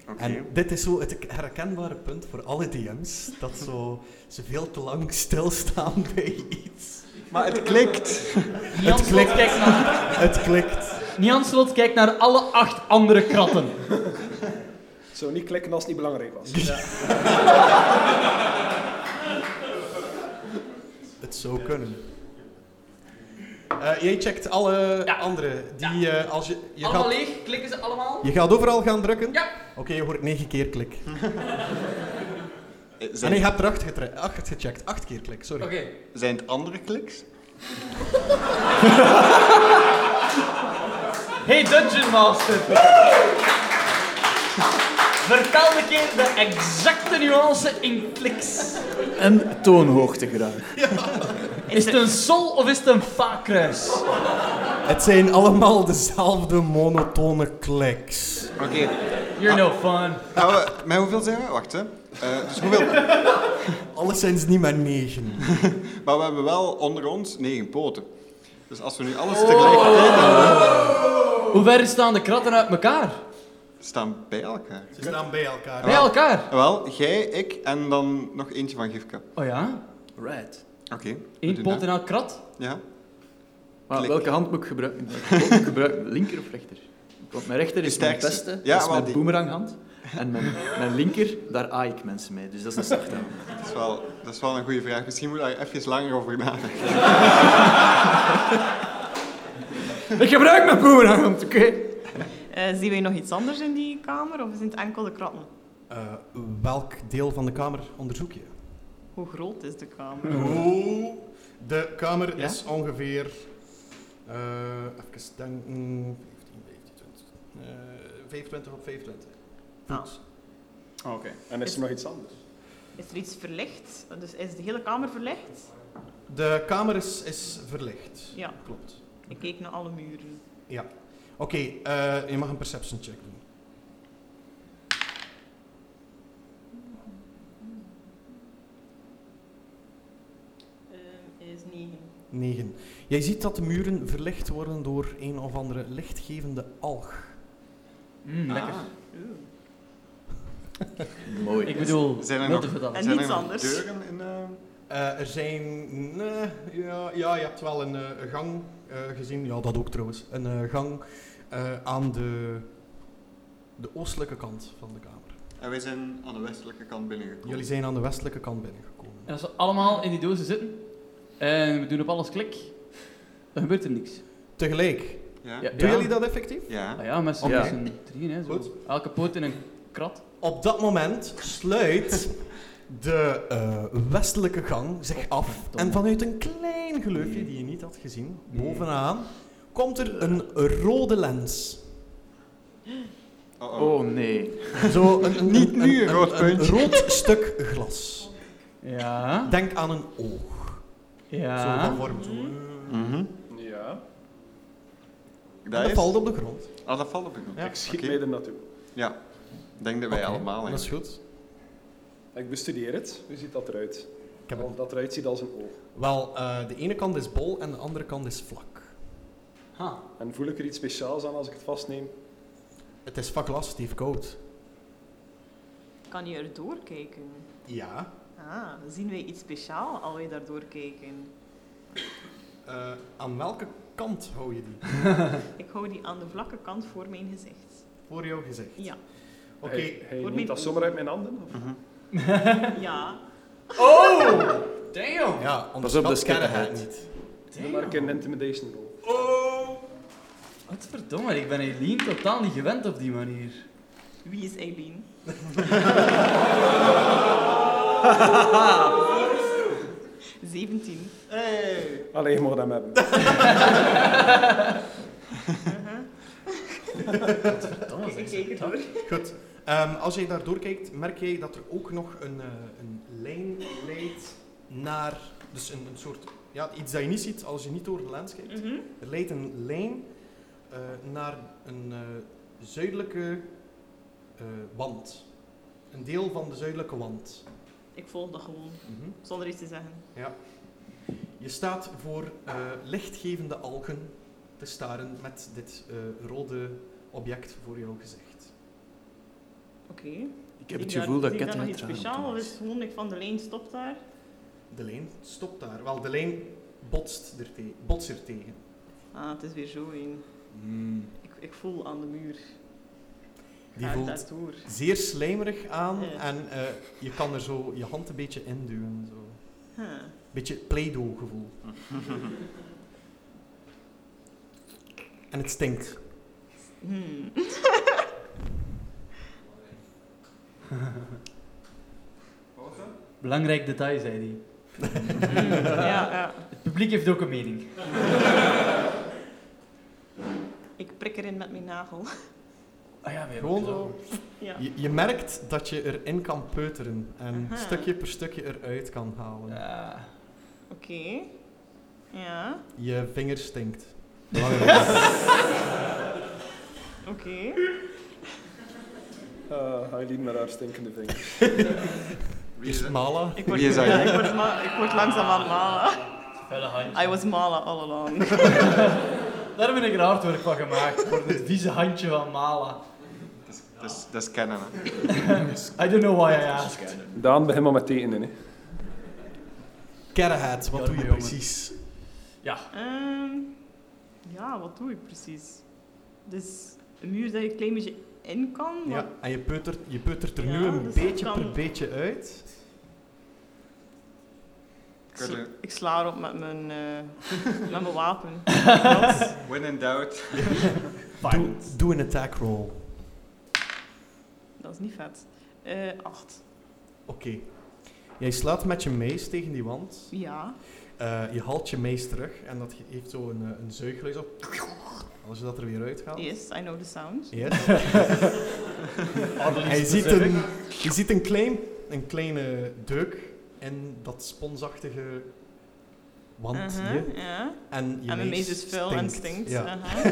S6: Oké.
S3: En dit is zo het herkenbare punt voor alle DM's. Dat zo, ze veel te lang stilstaan bij iets.
S6: Maar het klikt.
S1: Nian Slot, kijkt naar,
S3: Het klikt.
S1: Nian Slot kijkt naar alle acht andere kratten.
S4: Zo, niet klikken als het niet belangrijk was.
S3: Het zou kunnen. Eh, jij checkt alle
S1: Ja.
S3: andere. Die, eh, als je, je,
S1: allemaal
S3: gaat,
S1: leeg, klikken ze allemaal.
S3: je gaat overal gaan drukken?
S1: Ja.
S3: Oké, je hoort negen keer klik.
S6: Eh,
S3: En
S6: Zijn,
S3: je hebt er acht, getre- acht gecheckt. Acht keer klik, sorry.
S1: Oké.
S6: zijn het andere kliks?
S10: Hey Dungeon Master! Vertel een keer de exacte nuance in kliks.
S7: En toonhoogte graag.
S10: Is het een sol of is het een fa-kruis?
S3: Het zijn allemaal dezelfde monotone kliks.
S6: Oké.
S10: You're no fun.
S6: Nou, eh, maar hoeveel zijn we? Wacht, hè. Eh, dus hoeveel?
S3: Alles zijn ze niet maar negen.
S6: Maar we hebben wel onder ons negen poten. Dus als we nu alles tegelijkertijd doen,
S1: Hoe ver staan de kratten uit elkaar?
S6: staan bij elkaar.
S3: Ze staan bij elkaar.
S6: Ah.
S1: Bij elkaar.
S6: Wel, jij, ik en dan nog eentje van Gifka.
S1: Oh ja.
S7: Right.
S6: Oké. we
S1: Eén
S6: doen
S1: pot
S6: dat.
S1: in elk krat.
S6: Ja.
S7: Maar
S6: Klik.
S7: welke hand moet ik gebruiken? Welke hand moet ik gebruiken? Linker of rechter? Want mijn rechter is mijn
S6: Sterkste.
S7: beste,
S6: Ja,
S7: dat is
S6: wel
S7: mijn
S6: die-
S7: boemeranghand. En mijn, mijn linker, daar aai ik mensen mee. Dus dat is een zachte hand.
S6: Dat is, wel, dat is wel een goede vraag. Misschien moet je daar even langer over nadenken.
S7: Ik gebruik mijn boemeranghand, oké?
S8: Eh, zien wij nog iets anders in die kamer of zijn het enkel de kratten?
S3: Eh, welk deel van de kamer onderzoek je?
S8: Hoe groot is de kamer?
S3: Oh, de kamer
S7: Ja?
S3: is ongeveer. eh even denken. 15, 15, 20. eh, 25 op 25.
S8: Ah.
S3: Voet.
S4: Ah, Oké. En is er nog iets anders?
S8: Is er iets verlicht? Dus is de hele kamer verlicht?
S3: De kamer is, is verlicht.
S8: Ja.
S3: Klopt.
S8: Ik kijk naar alle muren.
S3: Oké, eh, je mag een perception check doen.
S8: Eh, is negen.
S3: 9. Jij ziet dat de muren verlicht worden door een of andere lichtgevende alg.
S1: Ah.
S10: Mm, lekker.
S8: Oeh.
S7: Mooi.
S10: Ik bedoel,
S6: Zijn er
S10: Milton
S6: nog-
S10: vertelt.
S8: En
S6: Zijn er
S8: niets
S6: nog
S8: anders.
S6: deuren in... eh,
S3: Eh, er zijn... eh, ja, ja, je hebt wel een eh, een gang eh, gezien. Ja, dat ook trouwens. Een eh, gang eh, aan de, de oostelijke kant van de kamer.
S6: En wij zijn aan de westelijke kant binnengekomen.
S3: Jullie zijn aan de westelijke kant binnengekomen.
S1: En als we allemaal in die dozen zitten en we doen op alles klik, dan gebeurt er niks.
S3: Tegelijk.
S6: Ja?
S7: Ja.
S6: Ja.
S3: Doen jullie dat effectief?
S1: Ah ja, met z'n
S7: Ja.
S1: met z'n drieën, hè,
S3: Goed.
S1: zo. Elke poot in een krat.
S3: Op dat moment sluit de eh, westelijke gang zich af. En vanuit een klein gleufje die je niet had gezien, bovenaan, komt er een rode lens.
S6: Oh, oh.
S7: Oh nee.
S3: Zo een, een-
S6: Niet
S3: een-
S6: nu,
S3: een-
S6: rood
S3: een-
S6: puntje.
S3: Een rood stuk glas.
S1: Ja.
S3: Denk aan een oog. Zo van
S1: Ja.
S3: vorm. Zo.
S6: Mhm.
S4: Ja.
S6: Dat,
S3: Oh, Dat
S6: is...
S3: valt op de grond.
S6: Ah, dat valt op de grond.
S3: Ja.
S4: Ik schiet
S6: Oké.
S4: mee er naartoe.
S6: Ja. Ik denk dat wij
S3: Oké,
S6: allemaal...
S3: Dat is
S6: eigenlijk.
S3: goed.
S4: Ik bestudeer het. Hoe ziet dat eruit?
S3: Ik heb het.
S4: Want dat eruit ziet als een oog.
S3: Wel, eh, de ene kant is bol en de andere kant is vlak.
S1: Ha.
S4: En voel ik er iets speciaals aan als ik het vastneem?
S3: Het is vak last, Steve Koud.
S8: Kan je er doorkijken?
S3: Ja.
S8: Ah, zien wij iets speciaals als wij daar doorkijken?
S3: Eh, aan welke kant hou je die?
S8: Ik hou die aan de vlakke kant voor mijn gezicht.
S3: Voor jouw gezicht.
S8: Ja.
S3: Oké,
S4: Hij, hij
S8: Voor
S4: neemt
S8: mij-
S4: dat zomaar uit mijn handen? Of?
S6: Mhm.
S8: Ja.
S1: Damn!
S3: ja,
S7: Pas op,
S3: onderschat
S7: dat is
S3: kennen hij het
S7: kittenheid.
S3: niet.
S4: Doe maar een keer een intimidation roll.
S1: Wat verdomme, ik ben Eileen totaal niet gewend op die manier.
S8: Wie is Eileen? Zeventien.
S4: Allee, je mag hem hebben.
S8: Ik kijk het door.
S3: Goed. Ehm, als je daar doorkijkt, merk jij dat er ook nog een, eh, een lijn leidt naar... Dus een, een soort... Ja, iets dat je niet ziet als je niet door de lens kijkt.
S8: Mhm.
S3: Er leidt een lijn eh, naar een eh, zuidelijke eh, wand. Een deel van de zuidelijke wand.
S8: Ik volg dat gewoon,
S3: Mhm.
S8: zonder iets te zeggen.
S3: Je staat voor eh, lichtgevende algen te staren met dit eh, rode object voor jouw gezicht.
S8: Oké.
S7: Ik heb het gevoel dat
S8: Zie ik
S7: Kat
S8: daar nog
S7: een
S8: iets speciaals of is het gewoon ik van de lijn stop daar?
S3: De lijn stopt daar. Wel, de lijn botst er, te- botst er tegen.
S8: Ah, het is weer zo een. Ik, ik voel aan de muur.
S3: Hmm. Die
S8: Ga ik
S3: voelt
S8: daar door.
S3: zeer slijmerig aan
S8: Ja.
S3: en eh, je kan er zo je hand een beetje induwen. Zo.
S8: Huh.
S3: Beetje Play-Doh gevoel. En het stinkt.
S8: Hmm.
S1: Belangrijk detail, zei hij.
S8: ja, ja.
S1: Het publiek heeft ook een mening.
S8: Ik prik erin met mijn nagel.
S1: Ah ja, weer
S3: Gewoon zo.
S8: Ja.
S3: Je, je merkt dat je erin kan peuteren en
S8: Aha.
S3: stukje per stukje eruit kan halen.
S1: Ja.
S8: Oké. Ja,
S3: Je vinger stinkt. Belangrijk.
S8: oké.
S4: Ah, Aileen met haar stinkende vingers.
S6: Wie
S3: Is Mala?
S8: Ik word,
S6: Wie is
S8: ja,
S6: Aileen?
S8: ik word, ma- ik word langzaamaan mala.
S1: Felle handje.
S8: I was mala all along.
S1: Daar heb ik een hardwerk van gemaakt. Voor het vieze handje van Mala.
S6: Dat is- dat is kennen. hè.
S1: I don't know why I asked.
S4: Daan, begin maar met tekenen. Hè.
S3: Kerrehead, wat doe je
S1: Jongen.
S3: precies?
S8: Ehm, ja, wat doe ik precies? Dus een muur dat je een klein beetje in kan. maar-
S3: Ja, en je peutert, je peutert er
S8: Ja,
S3: nu een
S8: dus dat
S3: beetje
S8: kan-
S3: per beetje uit.
S8: Ik,
S6: Kun
S8: sla,
S6: je-
S8: ik sla erop met mijn, eh, met mijn wapen.
S6: When in doubt.
S3: Doe, doe een attack roll.
S8: Dat is niet vet. Eh acht.
S3: Oké. Jij slaat met je mees tegen die wand.
S8: Ja.
S3: Eh, je haalt je mees terug en dat ge- heeft zo een, eh, een zeuggeluid op. Als je dat er weer uithaalt.
S8: Yes, I know the sound.
S3: Yes. En je, ziet een, je ziet een, klein, een kleine deuk in dat sponsachtige wandje.
S8: Aha, ja.
S3: En je
S8: Mhm. En mijn mees
S3: mees
S8: is vuil en stinkt.
S3: Ja.
S8: aha.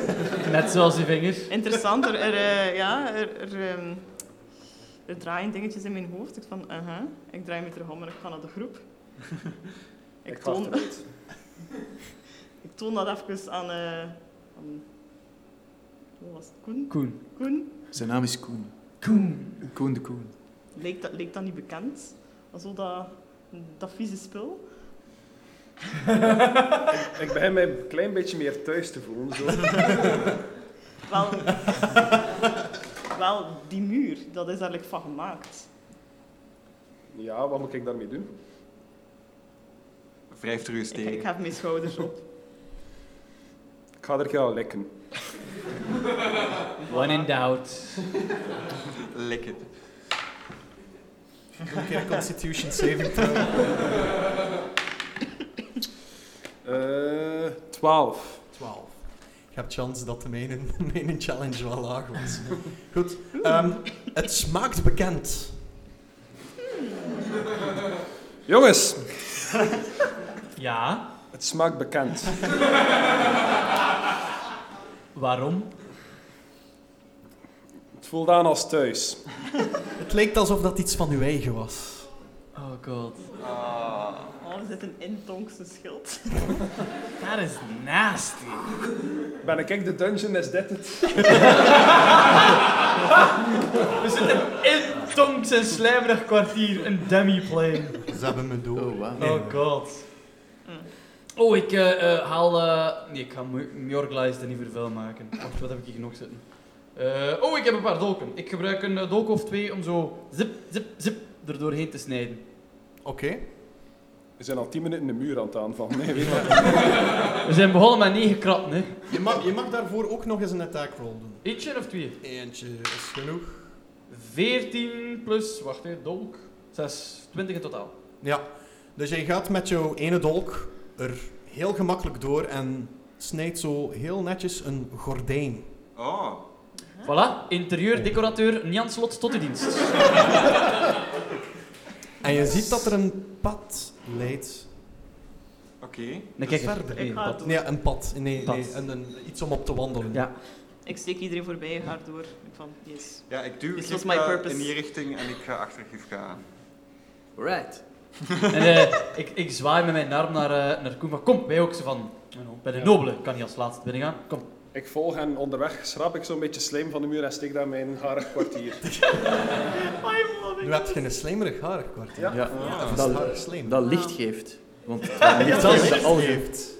S1: Net zoals die vingers.
S8: Interessant, er, er, eh, ja, er, er, ehm, er draaien dingetjes in mijn hoofd. Ik van, aha, ik draai me terug om en ik ga naar de groep. ik, toon,
S4: wacht eruit.
S8: ik toon dat even aan... eh aan wat was het? Koen?
S1: Koen.
S8: Koen?
S7: Zijn naam is Koen.
S1: Koen.
S7: Koen de Koen.
S8: Leek dat, leek dat niet bekend? Zo dat, dat vieze spul.
S4: Ik begin mij een klein beetje meer thuis te voelen. Zo.
S8: Wel, wel, die muur, dat is eigenlijk van gemaakt.
S4: Ja, wat moet ik daarmee doen?
S6: Wrijft er u eens
S8: Ik, ik
S6: tegen.
S8: heb mijn schouders op.
S4: Ik ga er een keer aan likken.
S1: When in doubt.
S6: Lik het.
S3: Doe een keer een Constitution saving throw.
S4: Eh, 12.
S3: 12. Ik heb chance dat de mijne, mijn challenge wel laag was. Goed. ehm, het smaakt bekend.
S4: Jongens,
S1: Ja.
S4: het smaakt bekend.
S1: Waarom?
S4: Het voelt aan als thuis.
S3: Het leek alsof dat iets van uw eigen was.
S1: Oh god.
S8: Oh, er zit een intonkse schild.
S1: Dat is nasty.
S4: Ben ik echt de dungeon, is dit het?
S1: We zitten in Tonks en slijmerig kwartier. Een demi-plane.
S3: Ze hebben me door.
S7: Oh, wauw.
S3: Nee.
S1: Oh god. Oh, ik eh, eh, haal... eh, nee, ik ga Mu- Mjorglijst er niet voor vuil maken. Wacht, wat heb ik hier nog zitten? Eh, oh, ik heb een paar dolken. Ik gebruik een eh, dolk of twee om zo zip, zip, zip er doorheen te snijden.
S3: Oké.
S4: We zijn al 10 minuten de muur aan het aanvallen. Nee, weet maar.
S1: We zijn begonnen met negen kratten, hè.
S3: Je, mag, je mag daarvoor ook nog eens een attack roll doen.
S1: Eentje of twee?
S3: Eentje is genoeg.
S1: 14 plus, wacht hè, dolk. 6, 20 in totaal.
S3: Ja. Dus jij gaat met jouw ene dolk er heel gemakkelijk door en snijdt zo heel netjes een gordijn.
S6: Oh,
S1: Voilà, interieurdecorateur Jan Slot tot uw dienst.
S3: En je ziet dat er een pad leidt.
S6: oké.
S1: Dan kijk
S3: Verder.
S8: Ik ga door.
S3: Nee, een pad. Nee,
S1: Pad.
S3: nee een, een- iets om op te wandelen.
S1: Ja.
S8: Ik steek iedereen voorbij, ga door. Ik van, yes.
S6: Ja, ik duw
S8: This was
S6: Gifka
S8: my purpose.
S6: in die richting en ik ga achter Gifka aan.
S7: Right.
S1: En, eh, ik, ik zwaai met mijn arm naar, eh, naar Koen van, kom, wij ook. Ze van, oh bij de nobele kan niet als laatste binnengaan. Kom,
S4: Ik volg hen onderweg, schrap ik zo'n beetje slijm van de muur en steek daar mijn harig kwartier.
S3: Nu heb je een slijmerig harig kwartier.
S4: Ja.
S7: Ja.
S3: Of is
S7: Dat-
S3: het harig slijm?
S7: Dat licht geeft. Want het
S3: Ja,
S7: licht
S3: dat
S7: geeft
S3: licht
S7: al-
S3: heeft.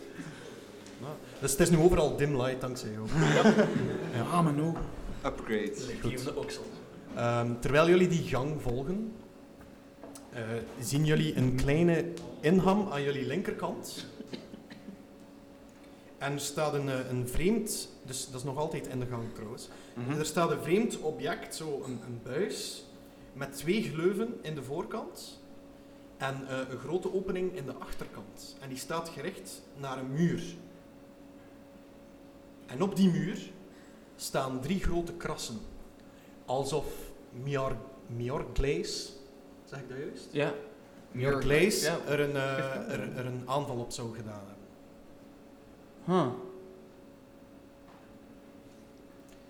S3: Ja. Dus het is nu overal dim light dankzij jou.
S7: Ja, maar no.
S6: Upgrade.
S1: die van de oksel.
S3: Ehm, terwijl jullie die gang volgen, eh, zien jullie een kleine inham aan jullie linkerkant. En er staat een, eh, een vreemd, dus dat is nog altijd in de gang trouwens.
S6: Mhm.
S3: Er staat een vreemd object, zo een, een buis, met twee gleuven in de voorkant en eh, een grote opening in de achterkant. En die staat gericht naar een muur. En op die muur staan drie grote krassen. Alsof Miar, Miar Glaze, zeg ik dat juist?
S1: Ja.
S3: Miar Glaze
S1: Ja.
S3: er, een, eh, er, er een aanval op zou gedaan hebben.
S1: Huh.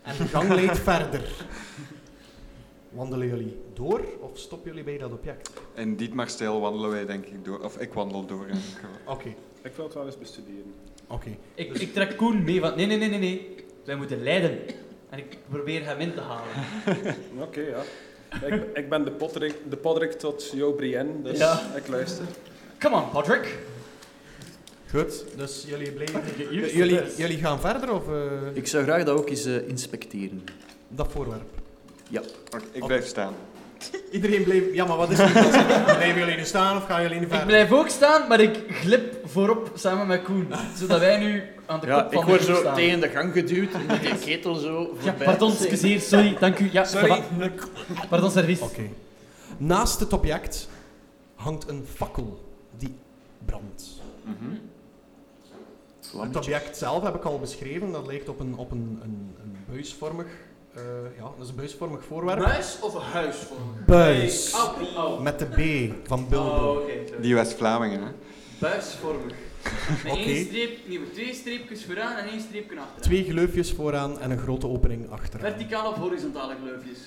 S3: En de gang leidt verder. Wandelen jullie door of stoppen jullie bij dat object?
S6: In Dietmar-stijl wandelen wij denk ik door. Of ik wandel door in ieder geval.
S3: Oké,
S4: Ik wil het wel eens bestuderen.
S3: oké.
S1: Ik, ik trek Koen mee van... Nee, nee, nee, nee, nee. Wij moeten leiden. En ik probeer hem in te halen.
S4: Oké, ja. Ik, ik ben de Podrick, de Podrick tot Jo Brienne, dus
S1: Ja.
S4: ik luister.
S1: Come on, Patrick.
S3: Goed, dus jullie blijven...
S1: J-
S3: J- Jullie, jullie gaan verder of eh,
S7: Ik zou graag dat ook eens eh, inspecteren.
S3: dat voorwerp?
S6: Oké, ik blijf staan.
S3: Iedereen bleef... Ja, maar wat is dit? Blijven jullie nu staan of gaan jullie nu
S1: Ik
S3: verder?
S1: blijf ook staan, maar ik glip voorop samen met Koen. Zodat wij nu aan de
S7: Ja,
S1: kop
S7: ik
S1: van
S7: word
S1: de groep
S7: zo
S1: staan.
S7: tegen de gang geduwd en met die ketel zo voorbij.
S1: Ja, pardon, excuseer, sorry, dank u. Ja,
S4: Sorry.
S1: ça va. Pardon, service.
S3: Oké. Naast het object hangt een fakkel die brandt.
S6: Mhm.
S3: Het object zelf heb ik al beschreven. Dat lijkt op een, op een, een, een buisvormig... eh, ja, dat is een buisvormig voorwerp.
S7: Buis of een huis voor
S3: Buis.
S7: oh.
S3: Met de B van Bilbo.
S1: Oh,
S6: Die West-Vlamingen, hè?
S7: Buisvormig.
S3: Met Oké. één
S1: streep, twee streepjes vooraan en één streepje achteraan.
S3: Twee gleufjes vooraan en een grote opening achter.
S1: Verticale of horizontale gleufjes.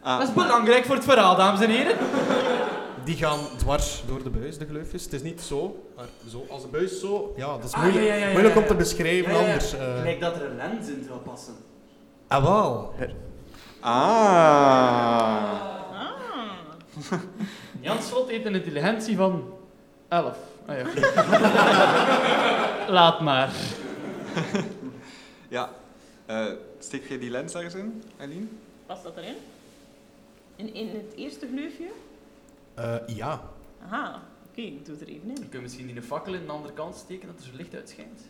S6: Ah,
S1: Dat is belangrijk voor het verhaal, dames en heren.
S3: Die gaan dwars door de buis, de gleufjes. Het is niet zo, maar zo. Als de buis zo, ja, dat is
S1: Ah,
S3: moeilijk,
S1: ja, ja, ja, ja,
S3: moeilijk om
S1: ja.
S3: te beschrijven
S1: Ja, ja, ja.
S3: anders. eh.
S1: dat er een lens in zou passen.
S3: Ah, wel.
S6: Ah.
S8: Ah.
S1: Jan Slot heeft een intelligentie van 11. Ah, ja. Laat maar.
S6: Ja. Eh, steek jij die lens ergens in, Aline?
S8: Past dat erin? In, in het eerste gleufje?
S3: Eh, ja.
S8: Aha, oké, ik doe het er even in.
S1: Dan kun je misschien die fakkel in de andere kant steken dat er zo licht uitschijnt.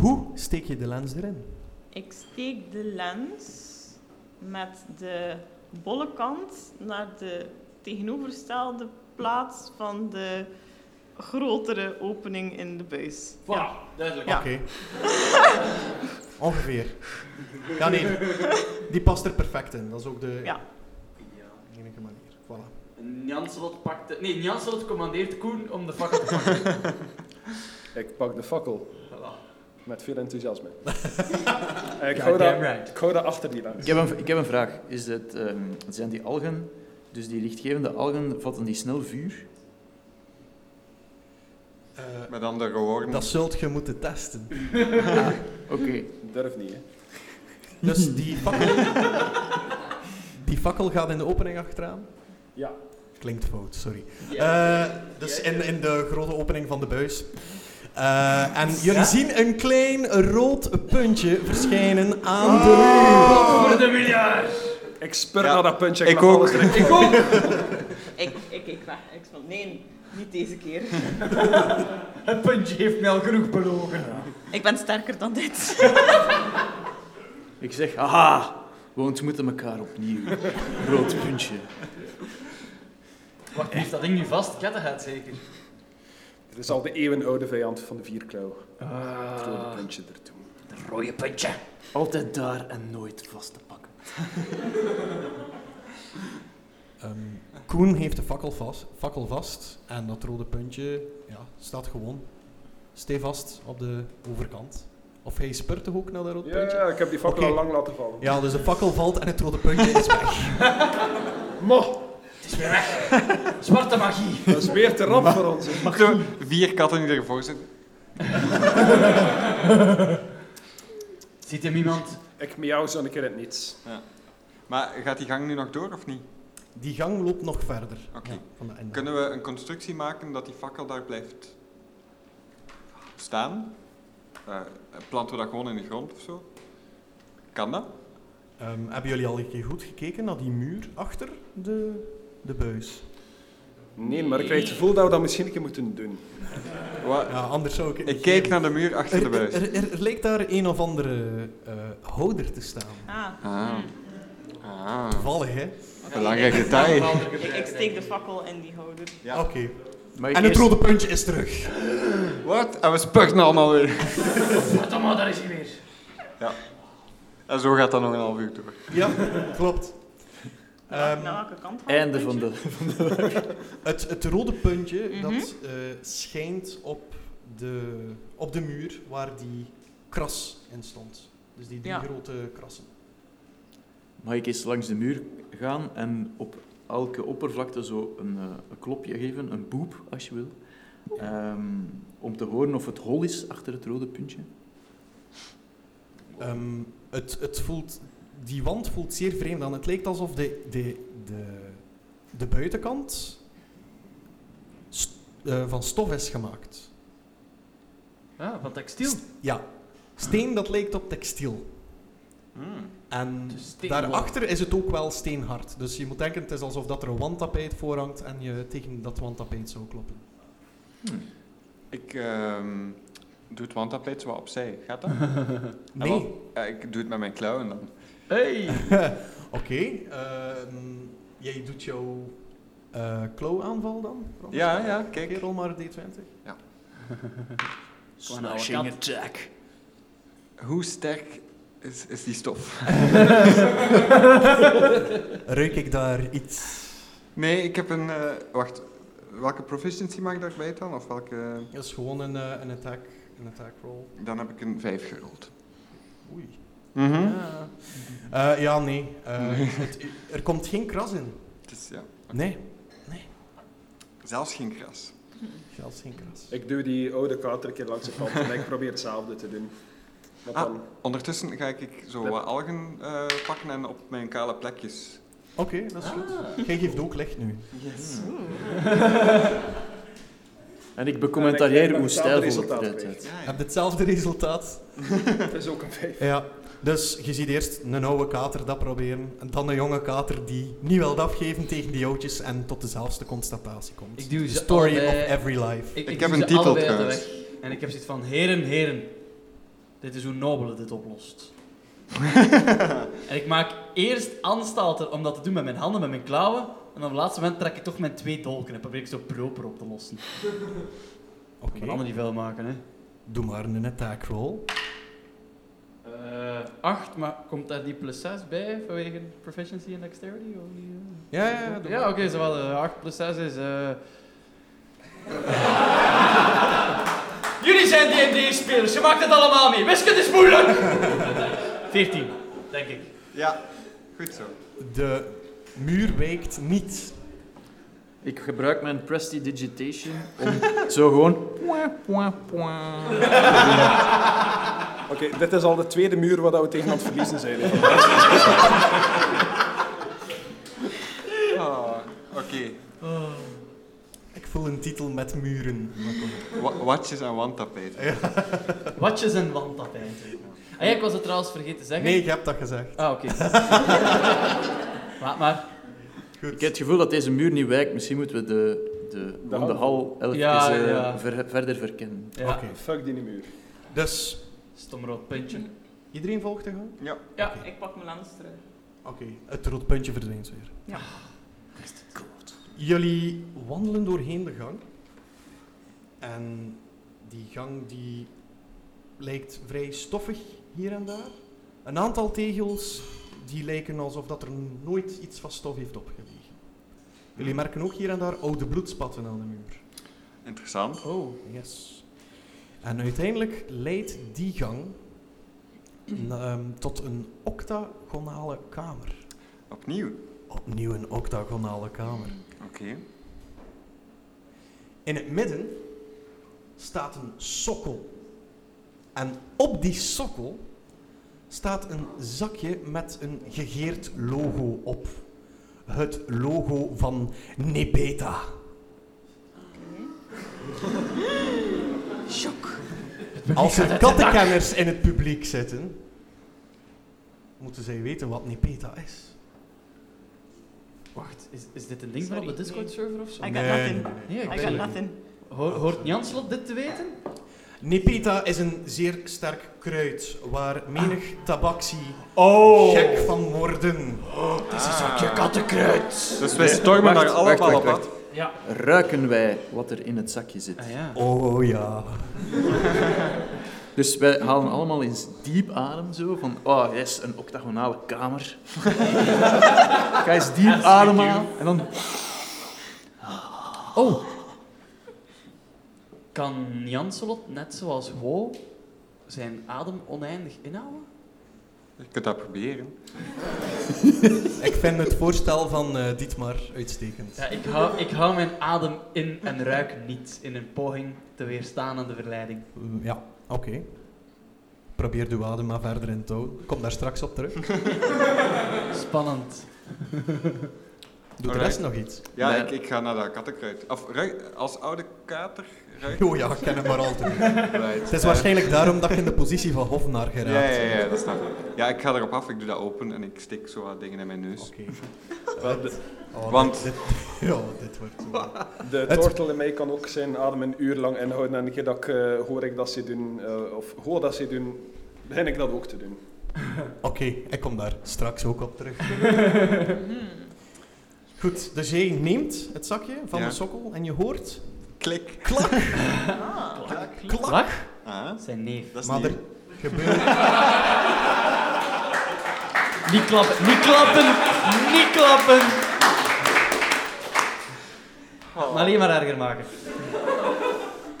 S3: Hoe steek je de lens erin?
S8: Ik steek de lens met de bolle kant naar de tegenovergestelde plaats van de grotere opening in de buis.
S1: Voilà, duidelijk.
S8: Ja.
S3: Oké. Ongeveer. Ja, nee. Die past er perfect in. Dat is ook de
S8: Ja.
S3: enige manier. Voilà.
S1: En Janslot pakte... Nee, Janslot commandeert Koen om de fakkel te pakken.
S4: Ik pak de fakkel
S1: Voilà.
S4: met veel enthousiasme. ik, hou dat, ik hou dat achter die lens.
S7: Ik heb een, ik heb een vraag. Is het, ehm, zijn die algen, dus die lichtgevende algen, vatten die snel vuur?
S3: Eh,
S6: Met andere woorden.
S3: dat zult je moeten testen.
S7: Oké.
S4: Durf niet, hè.
S3: Dus die fakkel... die fakkel gaat in de opening achteraan.
S4: Ja.
S3: Klinkt fout, sorry.
S1: Ja.
S3: Eh, dus in, in de grote opening van de buis. Eh, en jullie zien een klein rood puntje verschijnen aan de Ah.
S1: Voor de miljard!
S4: Ik spur
S6: Ja,
S4: naar dat puntje. Ik,
S6: ik
S4: laat
S6: ook.
S4: alles erin.
S1: Ik ook!
S8: Ik, ik, ik weg. Ik van nee, niet deze keer.
S1: Het puntje heeft mij al genoeg belogen.
S8: Ik ben sterker dan dit.
S7: Ik zeg, haha, we ontmoeten elkaar opnieuw. Rood puntje.
S1: Wacht, heeft dat ding nu vast? Kettenhead zeker?
S4: Het is al de eeuwenoude vijand van de vierklauw. Het rode
S1: Ah,
S4: puntje ertoe.
S1: het rode puntje.
S7: Altijd daar en nooit vast te pakken.
S3: Ehm, Koen heeft de fakkel vast, fakkel vast en dat rode puntje ja, staat gewoon stevast op de overkant. Of hij spurt toch ook naar dat rode puntje?
S4: Ja, ik heb die fakkel
S3: Oké.
S4: al lang laten vallen.
S3: Ja, dus de fakkel valt en het rode puntje is weg.
S4: Mo,
S1: Het is weer weg. Zwarte magie.
S4: dat is weer te rap voor ons. hè.
S6: Zo, vier katten die ervoor zitten.
S1: Ziet hem iemand?
S4: Ik miauw zo een keer in het niets.
S6: Maar gaat die gang nu nog door of niet?
S3: Die gang loopt nog verder.
S6: Oké.
S3: Ja, van de einde.
S6: Kunnen we een constructie maken dat die fakkel daar blijft staan? Eh, planten we dat gewoon in de grond of zo? Kan dat?
S3: Ehm, hebben jullie al een keer goed gekeken naar die muur achter de, de buis?
S4: Nee, maar ik krijg het gevoel dat we dat misschien een keer moeten doen.
S6: Wat?
S3: Ja, anders zou ik... het
S6: Ik
S3: niet
S6: kijk
S3: geven.
S6: naar de muur achter de
S3: Er,
S6: buis.
S3: er, er- er leek daar een of andere eh, houder te staan.
S8: Ah,
S6: Ah. Ah.
S3: Toevallig, hè?
S8: oké.
S6: Belangrijk detail.
S8: Ik, ik steek de fakkel in die houder.
S6: Ja.
S3: Oké.
S7: Mag ik
S3: En het
S7: eerst-
S3: rode puntje is terug.
S6: Wat? En we spurten allemaal weer.
S1: Verdomme, daar is hij weer.
S6: En zo gaat dat nog een half uur door.
S3: Ja, klopt.
S8: Naar
S3: Ehm,
S8: welke kant gaat
S7: Einde
S8: het
S7: van de...
S8: puntje?
S3: Het, het rode puntje
S8: Mhm.
S3: dat eh, schijnt op de, op de muur waar die kras in stond. Dus die drie
S8: Ja.
S3: grote krassen.
S7: Mag ik eens langs de muur gaan en op elke oppervlakte zo een, eh, een klopje geven, een boep als je wil, Ehm, om te horen of het hol is achter het rode puntje?
S3: Ehm, het, het voelt, die wand voelt zeer vreemd aan. Het lijkt alsof de, de, de, de buitenkant st- eh, van stof is gemaakt.
S1: Ah, van textiel.
S3: Ja. Steen dat lijkt op textiel. En
S1: Dus steenwol.
S3: daarachter is het ook wel steenhard. Dus je moet denken, het is alsof dat er een wandtapijt voor hangt en je tegen dat wandtapijt zou kloppen.
S6: Ik ehm, doe het wandtapijt zo wat opzij. Gaat dat?
S3: Nee.
S6: Ah, wel, eh, ik doe het met mijn klauwen dan.
S1: Hey!
S3: Oké, ehm, jij doet jouw eh klauwaanval dan? Frans?
S6: Ja, ja, kijk.
S3: Oké, rol maar een D20.
S7: Smashing attack.
S6: Hoe sterk is, is die stof?
S3: Ruik ik daar iets?
S6: Nee, ik heb een... eh, wacht, welke proficiency mag ik daarbij dan? Of welke...
S3: Dat is gewoon een, eh, een, attack, een attack roll.
S6: Dan heb ik een 5 gerold.
S3: Oei.
S6: Mhm.
S3: Ja. Eh, ja, nee. Eh,
S6: Nee.
S3: het- er komt geen kras in.
S6: Het is, ja.
S3: Nee,
S6: Zelfs geen gras.
S3: zelfs geen kras.
S4: Ik duw die oude kaart er een keer langs de kant en ik probeer hetzelfde te doen. Wat
S6: Ah.
S4: dan?
S6: Ondertussen ga ik zo wat algen eh, pakken en op mijn kale plekjes.
S3: Oké, dat is goed. Jij geeft ook licht nu.
S6: Yes.
S7: En
S4: En
S7: ik
S4: ik
S7: becommentarieer
S4: krijg
S7: hoe
S4: dan hetzelfde
S7: stijlvol ik
S4: resultaat
S7: eruit
S4: terug.
S7: ziet.
S6: Ja,
S3: Je
S6: ja.
S3: hebt hetzelfde resultaat.
S4: Het is ook een vijf.
S3: Ja, dus je ziet eerst een oude kater dat proberen. En dan een jonge kater die niet wil afgeven tegen die oudjes en tot dezelfde constatatie komt.
S1: Ik duw
S3: The
S1: ze
S3: story
S1: allebei-
S3: of every life.
S6: Ik
S1: doe
S6: heb een
S1: ze
S6: titel
S1: allebei uit de
S6: trouwens.
S1: weg. En ik heb zoiets van, heren, heren. Dit is hoe Nobele dit oplost. en ik maak eerst aanstalter om dat te doen met mijn handen, met mijn klauwen. En op het laatste moment trek ik toch mijn twee dolken en probeer ik zo proper op te lossen.
S3: Oké,
S1: Ik kan handen die vuil maken, hè.
S3: doe maar een attack roll.
S1: Eh, acht, maar komt daar die plus 6 bij vanwege proficiency en dexterity? Of niet?
S3: Ja, ja, ja, doe
S1: Ja,
S3: maar.
S1: oké, zo wat. eh, 8 plus 6 is. eh. Jullie zijn DD-spelers, je maakt het allemaal mee. Wiskunde is moeilijk! 14, denk ik.
S6: Ja, goed zo.
S3: De muur wijkt niet.
S7: Ik gebruik mijn prestidigitation om zo gewoon...
S4: Oké, dit is al de tweede muur waar we tegen aan het verliezen zijn. hè.
S6: Ah, Oké.
S1: Oh,
S3: Ik voel een titel met muren. Maar kom.
S6: Wa- watjes en wandtapijten.
S1: Watjes en wandtapijten. Ah, ja, ik was het trouwens vergeten te zeggen.
S3: Nee, je hebt dat gezegd.
S1: Ah, oké. Laat maar.
S3: Goed.
S7: Ik heb het gevoel dat deze muur niet wijkt. Misschien moeten we de, de,
S4: De
S7: de, de hal elke
S1: Ja,
S7: keer, eh,
S1: ja.
S7: ver- verder verkennen.
S1: Ja.
S3: Oké,
S4: Fuck die muur.
S3: dus
S1: Stom rood puntje.
S3: iedereen volgt de gang?
S6: Ja.
S8: Ja, ik pak mijn lens terug.
S3: Oké, het rood puntje verdwijnt weer.
S8: Ja.
S3: Jullie wandelen doorheen de gang. En die gang die lijkt vrij stoffig hier en daar. Een aantal tegels die lijken alsof dat er nooit iets van stof heeft opgelegen. Jullie merken ook hier en daar oude bloedspatten aan de muur.
S6: Interessant.
S3: Oh, yes. En uiteindelijk leidt die gang ehm, tot een octagonale kamer.
S6: Opnieuw.
S3: Opnieuw een octagonale kamer.
S6: Oké.
S3: In het midden staat een sokkel. En op die sokkel staat een zakje met een gegeerd logo op. Het logo van Nebeta. Als er kattenkenners in het publiek zitten, moeten zij weten wat Nepeta is.
S1: Wacht, is, is dit een ding van op
S8: Sorry,
S1: de Discord-server of
S8: I
S1: zo?
S8: got
S3: Nee,
S8: nothing.
S3: nee,
S1: Nee,
S8: I
S1: ik
S8: got
S1: denk-
S8: nothing.
S5: Ho- hoort Janslot dit te weten?
S3: Nepeta is een zeer sterk kruid waar menig tabaksie
S7: Oh.
S3: gek van worden.
S7: Het is een zakje kattenkruid.
S6: Dus wij stormen daar allemaal op af.
S7: Ruiken wij wat er in het zakje
S1: Ah,
S7: zit.
S5: ja.
S3: Oh ja.
S7: Dus wij halen allemaal eens diep adem zo van, oh yes, een octagonale kamer. Ga eens diep ademen en dan
S1: Oh. Kan Janselot, net zoals Ho, zijn adem oneindig inhouden?
S6: Je kunt dat proberen.
S3: Ik vind het voorstel van eh, Dietmar uitstekend.
S1: Ja, ik hou, ik hou mijn adem in en ruik niet in een poging te weerstaan aan de verleiding.
S3: Mm, Ja, oké. Probeer de adem maar verder in te houden. Kom daar straks op terug.
S1: Spannend.
S3: Doe de
S6: Alright.
S3: rest nog iets.
S6: Ja,
S7: Nee.
S6: ik, ik ga naar dat kattenkruid. Of ruik- als oude kater ruik
S3: Oh ja, ik ken hem maar altijd.
S6: Right.
S3: Het is
S6: Eh,
S3: waarschijnlijk daarom dat je in de positie van Hofnaar
S6: Ja,
S3: geraakt.
S6: ja, ja, ja, dat snap ik. Ja, ik ga erop af, ik doe dat open en ik steek zo wat dingen in mijn neus.
S3: Oké.
S4: Wel, de-
S3: Oh, Dit,
S6: Want-
S3: dit- ja, dit wordt zo.
S4: De
S3: Het-
S4: tortel in mij kan ook zijn adem een uur lang inhouden. En een keer dat ik eh, hoor ik dat ze doen, eh, of hoor dat ze doen, begin ik dat ook te doen.
S3: Oké, ik kom daar straks ook op terug. Hmm. Goed, dus jij neemt het zakje van
S6: Ja.
S3: de sokkel en je hoort...
S6: Klik.
S3: Klak! Klak!
S6: Ah,
S1: Zijn neef.
S6: dat is
S3: Maar
S6: niet...
S3: er gebeurt...
S1: Niet klappen, niet klappen, niet klappen. Maar alleen maar erger maken.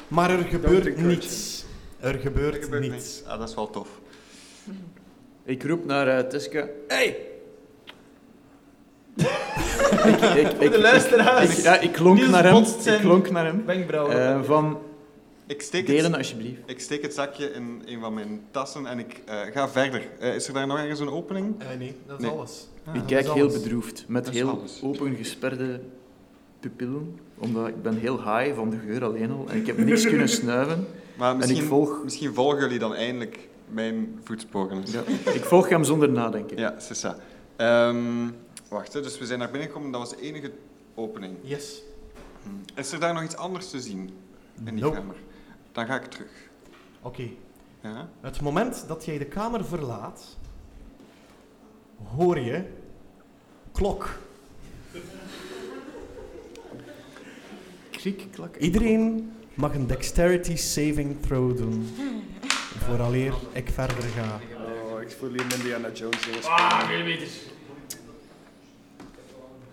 S3: Maar er gebeurt
S4: encourage
S3: niets. Er gebeurt,
S6: Er gebeurt
S3: niets.
S6: niks. Ah, dat is wel tof.
S7: Ik roep naar eh, Tiske. Hey! ik, ik, ik,
S1: de luisteraars.
S7: Ik, ja, ik klonk
S1: Niels
S7: naar hem.
S1: botst zijn-
S7: Ik klonk naar hem.
S1: Wenkbrauwen.
S7: Eh, van,
S6: Ik steek,
S7: delen
S6: het,
S7: alsjeblieft.
S6: ik steek het zakje in een van mijn tassen en ik eh, ga verder. Eh, is er daar nog ergens een opening?
S3: Eh, nee, dat is
S6: Nee.
S3: alles. Ah,
S7: Ik
S3: dat
S7: kijk
S3: is
S7: heel
S3: alles.
S7: bedroefd, met
S6: Dat is
S7: heel
S6: alles.
S7: open gesperde pupillen. Omdat ik ben heel high van de geur alleen al. En ik heb niks kunnen snuiven.
S6: Maar
S7: En ik
S6: misschien,
S7: volg,
S6: misschien volgen jullie dan eindelijk mijn voetsporen.
S7: ja, ik volg hem zonder nadenken.
S6: Ja, c'est ça. Ehm, wacht, hè. dus we zijn naar binnen gekomen, dat was de enige opening.
S3: Yes.
S6: Hm. Is er daar nog iets anders te zien in die
S3: Nope.
S6: kamer? Dan ga ik terug.
S3: Oké,
S6: Ja?
S3: het moment dat jij de kamer verlaat, hoor je klok.
S7: Krik, klak.
S3: Iedereen mag een dexterity saving throw doen. Vooraleer ik verder ga.
S4: Oh, ik voel hier Indiana Jones dingen
S1: Ah, millimeters.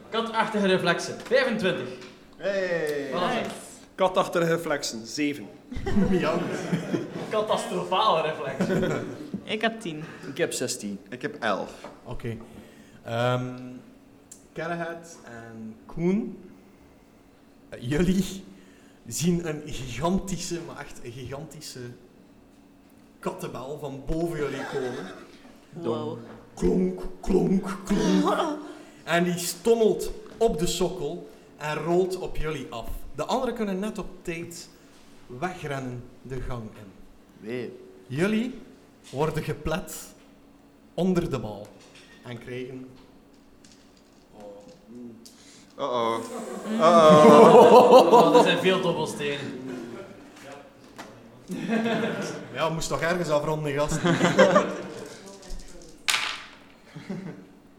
S1: Katachtige reflexen. 25.
S6: Hey!
S8: Nice.
S4: Katachtige reflexen, zeven.
S1: Catastrofale reflexen.
S8: Ik had tien.
S7: Ik heb 16.
S6: Ik heb elf.
S3: Oké. Ehm Galahad en Koen, eh, jullie zien een gigantische, maar echt een gigantische kattenbel van boven jullie komen.
S8: Wow.
S3: Klonk, klonk, klonk. En die stommelt op de sokkel en rolt op jullie af. De anderen kunnen net op tijd wegrennen de gang in.
S7: Wee.
S3: Jullie worden geplet onder de bal en krijgen.
S6: Uh-oh. Uh-oh.
S1: Oh, dat zijn veel dobbelstenen.
S3: Ja, moest toch ergens afronden, gast.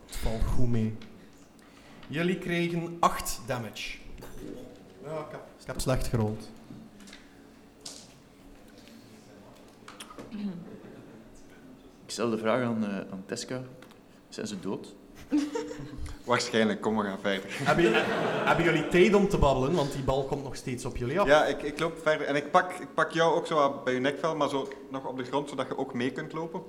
S3: Het valt goed mee. Jullie kregen 8 damage. Ja, ik heb, ik heb slecht gerold.
S7: Ik stel de vraag aan, eh, aan Tesca. Zijn ze dood?
S6: Waarschijnlijk, kom, we gaan verder.
S3: hebben, jullie- hebben jullie tijd om te babbelen? Want die bal komt nog steeds op jullie af.
S6: Ja, ik, ik loop verder en ik pak, ik pak jou ook zo wat bij je nekvel, maar zo nog op de grond, zodat je ook mee kunt lopen.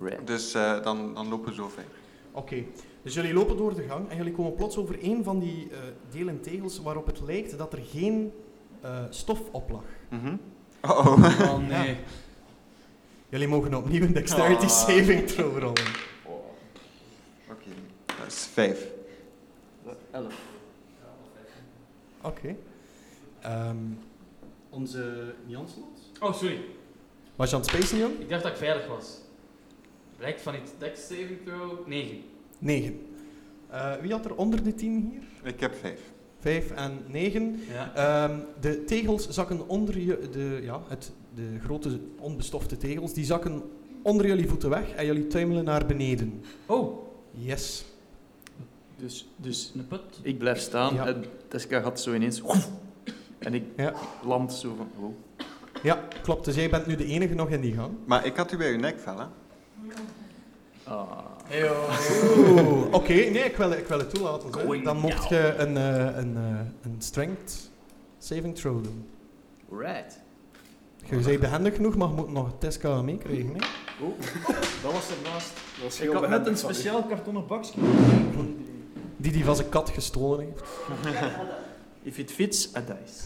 S7: Right.
S6: Dus eh, dan, dan lopen we zo verder.
S3: Oké, dus jullie lopen door de gang en jullie komen plots over een van die eh, delen tegels waarop het lijkt dat er geen eh, stof op lag.
S6: Mhm. Uh-oh.
S1: Oh nee.
S3: Jullie mogen opnieuw een dexterity
S6: Ah.
S3: saving throw rollen.
S6: Oké, dat is vijf.
S3: Oké. Ehm, onze Janslot?
S1: Oh, sorry.
S3: Was je aan het spacen, Jan?
S1: Ik dacht dat ik veilig was. Blijkt van iets. Dex saving throw 9.
S3: 9. wie had Eh, er onder de 10 hier?
S6: Ik heb vijf.
S3: 5 en 9.
S7: Ja.
S3: Ehm, de tegels zakken onder je, de, ja, het, de grote onbestofte tegels, die zakken onder jullie voeten weg en jullie tuimelen naar beneden.
S7: Oh.
S3: Yes.
S7: Dus, dus
S1: Een put.
S7: ik blijf staan
S3: Ja.
S7: en Tesca gaat zo ineens... En ik
S3: Ja.
S7: land zo van... oh. wow.
S3: Ja, klopt. Dus jij bent nu de enige nog in die gang.
S6: Maar ik had u bij uw nek vel, hè?
S7: Ah.
S3: Oeh, Oké, nee, ik wil, ik wil het toelaten. hè. Dan mocht je een, eh, een, eh, een strength saving throw doen.
S7: Right.
S3: Je bent behendig genoeg, maar je moet nog een Tesca meekrijgen. hè.
S7: Dat was ernaast.
S4: Dat is heel
S7: Ik had net
S4: behendig
S7: een
S4: van u.
S7: speciaal kartonnen bakje.
S3: Die die van zijn kat gestolen heeft.
S7: If it fits, a dice.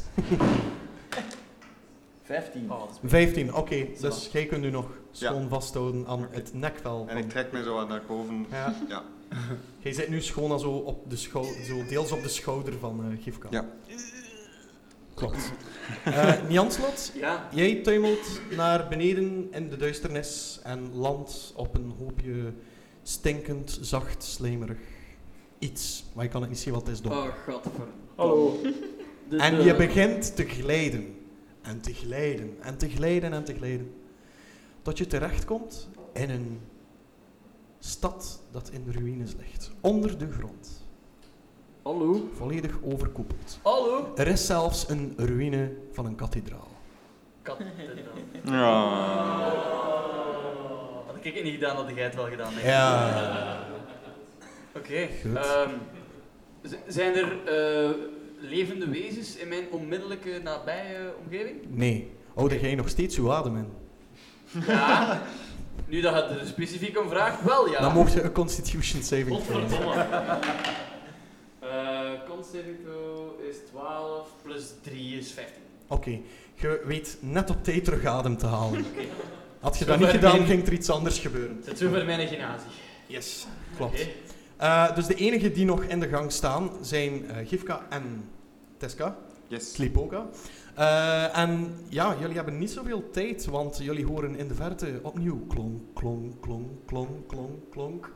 S7: 15.
S1: Oh,
S3: 15, oké. Dus jij kunt nu nog schoon vasthouden aan
S6: Oké.
S3: het nekvel.
S6: En ik trek me zo wat naar boven.
S3: Ja.
S6: Ja.
S3: Jij zit nu schoon al zo, op de schou zo deels op de schouder van eh Gifka.
S6: Ja.
S3: Klopt. Eh Njanslot,
S7: Ja.
S3: jij tuimelt naar beneden in de duisternis en landt op een hoopje stinkend, zacht, slijmerig iets. Maar je kan het niet zien, want het is donker.
S1: Oh, godver.
S7: Hallo.
S1: Dus,
S3: En
S1: eh,
S3: je begint te glijden. En te glijden. En te glijden en te glijden. Tot je terechtkomt in een stad dat in de ruïnes ligt. Onder de grond.
S7: Hallo.
S3: Volledig overkoepeld.
S1: Oh,
S7: Hallo.
S3: Er is zelfs een ruïne van een kathedraal.
S6: Ja.
S1: Had ik het niet gedaan, had jij het wel gedaan. denk ik.
S3: Ja.
S1: Oké.
S3: Goed.
S1: ehm, z- zijn er eh, levende wezens in mijn onmiddellijke nabije omgeving?
S3: Nee. Hou jij nog steeds uw adem in?
S1: Ja. Nu dat je er specifiek om vraagt, wel ja.
S3: Dan mocht je een constitution saving throw doen.
S1: Godverdomme. Eh, Con saving throw is 12 plus 3 is 15.
S3: Oké. Je weet net op tijd terug adem te halen. Had je
S1: Zover
S3: dat niet gedaan,
S1: mijn-
S3: ging er iets anders gebeuren.
S1: Zit zo voor mijn genazie.
S3: Yes. Klopt.
S1: Oké.
S3: Eh, dus de enigen die nog in de gang staan zijn eh, Gifka en Teska,
S6: Yes.
S3: Slipoka. Eh, en ja, jullie hebben niet zoveel tijd, want jullie horen in de verte opnieuw klonk, klonk, klonk, klonk, klonk, klonk.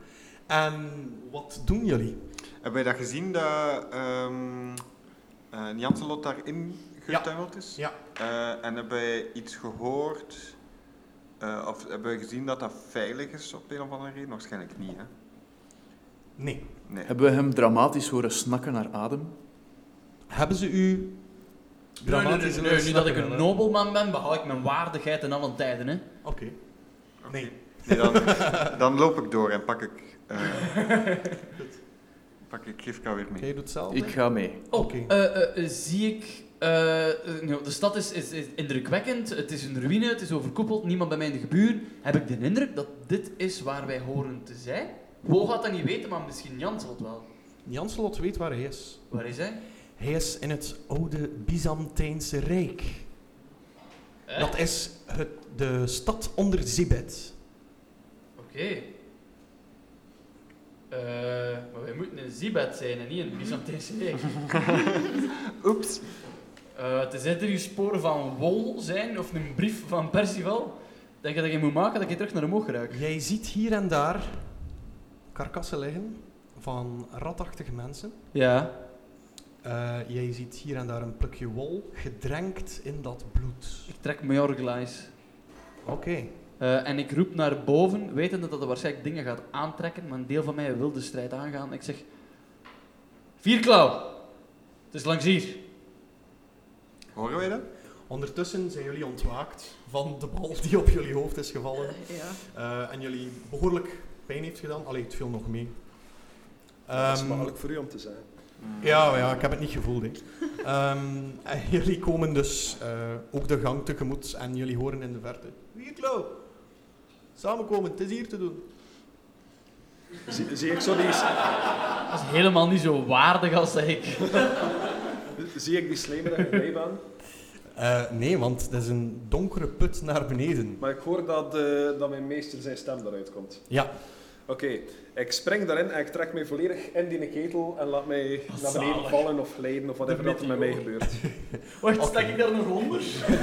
S3: En wat doen jullie?
S6: Hebben wij dat gezien dat ehm eh Janselot daarin getuimeld is?
S3: Ja.
S6: Eh, en hebben wij iets gehoord? eh, of hebben wij gezien dat dat veilig is op een of andere reden? Waarschijnlijk niet, hè?
S3: Nee.
S6: Nee.
S7: Hebben we hem dramatisch horen snakken naar adem?
S3: Hebben ze u
S1: Nee, nee,
S3: dramatisch
S1: nee, nee, nu dat ik
S3: snappen,
S1: een
S3: hè?
S1: nobelman ben, behoud ik mijn waardigheid in alle tijden. Hè.
S3: Oké. Nee.
S6: Nee, dan, dan loop ik door en pak ik... eh, pak ik Gifka weer mee.
S3: Jij doet hetzelfde?
S7: Ik ga mee.
S1: Oh,
S3: Oké.
S1: eh, eh, eh, zie ik... eh, eh, nou, de stad is, is, is indrukwekkend, het is een ruïne, het is overkoepeld, niemand bij mij in de gebuur. Heb ik de indruk dat dit is waar wij horen te zijn? Wo gaat dat niet weten, maar misschien Jans zal het wel.
S3: Janslot weet waar hij is.
S1: Waar is hij?
S3: Hij is in het oude Byzantijnse Rijk.
S1: Eh?
S3: Dat is het, de stad onder Zibet.
S1: Oké. Eh, maar wij moeten een Zibet zijn en niet een Byzantijnse rijk.
S6: Oeps.
S1: Eh, tenzij er hier sporen van wol zijn of een brief van Percival, dat je dat je moet maken dat je terug naar omhoog ruikt.
S3: Jij ziet hier en daar karkassen liggen van ratachtige mensen.
S1: Ja.
S3: Eh, jij ziet hier en daar een plukje wol gedrenkt in dat bloed.
S1: Ik trek mijn orgelijs.
S3: Oké.
S1: Eh, en ik roep naar boven, wetende dat het waarschijnlijk dingen gaat aantrekken, maar een deel van mij wil de strijd aangaan. Ik zeg: Vierklauw, het is langs hier.
S6: Horen wij dat?
S3: Ondertussen zijn jullie ontwaakt van de bal die op jullie hoofd is gevallen.
S8: Ja.
S3: eh, en jullie behoorlijk pijn heeft gedaan. Allee, het viel nog mee.
S4: Dat is
S3: Ehm,
S4: makkelijk voor u om te zijn.
S3: Ja, maar ja, ik heb het niet gevoeld. hè. Ehm, en jullie komen dus eh, ook de gang tegemoet en jullie horen in de verte. Hier, Klauw. Samenkomen, het is hier te doen.
S4: Zie, zie ik zo die,
S1: Dat is helemaal niet zo waardig als dat ik.
S4: zie ik die slijmerige glijbaan?
S3: Eh, nee, want het is een donkere put naar beneden.
S4: Maar ik hoor dat, eh, dat mijn meester zijn stem eruit komt.
S3: Ja,
S4: Oké, ik spring daarin en ik trek mij volledig in die ketel en laat mij naar beneden vallen of glijden of whatever dat er met mij gebeurt.
S1: Wacht,
S3: Oké.
S1: stak ik daar nog onder?
S3: jij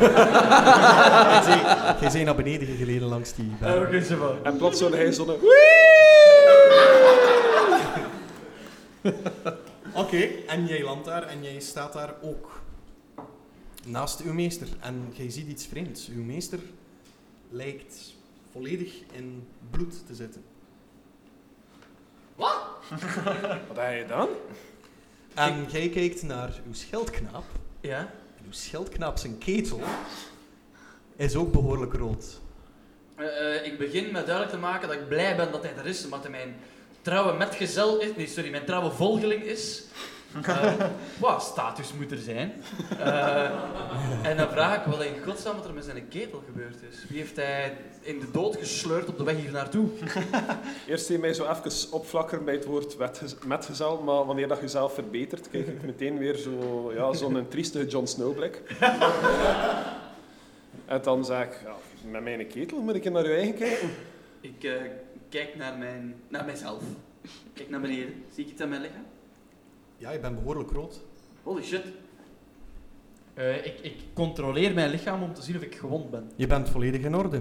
S3: zei- jij zei naar beneden geleden langs die berg.
S1: Oké, ze wel.
S4: En plots hoorde hij zo'n...
S3: Eh, Oké, en jij landt daar en jij staat daar ook naast uw meester. En jij ziet iets vreemds. Uw meester lijkt volledig in bloed te zitten.
S4: Wat heb je dan?
S3: En jij kijkt naar uw schildknaap.
S7: Ja?
S3: En uw schildknaap, zijn ketel, is ook behoorlijk rood.
S1: Eh, eh, ik begin met duidelijk te maken dat ik blij ben dat hij er is, omdat hij mijn trouwe metgezel is. Nee, sorry, mijn trouwe volgeling is. Eh, wat status moet er zijn. Eh, en dan vraag ik wat in godsnaam wat er met zijn ketel gebeurd is. Wie heeft hij in de dood gesleurd op de weg hier naartoe?
S4: Eerst zie je mij zo even opflakkeren bij het woord wetge- metgezel, maar wanneer dat je zelf verbetert, krijg ik meteen weer zo, ja, zo'n trieste Jon Snow-blik. En dan zeg ik, ja, met mijn ketel moet ik naar je eigen kijken.
S1: Ik eh, kijk naar, mijn, naar mijzelf. Ik kijk naar beneden. Zie ik iets aan mijn lichaam?
S3: Ja, je bent behoorlijk rood.
S1: Holy shit. Eh, ik, ik controleer mijn lichaam om te zien of ik gewond ben.
S3: Je bent volledig in orde.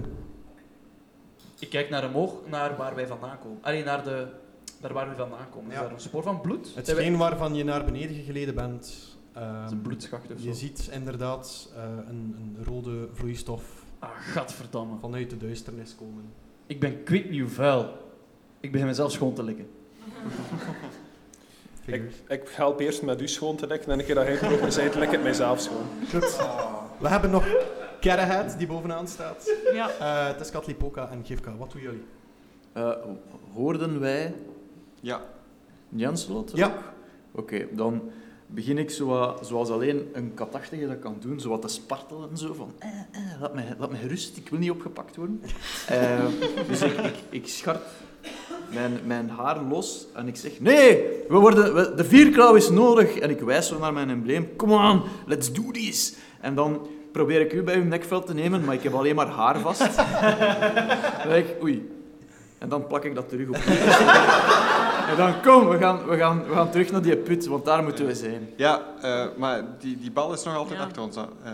S1: Ik kijk naar omhoog, naar waar wij vandaan komen. Alleen naar de, daar waar we vandaan komen.
S3: Ja.
S1: Is daar een spoor van bloed? Zijn wij-
S3: Hetgeen waarvan je naar beneden gegleden bent... ehm,
S1: Dat is een bloedschacht of zo.
S3: Je ziet inderdaad eh, een, een rode vloeistof
S1: Ah, gadverdamme.
S3: vanuit de duisternis komen.
S1: Ik ben quick nieuw vuil. Ik begin mezelf schoon te likken.
S4: Ik, ik help eerst met u schoon te likken en een keer dat hij erover zei, lik ik mijzelf schoon.
S3: Goed. We hebben nog Kerahead die bovenaan staat.
S8: Ja.
S3: Eh, Het is Katlipoka en Gifka. Wat doen jullie?
S7: Eh, hoorden wij
S6: Ja.
S7: Janslot?
S3: Ja.
S7: Oké, dan begin ik zo wat- zoals alleen een katachtige dat kan doen, zo wat te spartelen en zo van, eh, eh, laat, mij, laat mij gerust, ik wil niet opgepakt worden. Eh, dus ik, ik, ik schart mijn, mijn haar los en ik zeg, nee, we worden, we- de vierklauw is nodig. En ik wijs zo naar mijn embleem, come on, let's do this. En dan probeer ik u bij uw nekveld te nemen, maar ik heb alleen maar haar vast. Dan denk ik, oei. En dan plak ik dat terug op. En dan kom, we gaan, we, gaan, we gaan terug naar die put, want daar moeten we zijn.
S6: Ja, eh, maar die, die bal is nog altijd
S8: Ja.
S6: achter ons. aan- eh,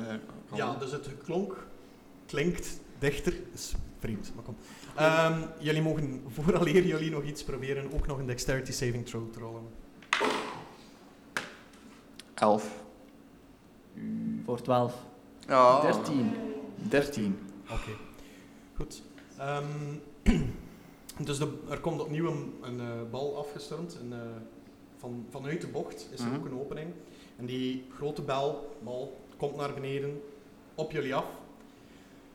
S6: Ron.
S3: Ja, dus het geklonk klinkt dichter. is vreemd, maar kom. Ehm, jullie mogen vooraleer jullie nog iets proberen, ook nog een dexterity saving throw te rollen.
S6: Elf.
S1: Voor 12.
S6: Ja.
S7: 13. 13.
S3: Oké, goed. Ehm, dus de, er komt opnieuw een, een eh, bal afgestormd. Een, eh, van, vanuit de bocht is er
S6: Mhm.
S3: ook een opening. En die grote bel, bal komt naar beneden, op jullie af.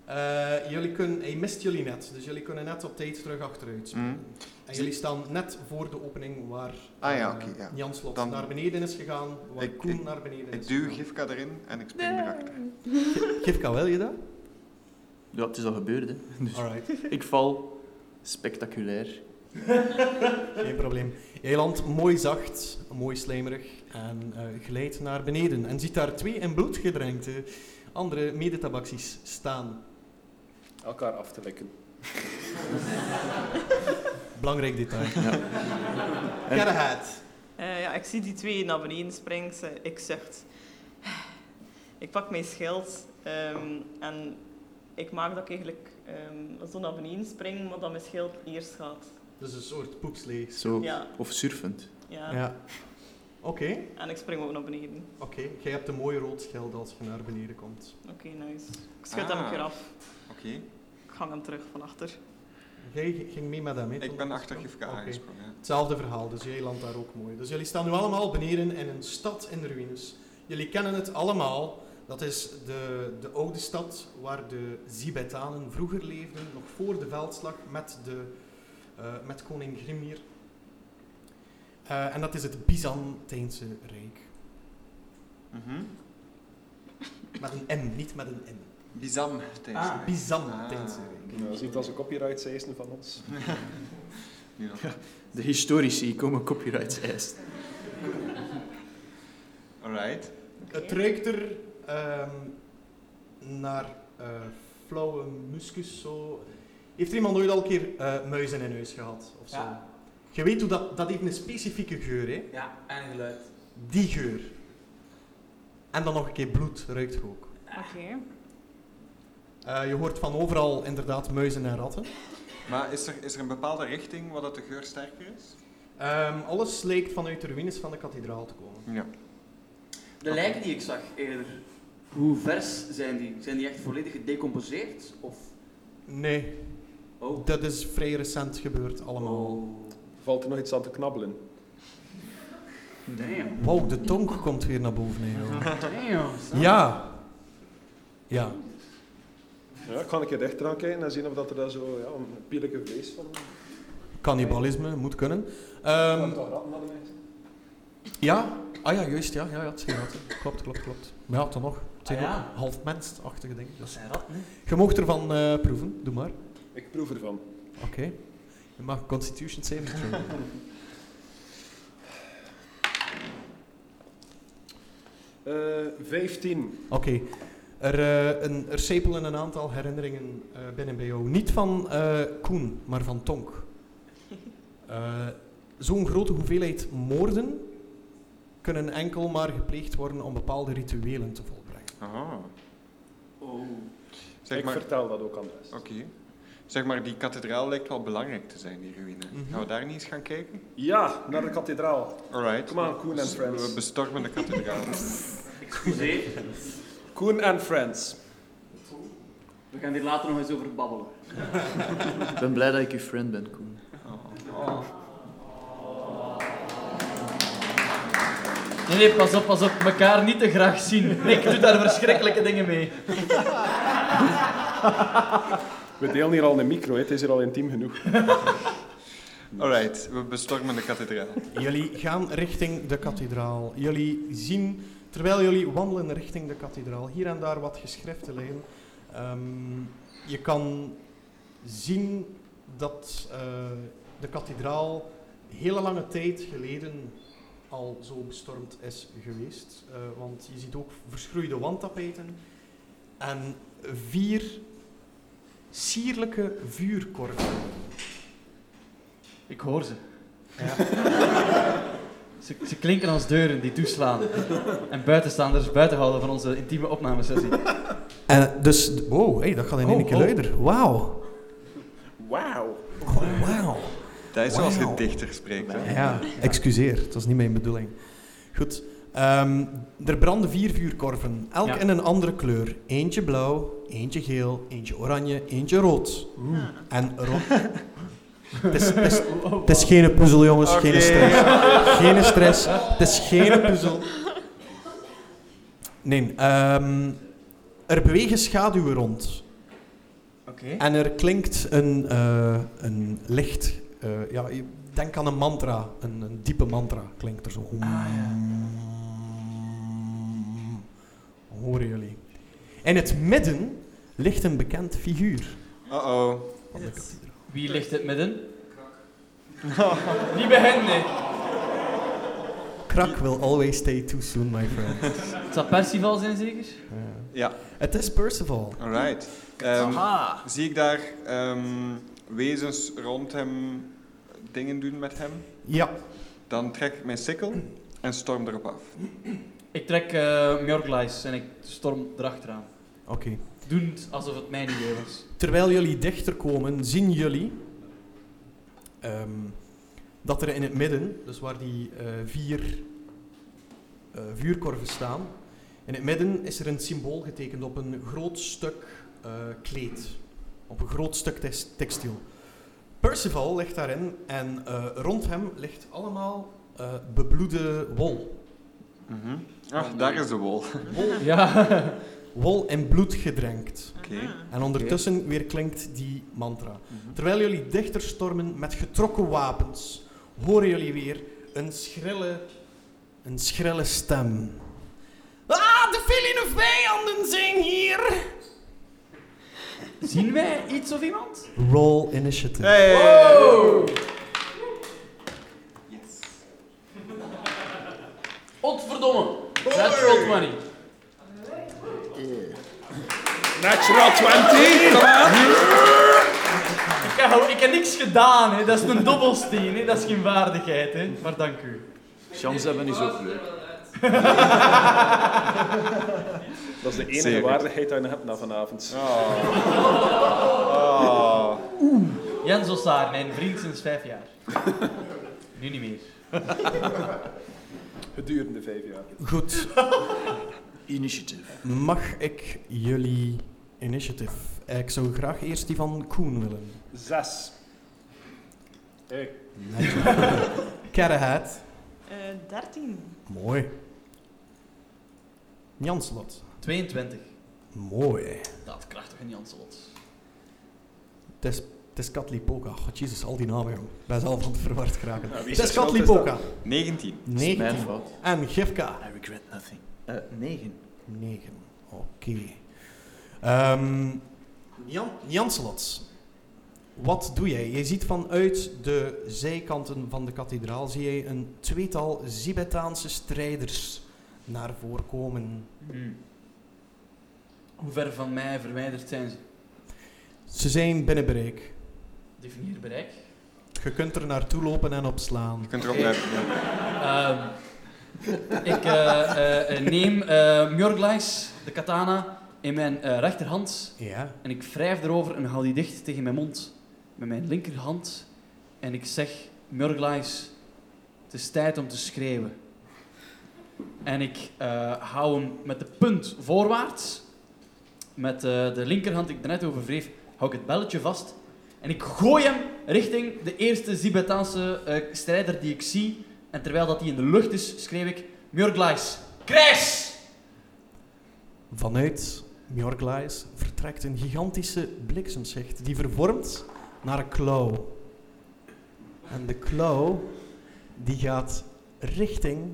S3: Eh, jullie kunnen, hij mist jullie net, dus jullie kunnen net op tijd terug achteruit. springen.
S6: Mhm.
S3: En jullie staan net voor de opening waar
S6: Ah ja,
S3: eh,
S6: oké, ja.
S3: Jan Slot
S6: Dan-
S3: naar beneden is gegaan, waar
S6: Ik-
S3: Koen
S6: ik-
S3: naar beneden is
S6: Ik duw
S3: gegaan.
S6: Gifka erin en ik spring erachter.
S3: Gifka, wil je dat?
S7: Ja, het is al gebeurd, hè. Dus
S3: Alright.
S7: ik val spectaculair.
S3: Geen probleem. Jij landt mooi zacht, mooi slijmerig en eh glijdt naar beneden. En ziet daar twee in bloed gedrenkte andere medetabaxies staan.
S4: Elkaar af te likken.
S3: Belangrijk detail.
S7: Ja.
S3: Kerahat.
S8: Eh, ja, ik zie die twee naar beneden springen. Ze- Ik zucht. Ik pak mijn schild ehm, en ik maak dat ik eigenlijk ehm, zo naar beneden spring, maar dat mijn schild eerst gaat.
S3: Dus een soort poepslee.
S7: Zo.
S8: Ja,
S7: Of surfend.
S8: ja.
S3: Ja. Oké,
S8: En ik spring ook naar beneden.
S3: oké. Jij hebt een mooi rood schild als je naar beneden komt.
S8: Oké, nice. Ik schud hem
S6: Ah.
S8: een keer af.
S6: Oké,
S8: Ik hang hem terug van achter.
S3: Jij g- ging mee met hem, hè?
S6: ik ben achter Gifka
S3: Oké.
S6: aangesprongen. ja.
S3: Hetzelfde verhaal, dus jij landt daar ook mooi. Dus jullie staan nu allemaal beneden in een stad in ruïnes. Jullie kennen het allemaal. Dat is de, de oude stad waar de Zibetanen vroeger leefden, nog voor de veldslag met, de, eh, met koning Grimnir. Eh, en dat is het Byzantijnse Rijk.
S6: Mhm.
S3: Met een M, niet met een N.
S6: Bizam, tijdens de
S3: Ah,
S6: week.
S3: Byzantijnse
S6: Ah.
S3: Rijk.
S4: Nou, ziet als een copyright zeisen van ons.
S6: Nu nog.
S7: De historici komen copyrights eisen.
S6: Alright.
S8: Oké.
S3: Het ruikt er ehm, naar eh, flauwe muskus. Zo. Heeft er iemand ooit al een keer eh, muizen in huis gehad? Of zo?
S1: Ja.
S3: Je weet hoe dat, dat heeft een specifieke geur, hè?
S1: Ja, en geluid.
S3: Die geur. En dan nog een keer bloed ruikt je ook.
S8: Oké.
S3: Eh, je hoort van overal inderdaad muizen en ratten.
S6: Maar is er, is er een bepaalde richting waar dat de geur sterker is?
S3: Ehm, alles leek vanuit de ruïnes van de kathedraal te komen.
S6: Ja.
S11: De lijken die ik zag eerder, hoe vers zijn die? Zijn die echt volledig gedecomposeerd? Of...
S3: Nee,
S11: Oh.
S3: dat is vrij recent gebeurd
S1: Oh.
S3: allemaal.
S4: Valt er nog iets aan te knabbelen?
S11: Damn.
S3: Wow, de tong komt weer naar boven. hè, joh.
S11: Damn. son.
S3: Ja. Ja.
S4: Ja, ik ga een keer rechter aan kijken en zien of dat er daar zo ja, een pierlijke vlees van...
S3: Cannibalisme moet kunnen. Ehm,
S4: Wat dat ratten hadden wij.
S3: ja. Ah ja, juist. Ja, ja, ja het zijn ratten. Klopt, klopt, klopt. Maar ja, toch nog. Het zijn
S1: Ah, ja.
S3: ook half mensachtige dingen.
S1: Dat
S3: Dus.
S1: zijn ratten, hè.
S3: Je mag ervan eh, proeven. Doe maar.
S4: Ik proef ervan.
S3: Oké. Je mag Constitution saving throw. doen.
S4: Eh 15.
S3: Oké. Er, eh, een- er sepelen een aantal herinneringen eh, binnen bij jou. Niet van eh, Koen, maar van Tonk. Eh, Zo'n grote hoeveelheid moorden kunnen enkel maar gepleegd worden om bepaalde rituelen te volbrengen.
S6: Aha.
S11: Oh.
S6: Zeg
S4: ik
S6: maar,
S4: vertel dat ook aan de rest.
S6: Oké. Zeg maar, die kathedraal lijkt wel belangrijk te zijn, die ruïne.
S3: Mhm.
S6: Gaan we daar niet eens gaan kijken?
S4: Ja, naar de kathedraal.
S6: Alright.
S4: Come on, Koen en
S6: Dus We
S4: friends.
S6: bestormen de kathedraal.
S11: Excuseer,
S4: Koen en friends.
S11: we gaan hier later nog eens over babbelen.
S7: Ik ben blij dat ik je friend ben, Koen.
S1: Nee, nee, pas op, pas op. Mekaar niet te graag zien. Ik doe daar verschrikkelijke dingen mee.
S4: We delen hier al een micro, hè. het is hier al intiem genoeg.
S6: Alright, we bestormen de kathedraal.
S3: Jullie gaan richting de kathedraal. Jullie zien, terwijl jullie wandelen richting de kathedraal, hier en daar wat geschriften liggen. Ehm, je kan zien dat eh, de kathedraal hele lange tijd geleden al zo bestormd is geweest. Eh, want je ziet ook verschroeide wandtapijten en vier sierlijke vuurkorven.
S1: Ik hoor ze. ze. Ze klinken als deuren die toeslaan. En buitenstaanders buitenhouden van onze intieme opnamesessie.
S3: En dus, wow, hey, dat gaat in één
S1: Oh,
S3: keer
S1: oh.
S3: luider. Wauw.
S4: Wauw.
S3: Oh, wauw.
S6: Dat is zoals je
S3: Wauw.
S6: dichter spreekt. Hè?
S3: Ja, excuseer, het was niet mijn bedoeling. Goed. ehm, er branden vier vuurkorven, elk
S1: Ja.
S3: in een andere kleur. Eentje blauw, eentje geel, eentje oranje, eentje rood. En rood. Het is, het is- het is geen puzzel, jongens, geen stress. Geen stress, het is geen puzzel. Nee, ehm, er bewegen schaduwen rond.
S1: Oké.
S3: En er klinkt een, eh, een licht. eh, ja, je- denk aan een mantra. Een, een diepe mantra klinkt er zo.
S1: Ah.
S3: Horen jullie? In het midden ligt een bekend figuur.
S6: Uh-oh.
S3: van de kathedraal.
S1: Wie ligt het midden? niet bij hen, nee.
S3: Krak will always stay too soon, my friend.
S1: Het zal Percival zijn, zeker?
S3: Ja.
S6: Ja,
S3: Het is Percival.
S6: alright. Ehm, zie ik daar ehm, wezens rond hem dingen doen met hem?
S3: Ja,
S6: Dan trek ik mijn sikkel en storm erop af.
S1: Ik trek eh Mjörglijs en ik storm erachteraan.
S3: oké.
S1: Doend alsof het mijn idee was.
S3: Terwijl jullie dichter komen, zien jullie ehm, dat er in het midden, dus waar die eh, vier eh, vuurkorven staan, in het midden is er een symbool getekend op een groot stuk eh, kleed, op een groot stuk tex- textiel. Percival ligt daarin en eh, rond hem ligt allemaal eh, bebloede wol.
S6: Mhm. Ach, Ah. daar is de wol.
S3: Wol,
S1: Ja.
S3: wol in bloed gedrenkt.
S6: Oké.
S3: En ondertussen weer klinkt die mantra. Terwijl jullie dichter stormen met getrokken wapens, horen jullie weer een schrille, een schrille stem. Ah, de feline vijanden zijn hier!
S1: Zien wij iets of iemand?
S3: Roll initiative.
S6: Hey!
S1: Otverdomme. That's old money.
S4: Natural 20, come on.
S1: Ik heb, ik heb niks gedaan, hè. dat is een dobbelsteen, hè. dat is geen waardigheid. Hè. Maar dank u.
S7: Chance hebben is ook leuk.
S4: Dat is de enige
S6: Zeker.
S4: waardigheid die je hebt na vanavond.
S6: Oh.
S1: Jens Ossaar, mijn vriend sinds vijf jaar. Nu niet meer.
S4: Gedurende vijf jaar.
S3: Goed.
S7: Initiative.
S3: Mag ik jullie initiative? Ik zou graag eerst die van Koen willen.
S4: Zes. Hey.
S3: Carrahat.
S8: Eh 13.
S3: Mooi. Janslot.
S1: 22.
S3: Mooi.
S1: Dat krachtige Janselot.
S3: Het is- het is Katlipoca. God, jezus, al die namen, jong. Ik ben zelf aan het verward geraken.
S4: Ja, wie
S3: Het
S4: zijn
S3: is
S4: schuld
S3: Katlipoca.
S6: 19.
S7: Dat is mijn
S3: 19.
S7: fout.
S3: En Gifka.
S7: I regret nothing. Eh 9.
S3: 9. Oké. Ehm Jan, Janselots, wat doe jij? Je ziet vanuit de zijkanten van de kathedraal zie je een tweetal Zibetaanse strijders naar voren komen.
S5: Hmm. Hoe ver van mij verwijderd zijn ze?
S3: Ze zijn binnen bereik.
S5: Definieer bereik.
S3: Je kunt er naartoe lopen en opslaan.
S6: Je kunt erop blijven. ja.
S5: Ehm, ik eh, eh, neem eh Mjörglais, de katana, in mijn eh, rechterhand
S3: Ja.
S5: en ik wrijf erover en hou die dicht tegen mijn mond met mijn linkerhand. En ik zeg, Mjörglais, het is tijd om te schreeuwen. En ik eh, hou hem met de punt voorwaarts. Met eh, de linkerhand die ik daarnet over wreef, hou ik het belletje vast. En ik gooi hem richting de eerste Zibetaanse eh, strijder die ik zie. En terwijl dat hij in de lucht is, schreeuw ik... Mjörglais, krijs!
S3: Vanuit Mjorglais vertrekt een gigantische bliksemschicht die vervormt naar een klauw. En de klauw die gaat richting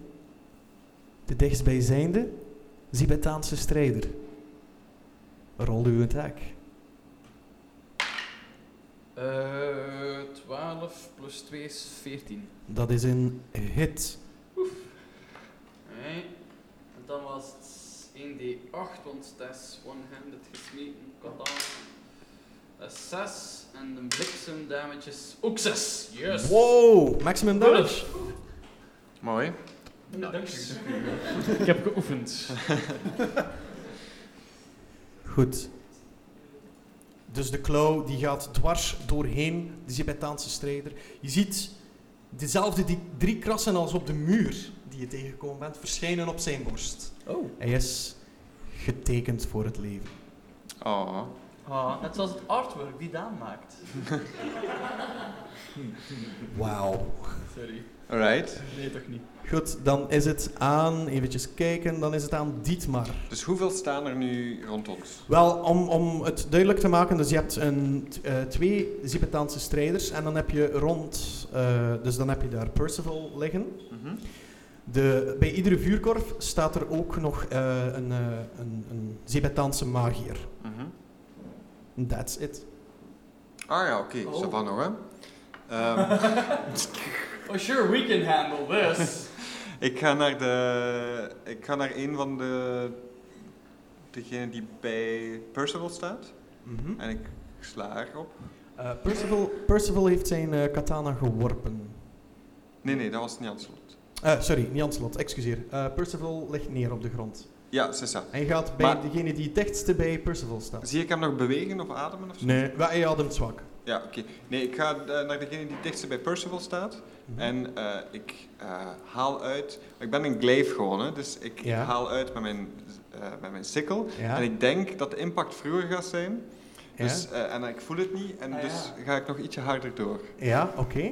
S3: de dichtstbijzijnde Zibetaanse strijder. Rol uw attack.
S1: 12 Eh, plus 2 is 14.
S3: Dat is een hit.
S1: Nee. En dan was het 1d8, want dat is one-handed gesmeten. Katana. Dat is 6. En de bliksem damage is ook 6. Yes!
S3: Wow, maximum damage.
S6: Mooi.
S1: Ik heb geoefend.
S3: Goed. Dus de klauw die gaat dwars doorheen de Zibetaanse strijder. Je ziet dezelfde die drie krassen als op de muur die je tegengekomen bent verschijnen op zijn borst.
S1: Oh.
S3: Hij is getekend voor het leven.
S6: Oh.
S1: Ah, net zoals het artwork die Daan maakt.
S3: Wauw.
S1: Sorry.
S6: Alright.
S1: Nee, toch niet.
S3: Goed, dan is het aan, eventjes kijken, dan is het aan Dietmar.
S6: Dus hoeveel staan er nu rond ons?
S3: Wel, om, om het duidelijk te maken, dus je hebt een, t- eh, twee Zibetaanse strijders en dan heb je rond, eh, dus dan heb je daar Percival liggen.
S6: Mhm.
S3: De, bij iedere vuurkorf staat er ook nog eh, een, eh een, een Zebetaanse magier.
S6: Mhm.
S3: That's it.
S6: Ah ja, oké.
S1: Oh.
S6: Zo van nog, hè. Ehm,
S1: Oh, sure, we can handle this.
S6: ik, ga naar de, ik ga naar een van de... Degene die bij Percival staat. En ik sla erop.
S3: Eh, Percival, Percival heeft zijn eh, katana geworpen.
S6: Nee, nee, dat was niet aan het slot.
S3: Eh, sorry, niet Janslot, excuseer. Eh, Percival ligt neer op de grond.
S6: Ja, ze staat.
S3: Hij gaat bij
S6: Maar-
S3: degene die het dichtste bij Percival staat.
S6: Zie ik hem nog bewegen of ademen of zo?
S3: Nee, wel, hij ademt zwak.
S6: Ja, oké. Nee, ik ga eh, naar degene die het dichtst bij Percival staat. En eh, ik eh, haal uit... Ik ben een glaive gewoon, hè. Dus ik
S3: Ja.
S6: haal uit met mijn, eh, met mijn sikkel.
S3: Ja.
S6: En ik denk dat de impact vroeger gaat zijn.
S3: Ja.
S6: Dus, eh, en ik voel het niet. En
S1: Ah,
S6: dus
S1: ja.
S6: ga ik nog ietsje harder door.
S3: Ja, oké.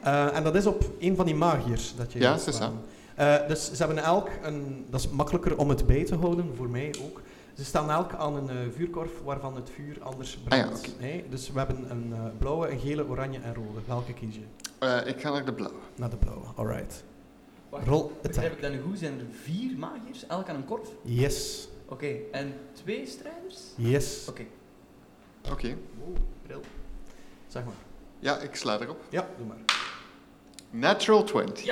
S3: Eh, en dat is op een van die magiërs dat je
S6: Ja,
S3: hebt
S6: ze is
S3: staan. Eh, dus ze hebben elk een... Dat is makkelijker om het bij te houden, voor mij ook. Ze staan elk aan een eh, vuurkorf waarvan het vuur anders brandt.
S6: Ah ja, oké.
S3: Nee, dus we hebben een eh, blauwe, een gele, oranje en rode. Welke kies je?
S6: Eh, ik ga naar de blauwe.
S3: Naar de blauwe, alright.
S1: Wacht,
S3: Rol
S1: Begrijp
S3: attack.
S1: ik dat nu goed? Zijn er vier magiërs, elk aan een korf? Oké,
S3: Yes,
S1: en twee strijders?
S3: yes.
S1: Oké.
S6: Oké.
S3: Wow, bril. Zeg maar.
S6: Ja, ik sla erop.
S3: Ja, doe maar.
S6: Natural 20.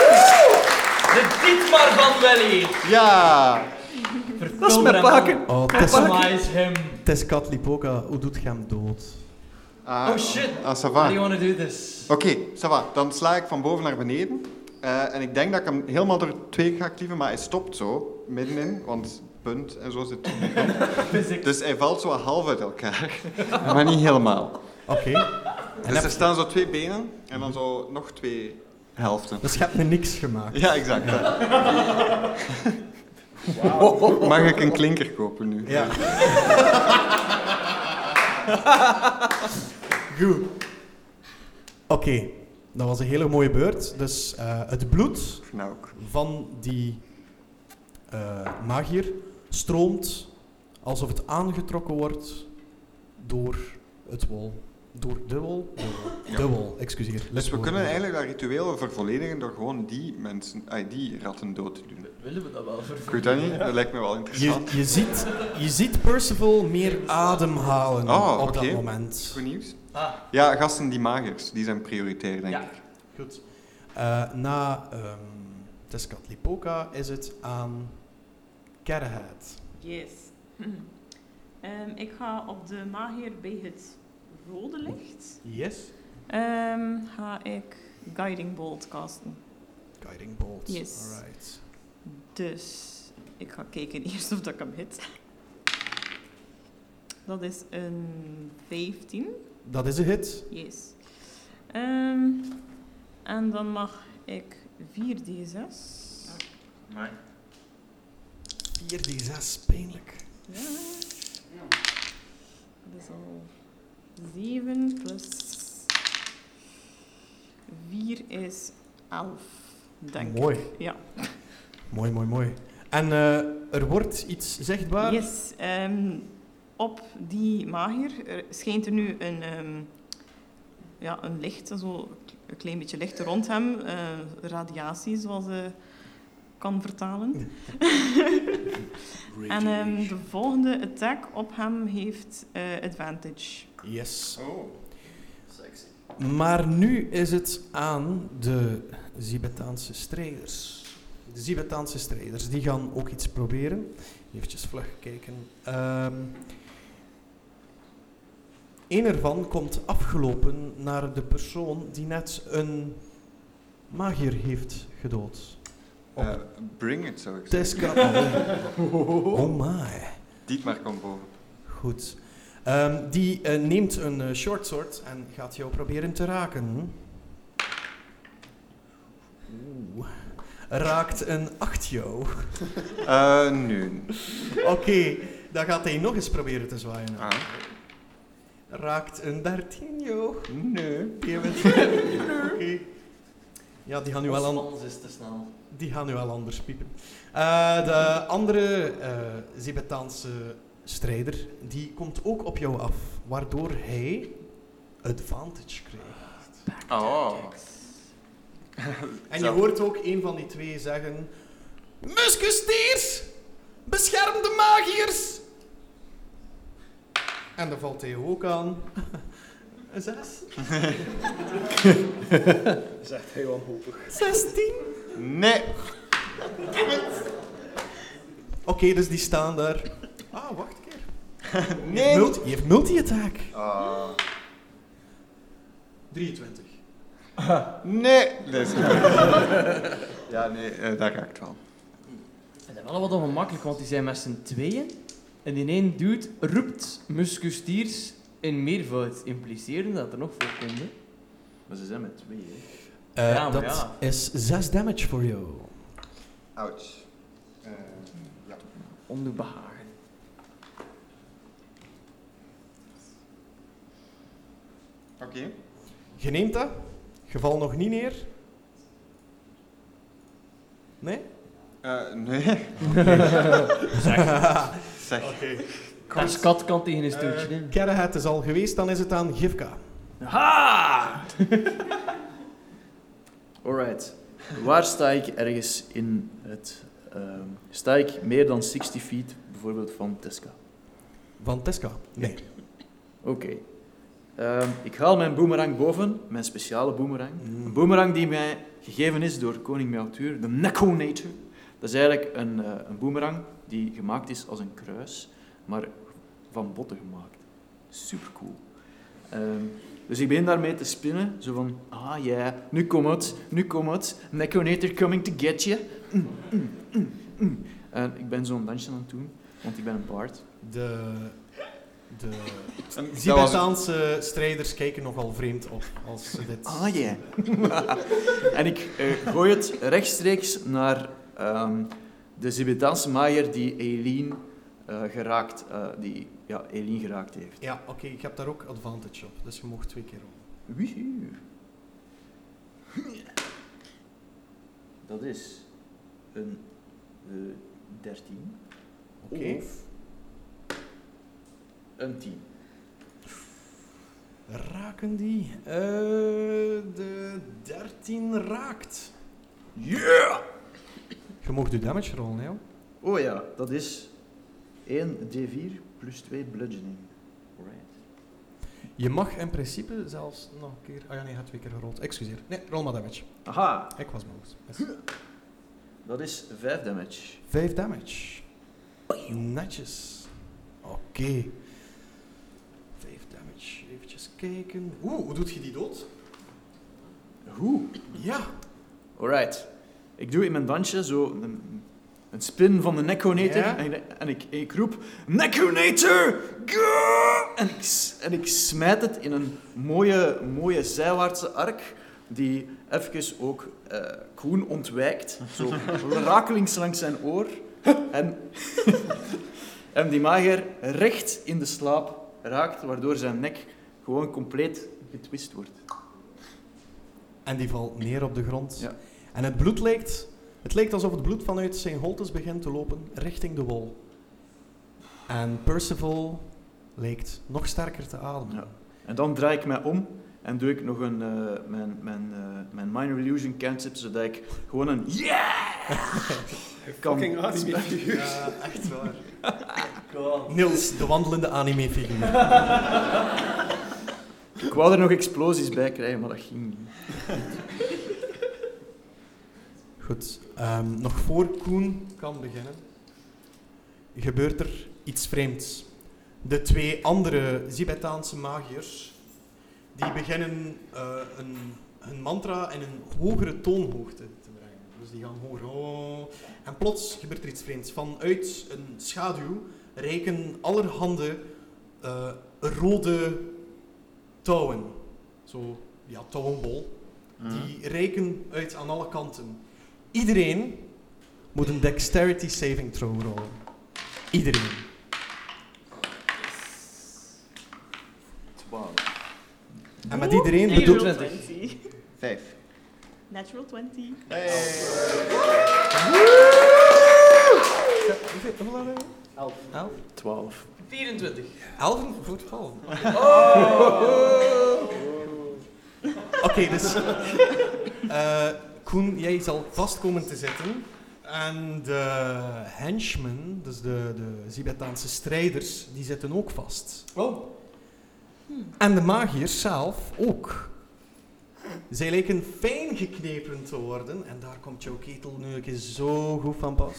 S1: De Dietmar van Welly!
S6: Ja!
S1: Dat is mijn pakken!
S3: Oh, het is,
S1: Customize him!
S3: het is Katlipoca. Hoe doet je hem dood?
S6: Ah,
S1: Oh, shit.
S6: Ah, ça
S1: How
S6: va.
S1: do you wanna do this?
S6: Oké, ça va. Dan sla ik van boven naar beneden. Eh, en ik denk dat ik hem helemaal door twee ga klieven, maar hij stopt zo, middenin, want punt en zo zit het.
S1: Physics.
S6: Dus hij valt zo half uit elkaar, maar niet helemaal.
S3: Oké.
S6: Dus er staan zo twee benen en dan zo nog twee helften.
S3: Dus je hebt me niks gemaakt.
S6: Ja, exact. hè. Mag ik een klinker kopen nu?
S3: Ja. Goed. Oké, dat was een hele mooie beurt. Dus eh, het bloed
S6: Nou ook.
S3: van die eh, magier stroomt alsof het aangetrokken wordt door het wol. Door de wol? De wol,
S6: Ja.
S3: De wol, excuseer.
S6: Dus we
S3: Leswoord.
S6: kunnen eigenlijk dat ritueel vervolledigen door gewoon die mensen, ai, die ratten dood te doen.
S7: Willen we dat wel voor?
S6: Ik weet dat niet, dat lijkt me wel interessant.
S3: Je, je, ziet, je ziet Percival meer ademhalen
S6: Oh,
S3: op
S6: oké.
S3: dat moment.
S6: Goed nieuws.
S7: Ah.
S6: Ja, gasten die magers, die zijn prioritair, denk
S3: Ja.
S6: ik.
S3: Goed. Eh, na ehm Tezcatlipoca is het aan Kerrehead.
S8: Yes. Ehm, ik ga op de magier bij het rode licht.
S3: Yes.
S8: Ehm, ga ik Guiding Bolt casten.
S3: Guiding Bolt.
S8: Yes.
S3: Alright.
S8: Dus ik ga kijken eerst of dat ik hem hit. Dat is een 15.
S3: Dat is een hit.
S8: Yes. Ehm, en dan mag ik 4d6.
S3: 4d6, pijnlijk.
S8: Ja. Dat is al 7 plus 4 is 11, denk ik.
S3: mooi.
S8: Ja.
S3: Mooi, mooi, mooi. En eh, er wordt iets zichtbaar.
S8: Yes, ehm, op die magier er schijnt er nu een, ehm, ja, een licht, zo een klein beetje licht rond hem, eh, radiatie zoals ze kan vertalen. en ehm, de volgende attack op hem heeft eh, advantage.
S3: Yes.
S6: Oh.
S12: Sexy.
S3: Maar nu is het aan de Zibetaanse strijders. De Zibetaanse strijders, die gaan ook iets proberen. Eventjes vlug kijken. Ehm Eén ervan komt afgelopen naar de persoon die net een magier heeft gedood. Op
S6: Eh, bring it, zou ik zeggen.
S3: Tesca. Oh my.
S6: Dietmar komt boven.
S3: Goed. Ehm, die eh, neemt een eh, short sword en gaat jou proberen te raken. Oeh. Raakt een 8 jou.
S6: Eh, nu.
S3: Oké, dan gaat hij nog eens proberen te zwaaien.
S6: Ah.
S3: Raakt een 13 jou.
S6: Nee.
S3: Je bent- Oké. Ja, die gaan nu wel aan
S7: Alles is te snel.
S3: Die gaan nu wel anders piepen. Eh, de andere eh Zibetaanse strijder, die komt ook op jou af, waardoor hij advantage kreeg.
S6: Oh.
S3: En je
S6: Zo.
S3: hoort ook een van die twee zeggen... Muskustiers! Bescherm de magiërs! En daar valt hij ook aan. Een zes?
S4: Zegt heel wanhopig.
S3: Zestien?
S6: Nee.
S3: Oké, dus die staan daar. Ah, wacht een keer.
S6: Nee.
S3: Multi- je heeft multi-attack.
S6: Ah.
S3: 23.
S6: Nee. Dat is ja, nee, eh, dat raakt wel.
S1: Dat is wel wat ongemakkelijk, want die zijn met z'n tweeën. En in één dude roept muskustiers in meervoud, implicerende dat er nog voor konden.
S7: Maar ze zijn met twee, hè.
S3: Eh,
S7: Ja, maar
S3: dat
S7: ja.
S3: is 6 damage voor jou.
S6: Ouch. Eh, ja.
S1: Ondoe behagen.
S6: Oké.
S3: Je neemt dat. Geval nog niet neer. Nee?
S6: Eh, nee. Zeg.
S1: Als kat kan tegen een stootje nemen.
S3: Kerrehead is al geweest, dan is het aan Gifka.
S7: Ha! Alright. Waar sta ik ergens in het... ehm, sta ik meer dan 60 feet bijvoorbeeld van Tesca?
S3: Van Tesca? Nee.
S7: Oké. Ehm, ik haal mijn boemerang boven, mijn speciale boemerang.
S3: Mm.
S7: Een boemerang die mij gegeven is door koning Meltuur, de Neconator. Dat is eigenlijk een, eh, een boemerang die gemaakt is als een kruis, maar van botten gemaakt. Supercool. Ehm, dus ik begin daarmee te spinnen, zo van, ah ja, nu komt het, nu komt het, Neconator coming to get you. Mm, mm, mm, mm. En ik ben zo'n dansje aan het doen, want ik ben een bard.
S3: De De
S6: En dat was-
S3: Tibetaanse strijders kijken nogal vreemd op als ze dit...
S7: Ah ja. en ik eh, gooi het rechtstreeks naar ehm, de Zibetaanse maaier die Eileen eh, geraakt, eh, die, ja, Eileen geraakt heeft.
S3: Ja, oké, ik heb daar ook advantage op, dus je mocht twee keer rollen.
S7: Wiehoe. Dat is een eh, 13.
S3: Oké.
S7: Of een 10.
S3: Raken die? Eh, de 13 raakt.
S7: Yeah!
S3: Je mocht je damage rollen, hè? joh.
S7: Oh ja, dat is 1 d4 plus 2 bludgeoning. Alright.
S3: Je mag in principe zelfs nog een keer... Ah ja, nee, je hebt twee keer gerold. Excuseer. Nee, rol maar damage.
S7: Aha,
S3: Ik was boos. Yes.
S7: dat is 5 damage.
S3: Vijf damage. Netjes. Oké. Vijf damage. Eventjes kijken. Oeh, hoe doet je die dood?
S7: Hoe?
S3: Ja.
S7: Alright. Ik doe in mijn dansje zo een, een spin van de Neconator.
S3: Ja.
S7: En, ik- en ik, ik roep: Neconator! Go! En ik, s- en ik smijt het in een mooie, mooie zijwaartse arc. Die even ook eh, Koen ontwijkt. Zo rakelings langs zijn oor. En, en die mager recht in de slaap raakt, waardoor zijn nek gewoon compleet getwist wordt.
S3: En die valt neer op de grond.
S7: Ja.
S3: En het bloed lijkt... Het lijkt alsof het bloed vanuit zijn holtes begint te lopen richting de wol. En Percival lijkt nog sterker te ademen.
S7: Ja. En dan draai ik mij om en doe ik nog een, eh, mijn, mijn, eh, mijn minor illusion cantrip, zodat ik gewoon een yeah kan.
S4: Fucking anime figuur.
S3: Eh, echt waar. Niels, de wandelende anime-figuur.
S7: Ik wou er nog explosies bij krijgen, maar dat ging niet.
S3: Goed, ehm, nog voor Koen kan beginnen, gebeurt er iets vreemds. De twee andere Zibetaanse magiërs, die beginnen eh, een, hun mantra in een hogere toonhoogte te brengen. Dus die gaan hoger. Oh. En plots gebeurt er iets vreemds. Vanuit een schaduw reiken allerhande eh, rode touwen. Zo, ja, touwenbol. Die reiken uit aan alle kanten. Iedereen moet een dexterity saving throw rollen. Iedereen.
S7: 12.
S3: En met iedereen
S8: Natural
S3: bedoel
S8: 20.
S7: 5.
S8: Natural 20.
S3: Hoeveel hadden we? Elf. Elf?
S7: 12.
S13: 24.
S3: Elf voor het vallen. Oké, dus... eh, Koen, jij zal vast komen te zitten. En de henchmen, dus de, de Zibetaanse strijders, die zitten ook vast. Hm.
S14: Oh.
S3: En de magiërs zelf ook. Zij lijken fijn geknepen te worden. En daar komt jouw ketel nu een keer zo goed van pas.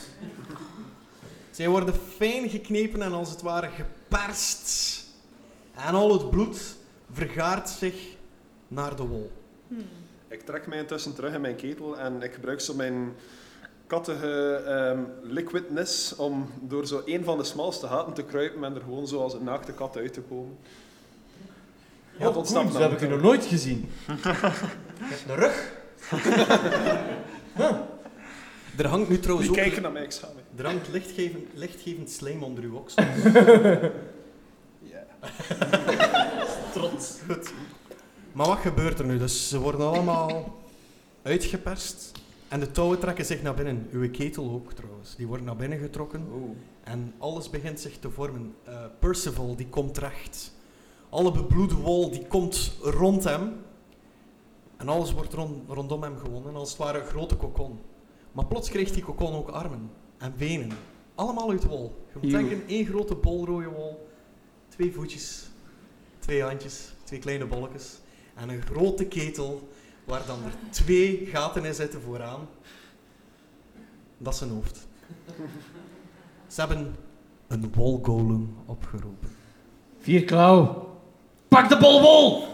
S3: Zij worden fijn geknepen en als het ware geperst. En al het bloed vergaart zich naar de wol.
S4: Ik trek mij intussen terug in mijn ketel en ik gebruik zo mijn kattige ehm, liquidness om door zo een van de smalste gaten te kruipen en er gewoon zo als een naakte kat uit te komen. Ja, dat
S1: Koen,
S4: ontsnapt
S1: zo heb ik u nog
S4: namelijk.
S1: nooit gezien. Met een rug.
S3: Er hangt nu trouwens
S4: Die
S3: ook...
S4: kijken naar mij, ik schaam me.
S3: Er hangt lichtgevend, lichtgevend slijm onder uw oksels.
S4: Ja.
S3: Trots. Goed. Maar wat gebeurt er nu? Dus ze worden allemaal uitgeperst. En de touwen trekken zich naar binnen. Uw ketel ook trouwens. Die wordt naar binnen getrokken. En alles begint zich te vormen. Eh, Percival, die komt recht. Alle bebloede wol, die komt rond hem. En alles wordt rond, rondom hem gewonnen. Als het ware een grote kokon. Maar plots kreeg die kokon ook armen. En benen. Allemaal uit wol. Je moet
S1: Eeuw.
S3: denken, één grote bol rode wol. Twee voetjes. Twee handjes. Twee kleine bolletjes. En een grote ketel. Waar dan er twee gaten in zitten vooraan. Dat is zijn hoofd. Ze hebben een wolgolem opgeroepen.
S1: Vierklauw. Pak de bol wol!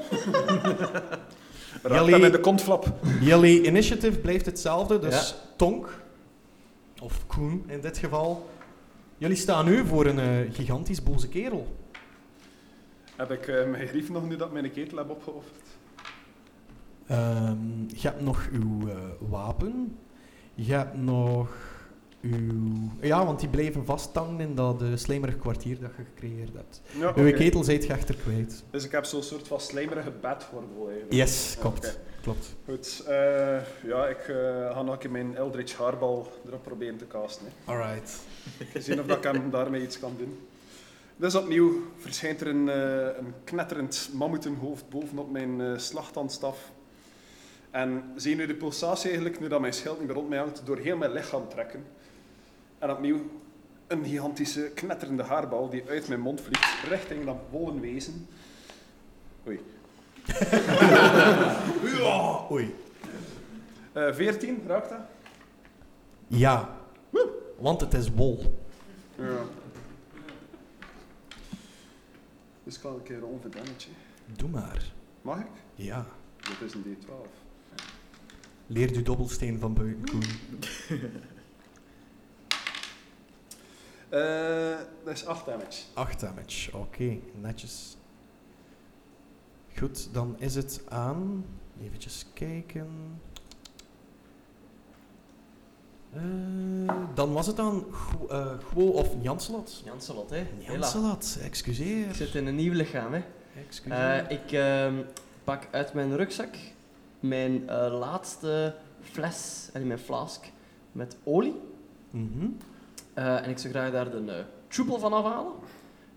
S4: Raak
S3: Jullie-
S4: hem in de kontflap.
S3: Jullie initiative blijft hetzelfde, dus Tonk, of Koen in dit geval. Jullie staan nu voor een eh, gigantisch boze kerel.
S4: Heb ik eh, mijn grief nog nu dat ik mijn ketel heb opgeofferd?
S3: Ehm, je hebt nog uw eh, wapen. Je hebt nog uw... Ja, want die blijven vasthangen in dat eh slijmerig kwartier dat je gecreëerd hebt.
S4: Ja,
S3: Uw
S4: oké.
S3: ketel zijt je echter kwijt.
S4: Dus ik heb zo'n soort van slijmerige bedgordel eigenlijk.
S3: Yes,
S4: Ja,
S3: klopt.
S4: oké.
S3: Klopt.
S4: Goed, eh, ja, ik eh, ga nog een keer mijn Eldritch Haarbal erop proberen te casten. Hè.
S3: Alright.
S4: Te zien of dat ik hem daarmee iets kan doen. Dus opnieuw verschijnt er een, eh, een knetterend mammoetenhoofd bovenop mijn eh slachtandstaf. En zie nu de pulsatie eigenlijk, nu dat mijn schild niet meer rond mij hangt, door heel mijn lichaam trekken. En opnieuw een gigantische knetterende haarbal die uit mijn mond vliegt richting dat wollen wezen. Oei.
S3: Ja, oei.
S4: Eh 14, raakt dat?
S3: Ja. Want het is wol.
S4: Ja. Dus ik kan een keer een damage.
S3: Doe maar.
S4: Mag ik?
S3: Ja.
S4: Dit is een D12.
S3: Leer je dobbelsteen van buiten, Koen.
S4: Eh, dat is 8 damage.
S3: 8 damage. Oké, netjes. Goed, dan is het aan. Even kijken. Eh, dan was het aan Gwo eh, Gwo of Janselot.
S1: Janselot, hè? Hela.
S3: Janselot,
S1: Ik
S3: excuseer.
S1: zit in een nieuw lichaam, hè?
S3: excuseer.
S1: Eh, ik ehm, pak uit mijn rugzak mijn eh, laatste fles, en mijn flask, met olie.
S3: Mhm.
S1: Eh, en ik zou graag daar de eh troepel van afhalen.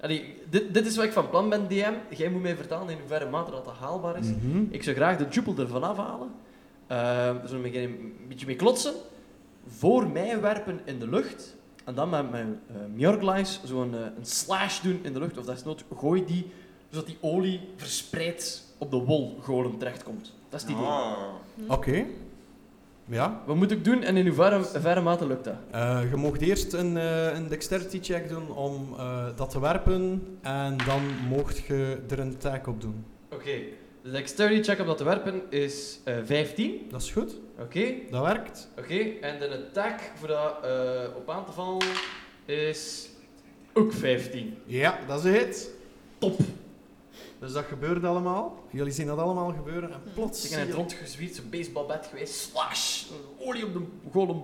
S1: Allee, dit, dit is wat ik van plan ben, DM. Jij moet mij vertalen in hoeverre mate dat, dat haalbaar is.
S3: Mhm.
S1: Ik zou graag de jubel ervan afhalen. Eh we zullen beginnen een beetje mee klotsen. Voor mij werpen in de lucht. En dan met mijn eh Mjörglice zo'n eh, een slash doen in de lucht. Of desnoods gooi die, zodat die olie verspreid op de wolgolen terechtkomt. Dat is die idee.
S6: Oh.
S3: Oké. Ja.
S1: Wat moet ik doen en in hoeverre in verre mate lukt dat?
S3: Eh, je mocht eerst een, eh, een dexterity check doen om eh, dat te werpen. En dan mocht je er een taak op doen.
S1: Oké. De dexterity check om dat te werpen is eh, 15.
S3: Dat is goed.
S1: Oké.
S3: Dat werkt.
S1: Oké. En de attack voor dat eh, op aan te vallen is ook 15.
S3: Ja, dat is het.
S1: Top.
S3: Dus dat gebeurt allemaal. Jullie zien dat allemaal gebeuren en plots.
S1: Ik
S3: zie
S1: ben
S3: je-
S1: rondgezwierd, zo'n baseballbat geweest, slash, olie op de golem.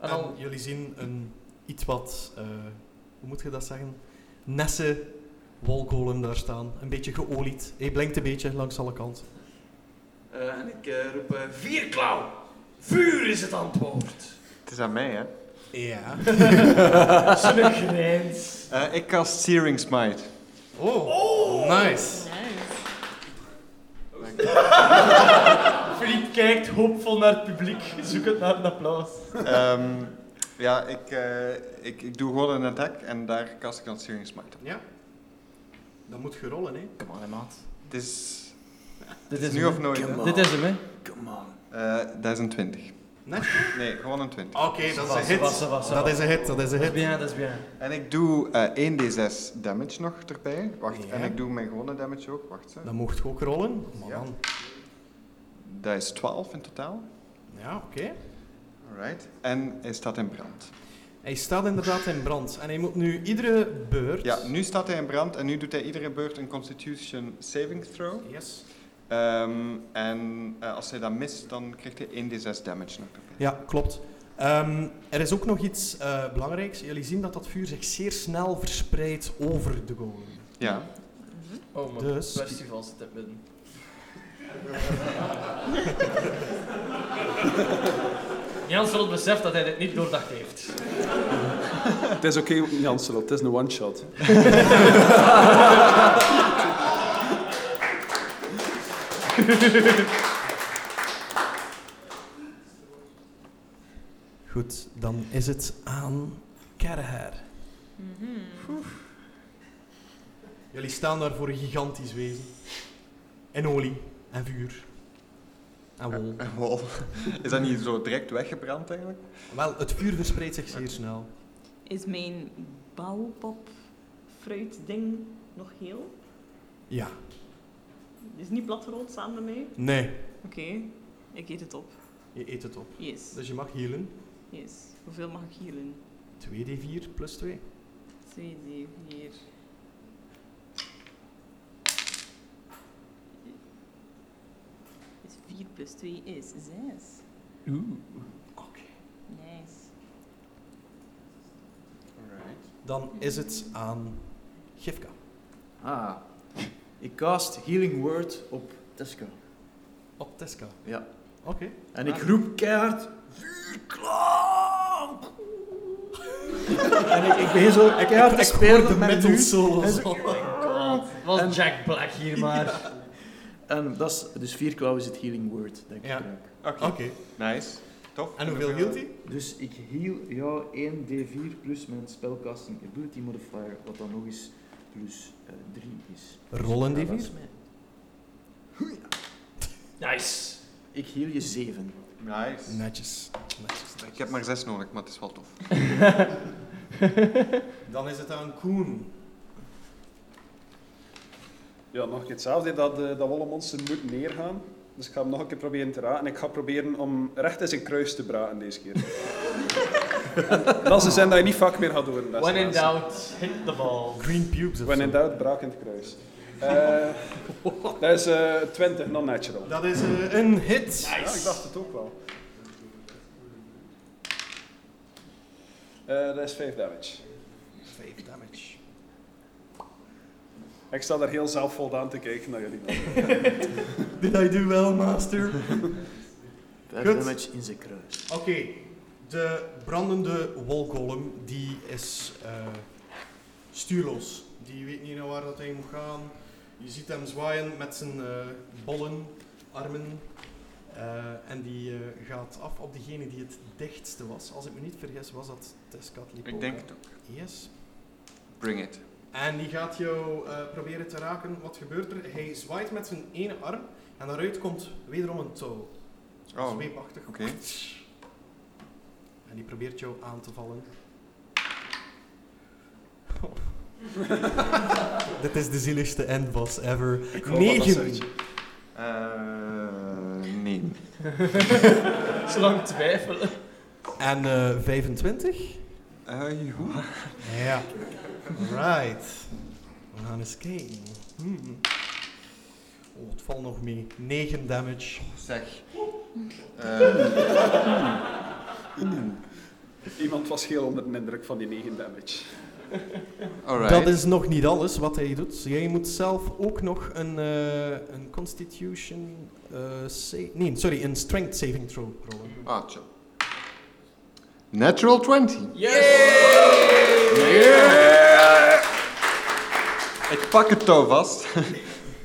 S1: En
S3: en
S1: Ah, dan,
S3: jullie zien een iets wat, eh, hoe moet je dat zeggen? Nesse wolgolem daar staan. Een beetje geolied. Hij blinkt een beetje langs alle kanten.
S15: Eh, en ik eh, roep eh, Vierklauw! Vuur is het antwoord!
S6: Het is aan mij, hè.
S3: Ja.
S1: zo'n grijns.
S6: Eh, ik cast Searing Smite.
S3: Oh, nice.
S8: Nice.
S1: Philippe kijkt hoopvol naar het publiek, zoekend naar een applaus.
S6: Ehm, ja, ik, eh, ik, ik doe gewoon een attack en daar cast ik dan Searing Smite op.
S3: Ja. Dan moet je rollen, hè.
S16: Come on, hè, maat.
S6: Het is,
S1: Dit
S6: nu of nooit, hè.
S1: Dit is hem, hè.
S15: Come on.
S6: Eh, dat is een 20.
S3: Net?
S6: Nee, gewoon een 20.
S3: Oké, dat is een hit.
S1: was, was,
S3: Dat is een hit, dat is een
S1: Dat is
S3: hit.
S1: bien, dat is bien.
S6: En ik doe eh 1d6 damage nog erbij. Wacht,
S3: Ja. Nou.
S6: en ik doe mijn gewone damage ook. Wacht, hè.
S3: Dan mocht je ook rollen. Maar
S6: Ja.
S3: dan-
S6: Dat is 12 in totaal.
S3: Ja, oké.
S6: Alright. En hij staat in brand.
S3: Hij staat inderdaad in brand. En hij moet nu iedere beurt...
S6: Ja, nu staat hij in brand en nu doet hij iedere beurt een Constitution saving throw.
S3: Yes.
S6: Ehm, en eh, als hij dat mist, dan krijgt hij 1d6 damage nog erbij.
S3: Ja, klopt. Ehm, er is ook nog iets eh, belangrijks. Jullie zien dat dat vuur zich zeer snel verspreidt over de golem.
S6: Ja.
S1: Oh, mijn
S3: Dus-
S1: festival zit in het midden. Jans Rot beseft dat hij dit niet doordacht heeft.
S4: Het is oké, Janselot. Het is een one-shot.
S3: Goed, dan is het aan Karaher. Jullie staan daar voor een gigantisch wezen. En olie. En vuur. En wol.
S6: Een wol. Is dat niet zo direct weggebrand eigenlijk?
S3: Wel, het vuur verspreidt zich zeer snel.
S8: Is mijn bouwpop fruitding nog heel?
S3: Ja.
S8: Is niet bladrood samen met mij?
S3: Nee.
S8: Oké, ik eet het op.
S3: Je eet het op.
S8: Yes.
S3: Dus je mag healen.
S8: yes. Hoeveel mag ik healen?
S3: 2d4 plus 2.
S8: 2, 4. 4 plus 2 is 6.
S1: Oeh.
S8: Nice.
S3: Dan is het aan Gifka.
S7: Ah. Ik cast Healing Word op Tesco.
S3: Op Tesca.
S7: Ja.
S3: Oké.
S7: En
S3: Ah.
S7: ik roep keihard... Vuurklamp! en ik, ik begin zo keihard te spelen met
S3: metal
S7: u.
S3: solo.
S7: En zo-
S1: Oh Was
S7: En-
S1: Jack Black hier maar.
S7: En dat is, dus vierklauw is het healing word dat ik
S3: Ja.
S7: gebruik.
S3: Oké.
S6: Nice. Tof.
S3: Oh. En hoeveel hield hij?
S7: Dus ik heal jou 1d4 plus mijn spellcasting ability modifier, wat dan nog eens plus 3 is. Dus
S3: Rollen die
S7: Dat was
S3: vier?
S7: mij.
S1: Nice.
S7: Ik heal je 7.
S6: Nice.
S3: Netjes. Netjes.
S6: Ik heb maar zes nodig, maar het is wel tof.
S3: Dan is het aan Koen.
S4: Ja, nog een keer hetzelfde. Dat, eh, dat wollen monster moet neergaan. Dus ik ga hem nog een keer proberen te raken. En ik ga proberen om recht in zijn kruis te braken deze keer. En dat is een zin dat je niet vaak meer gaat horen. beste
S1: When in
S4: mensen.
S1: doubt, hit the ball.
S3: Green pubes of
S4: When
S3: zo.
S4: in doubt, braak in het kruis. Eh, dat is eh 20, non-natural.
S3: Dat is eh, een hit.
S4: Ja, ik dacht het ook wel. Eh, dat is 5 damage.
S3: 5 damage.
S4: Ik sta daar heel zelfvoldaan te kijken naar jullie.
S3: Did I do well, master? Goed.
S7: damage in zijn kruis.
S3: Oké, de brandende wolkolom die is eh, stuurloos. Die weet niet naar waar dat hij moet gaan. Je ziet hem zwaaien met zijn eh, bollen, armen. Eh, en die eh, gaat af op degene die het dichtste was. Als ik me niet vergis, was dat Tescat Lipo.
S6: Ik denk het ook.
S3: Yes.
S6: Bring it.
S3: En die gaat jou eh, proberen te raken. Wat gebeurt er? Hij zwaait met zijn ene arm en daaruit komt wederom een touw.
S6: Oh,
S3: Zweepachtig.
S6: oké.
S3: En die probeert jou aan te vallen. Dit is de zieligste endboss ever.
S4: hoor dat
S3: Negen.
S4: soundje.
S6: Eh, nee.
S1: Zolang twijfelen.
S3: En eh, 25?
S6: Eh, joh.
S3: Ja. Right. We gaan eens kijken. Hmm. Oh, het valt nog mee. 9 damage.
S6: zeg. Eh,
S4: Iemand was heel onder de indruk van die 9 damage.
S6: alright.
S3: Dat is nog niet alles wat hij doet. Jij moet zelf ook nog een, eh, een Constitution. eh, sa- nee, sorry, een Strength Saving Throw rollen.
S6: Ah, chill. Natural 20. Ik pak het touw vast.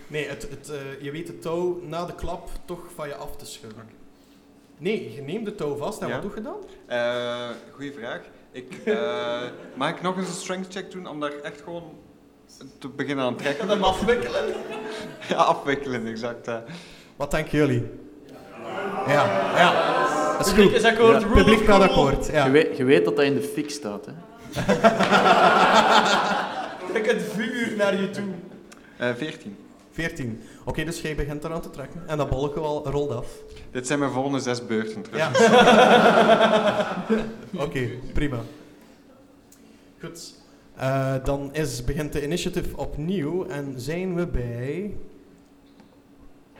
S3: Nee, het, het, eh, je weet het touw na de klap toch van je af te schudden. Nee, je neemt de touw vast en
S6: Ja.
S3: wat doe je dan?
S6: Eh goeie vraag. Ik, eh, mag ik nog eens een strength check doen om daar echt gewoon te beginnen aan te trekken? hem afwikkelen? ja, afwikkelen, exact. hè.
S3: Wat denken jullie? Ja, ja. Dat is
S1: Publiek
S3: goed.
S1: is akkoord.
S3: Het
S1: rule
S3: publiek
S1: of
S3: gaat
S1: cool.
S3: akkoord.
S7: Je,
S3: Ja.
S7: weet, je weet dat dat in de fik staat, hè?
S1: Trek het vuur naar je toe.
S6: Eh 14.
S3: 14. Oké, dus jij begint eraan te trekken. En dat bolletje wel rolt af.
S6: Dit zijn mijn volgende zes beurten terug.
S3: Ja. Oké, prima. Goed. Eh, dan is, begint de initiative opnieuw en zijn we bij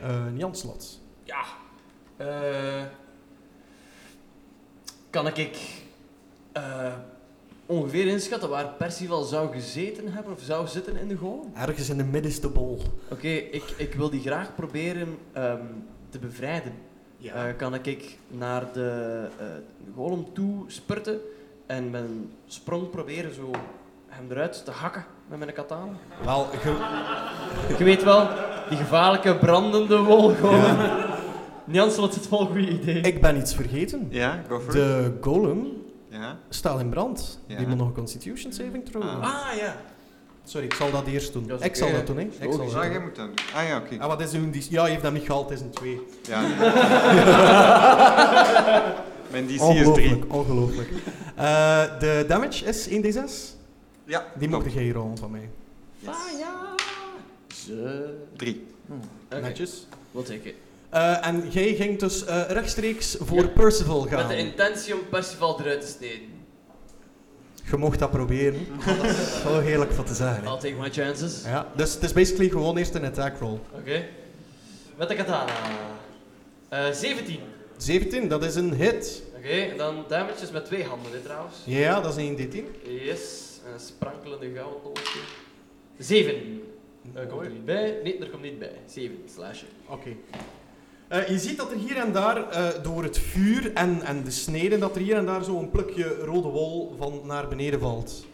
S3: eh Janslot.
S1: Ja. Eh, kan ik eh, ongeveer inschatten waar Percival zou gezeten hebben of zou zitten in de goal?
S3: Ergens in de middenste bol.
S1: Oké, ik, ik wil die graag proberen ehm, te bevrijden. Eh, kan ik naar de eh, golem toe spurten en met een sprong proberen zo hem eruit te hakken met mijn katana?
S3: Wel, ge-
S1: Je weet wel, die gevaarlijke brandende wolgolem. Jans, wat is het wel een goed idee?
S3: ik ben iets vergeten.
S6: Ja, go for it.
S3: De golem
S6: Ja.
S3: staat in brand.
S6: Ja.
S3: Die moet nog een constitution saving throw doen.
S6: Ah.
S1: Ah ja.
S3: Sorry, ik zal dat eerst doen.
S1: Dat is
S3: ik
S1: oké,
S3: zal
S1: hè.
S3: dat doen, hè. Ik zal dat
S6: Ah,
S3: doen.
S6: jij moet dan. Ah ja, oké.
S3: Ah, wat is uw... die- Ja, je heeft dat niet gehaald, het is een 2.
S6: Ja. Mijn DC is 3.
S3: Ongelooflijk, ongelooflijk. Eh, de damage is 1d6.
S6: Ja,
S3: Die
S6: klopt.
S3: mocht jij rollen van mij.
S1: Ah ja.
S7: Ze...
S6: Drie.
S1: Oké,
S3: Netjes.
S1: we'll take it.
S3: Eh, en jij ging dus eh, rechtstreeks voor
S1: Ja.
S3: Percival
S1: Met
S3: gaan.
S1: de intentie om Percival eruit te snijden.
S3: Je mocht dat proberen. dat is wel heerlijk van te zeggen. hè.
S1: I'll take my chances.
S3: Ja, dus het is basically gewoon eerst een attack roll.
S1: Oké. Met de katana.
S17: Eh, 17.
S3: 17, dat is een hit.
S17: Oké, dan damages met twee handen, dit trouwens.
S3: Ja, dat is een D10.
S17: Yes, een sprankelende gouden dolfje. 7. Eh komt er niet bij? Nee, er komt niet bij. 7 slashen.
S3: Oké. Eh, je ziet dat er hier en daar eh, door het vuur en, en de sneden, dat er hier en daar zo'n plukje rode wol van naar beneden valt.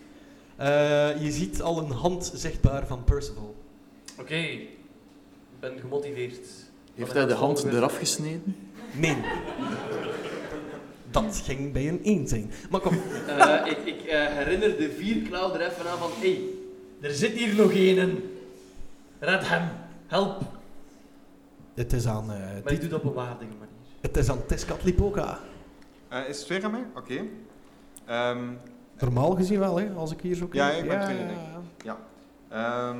S3: Eh, je ziet al een hand zichtbaar van Percival.
S17: Oké, ik ben gemotiveerd.
S7: Heeft hij de hand eraf gesneden?
S3: Nee. Dat ging bij een één zijn. Maar kom.
S11: Eh, ik ik eh, herinner de vier klauw er even aan van, hey,
S17: Er zit hier nog één. Red hem. Help.
S3: Het is aan, eh,
S17: Maar ik doe dat op een waardige manier.
S3: het is aan Tiscatlipoca.
S6: Eh, is het weer aan mij? Oké. Ehm,
S3: Normaal gezien wel, hè, als ik hier zo kijk.
S6: Ja, ik ben tweede, denk ik. Ehm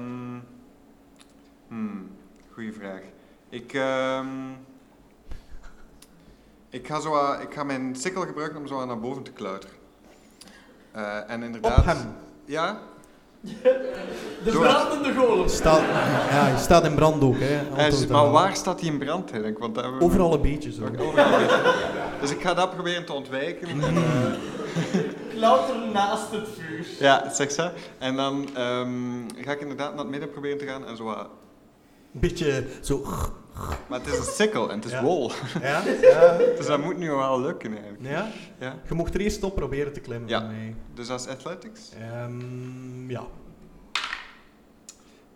S6: hmm, goeie vraag. Ik, ehm, ik, ga zo, wat- ik ga mijn sikkel gebruiken om zo wat naar boven te klauteren. Eh, en inderdaad...
S3: Op hem.
S6: Ja,
S17: De
S6: Door-
S17: brandende golem.
S3: Staat, ja, hij staat in brand ook. Hè,
S6: hij is-
S3: Antwoord
S6: Eh, maar
S3: daaraan.
S6: waar staat hij in brand, Henk? Want daar hebben we-
S3: Overal een beetje zo.
S6: Oké, overal. dus ik ga dat proberen te ontwijken. En, eh,
S1: Klauter naast het vuur.
S6: ja, zeg zo. En dan ehm, ga ik inderdaad naar het midden proberen te gaan en zo wat-
S3: Beetje zo.
S6: Maar het is een sikkel en het is
S3: Ja.
S6: wol.
S3: Ja? ja.
S6: Dus dat moet nu wel lukken eigenlijk.
S3: ja?
S6: Ja.
S3: Je mocht er eerst op proberen te klimmen.
S6: Ja.
S3: Nee.
S6: Dus dat is athletics.
S3: Ehm, ja.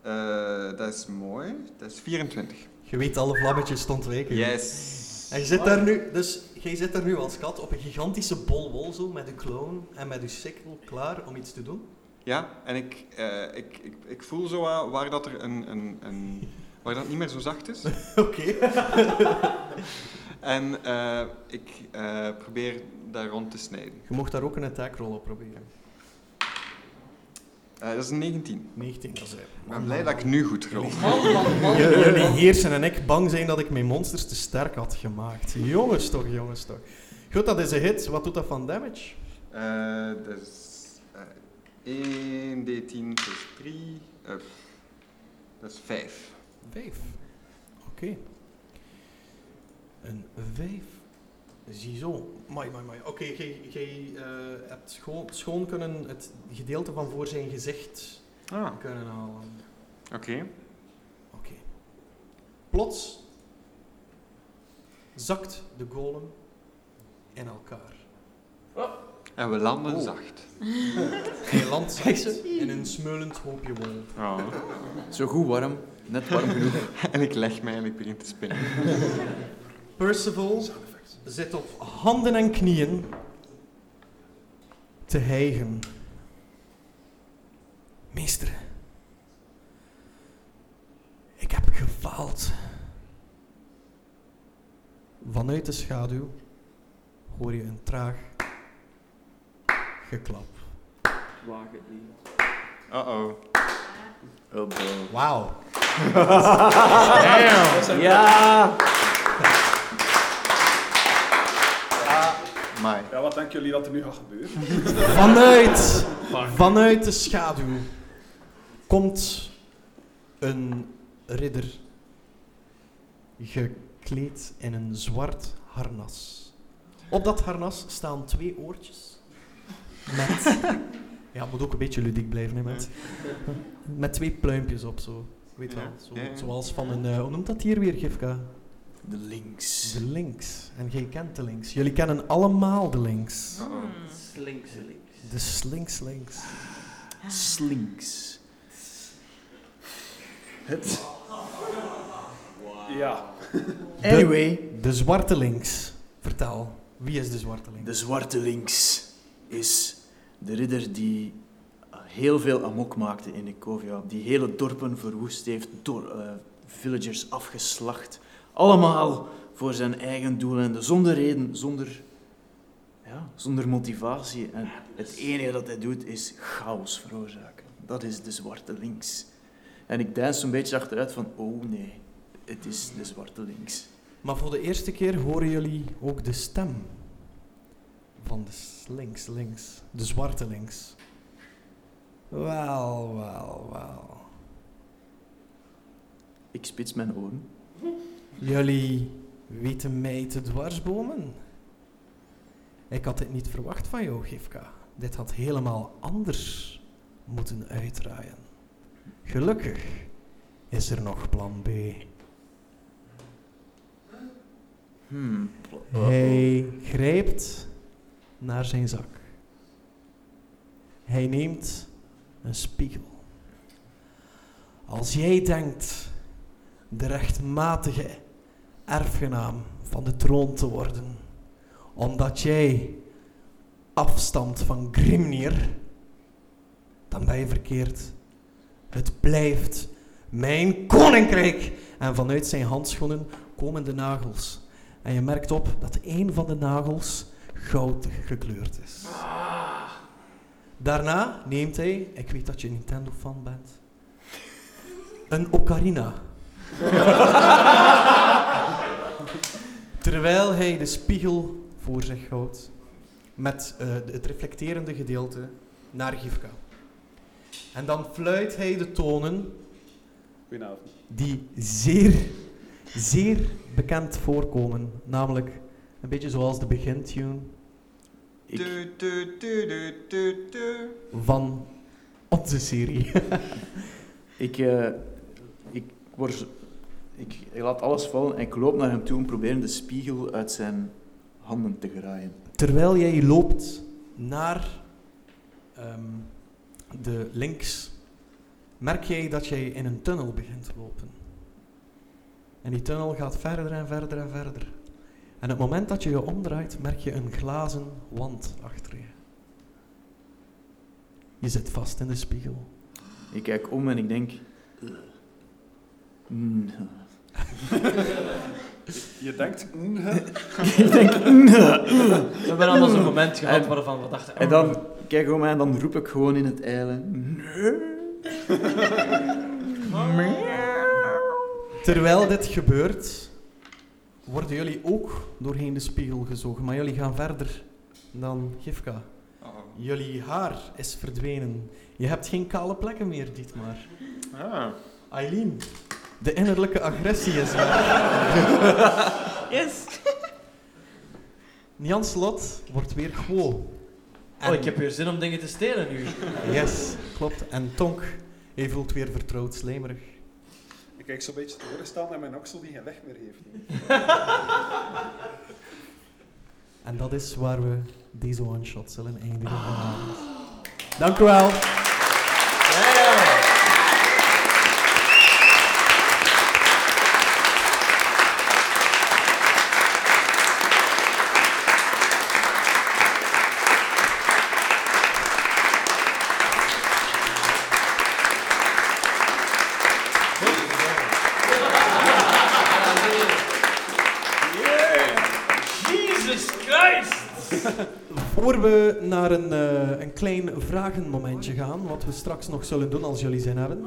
S6: Eh, dat is mooi. Dat is 24.
S3: Je weet alle vlammetjes te ontwijken.
S6: Yes.
S3: En je zit daar nu, dus jij zit daar nu als kat op een gigantische bol wol zo met een clown en met een sikkel klaar om iets te doen.
S6: Ja, en ik, eh, ik, ik, ik voel zo wat waar dat er een, een, een waar dat niet meer zo zacht is.
S3: Oké.
S6: En eh, ik eh, probeer daar rond te snijden.
S3: Je mocht daar ook een attack roll op proberen.
S6: Eh, dat is een 19.
S3: 19, dat is hij.
S6: Ik ben blij dat ik nu goed rol.
S3: J- Jullie heersen en ik bang zijn dat ik mijn monsters te sterk had gemaakt. Jongens toch, jongens toch. Goed, dat is een hit. Wat doet dat van damage?
S6: Eh, dat is eh 1 d10 plus 3. eh, dat is 5.
S3: Vijf. Oké. Een vijf. Ziezo. Mooi, mooi, mooi. Oké, jij jij, eh, hebt schoon, schoon kunnen het gedeelte van voor zijn gezicht
S6: Ah,
S3: kunnen halen.
S6: oké.
S3: Oké. Plots zakt de golem in elkaar.
S6: En we landen zacht.
S3: Hij landt zacht in een smeulend hoopje wol.
S6: Oh.
S7: Zo goed warm. Net warm genoeg.
S6: en ik leg mij en ik begin te spinnen.
S3: Percival zit op handen en knieën te hijgen. Meester, ik heb gefaald. Vanuit de schaduw hoor je een traag geklap.
S11: waag het niet.
S6: Uh-oh.
S7: Oh,
S3: Wauw.
S7: Ja!
S6: My.
S4: Ja, wat denken jullie dat er nu gaat gebeuren?
S3: Vanuit, vanuit de schaduw komt een ridder gekleed in een zwart harnas. Op dat harnas staan twee oortjes. Met, ja, het moet ook een beetje ludiek blijven, hè, met, met twee pluimpjes op zo. Weet wel,
S6: Ja,
S3: zo,
S6: ja, ja.
S3: zoals van een, eh, hoe noemt dat hier weer, Gifka?
S7: De links.
S3: De links. En jij kent de links. Jullie kennen allemaal de links.
S6: Uh-oh.
S11: Slinks, slinks.
S3: De slinks links.
S7: Slinks. Het.
S4: Ja.
S7: Anyway.
S3: De zwarte links. Vertel, wie is de zwarte links?
S7: De zwarte links is de ridder die heel veel amok maakte in Ecovia. Die hele dorpen verwoest heeft, door eh, villagers afgeslacht. Allemaal voor zijn eigen doeleinden, zonder reden, zonder, ja, zonder motivatie. En het enige dat hij doet is chaos veroorzaken. Dat is de zwarte links. En ik deins een beetje achteruit van, oh nee, het is de zwarte links.
S3: Maar voor de eerste keer horen jullie ook de stem van de slinks links. De zwarte links. Wel, wel, wel.
S7: Ik spits mijn oren.
S3: Jullie Weten mij te dwarsbomen? Ik had dit niet verwacht van jou, Gifka. Dit had helemaal anders moeten uitdraaien. Gelukkig is er nog plan B.
S18: Hmm.
S3: Hij grijpt naar zijn zak. Hij neemt een spiegel. Als jij denkt de rechtmatige erfgenaam van de troon te worden, omdat jij afstamt van Grimnir, dan ben je verkeerd. Het blijft mijn koninkrijk. En vanuit zijn handschoenen komen de nagels. En je merkt op dat een van de nagels goud gekleurd is. Daarna neemt hij, ik weet dat je Nintendo-fan bent, een ocarina. Terwijl hij de spiegel voor zich houdt met eh, het reflecterende gedeelte naar Gifka. En dan fluit hij de tonen
S4: Goedenavond.
S3: die zeer, zeer bekend voorkomen. Namelijk een beetje zoals de begintune
S6: Du, du, du, du, du, du.
S3: van onze serie.
S7: Ik, eh, ik, word, ik, ik laat alles vallen en ik loop naar hem toe en probeer de spiegel uit zijn handen te graaien.
S3: Terwijl jij loopt naar ehm, de links, merk jij dat jij in een tunnel begint te lopen. En die tunnel gaat verder en verder en verder. En op het moment dat je je omdraait, merk je een glazen wand achter je. Je zit vast in de spiegel.
S7: Ik kijk om en ik denk... eh, mm,
S4: Je denkt, mm, hè.
S7: ik denk... mm, eh.
S19: We hebben allemaal zo'n moment gehad
S7: En-
S19: waarvan we dachten...
S7: En dan kijk ik om en dan roep ik gewoon in het eilen. "Mm." Nee.
S3: Terwijl dit gebeurt, worden jullie ook doorheen de spiegel gezogen. Maar jullie gaan verder dan Gifka.
S6: Oh.
S3: Jullie haar is verdwenen. Je hebt geen kale plekken meer, Dietmar.
S6: Ah.
S3: Eileen, de innerlijke agressie is weg.
S8: Yes.
S3: Jan Slot wordt weer Gwo.
S19: Oh, ik heb weer zin om dingen te stelen nu.
S3: Yes, klopt. En Tonk, je voelt weer vertrouwd, slijmerig.
S4: ik kijk zo'n beetje tevoren staan naar mijn oksel die geen weg meer heeft.
S3: En dat is waar we deze one-shot zullen eindigen vanavond. Dank u wel.
S1: Jesus Christ!
S3: Voor we naar een, eh, een klein vragenmomentje gaan, wat we straks nog zullen doen als jullie zin hebben,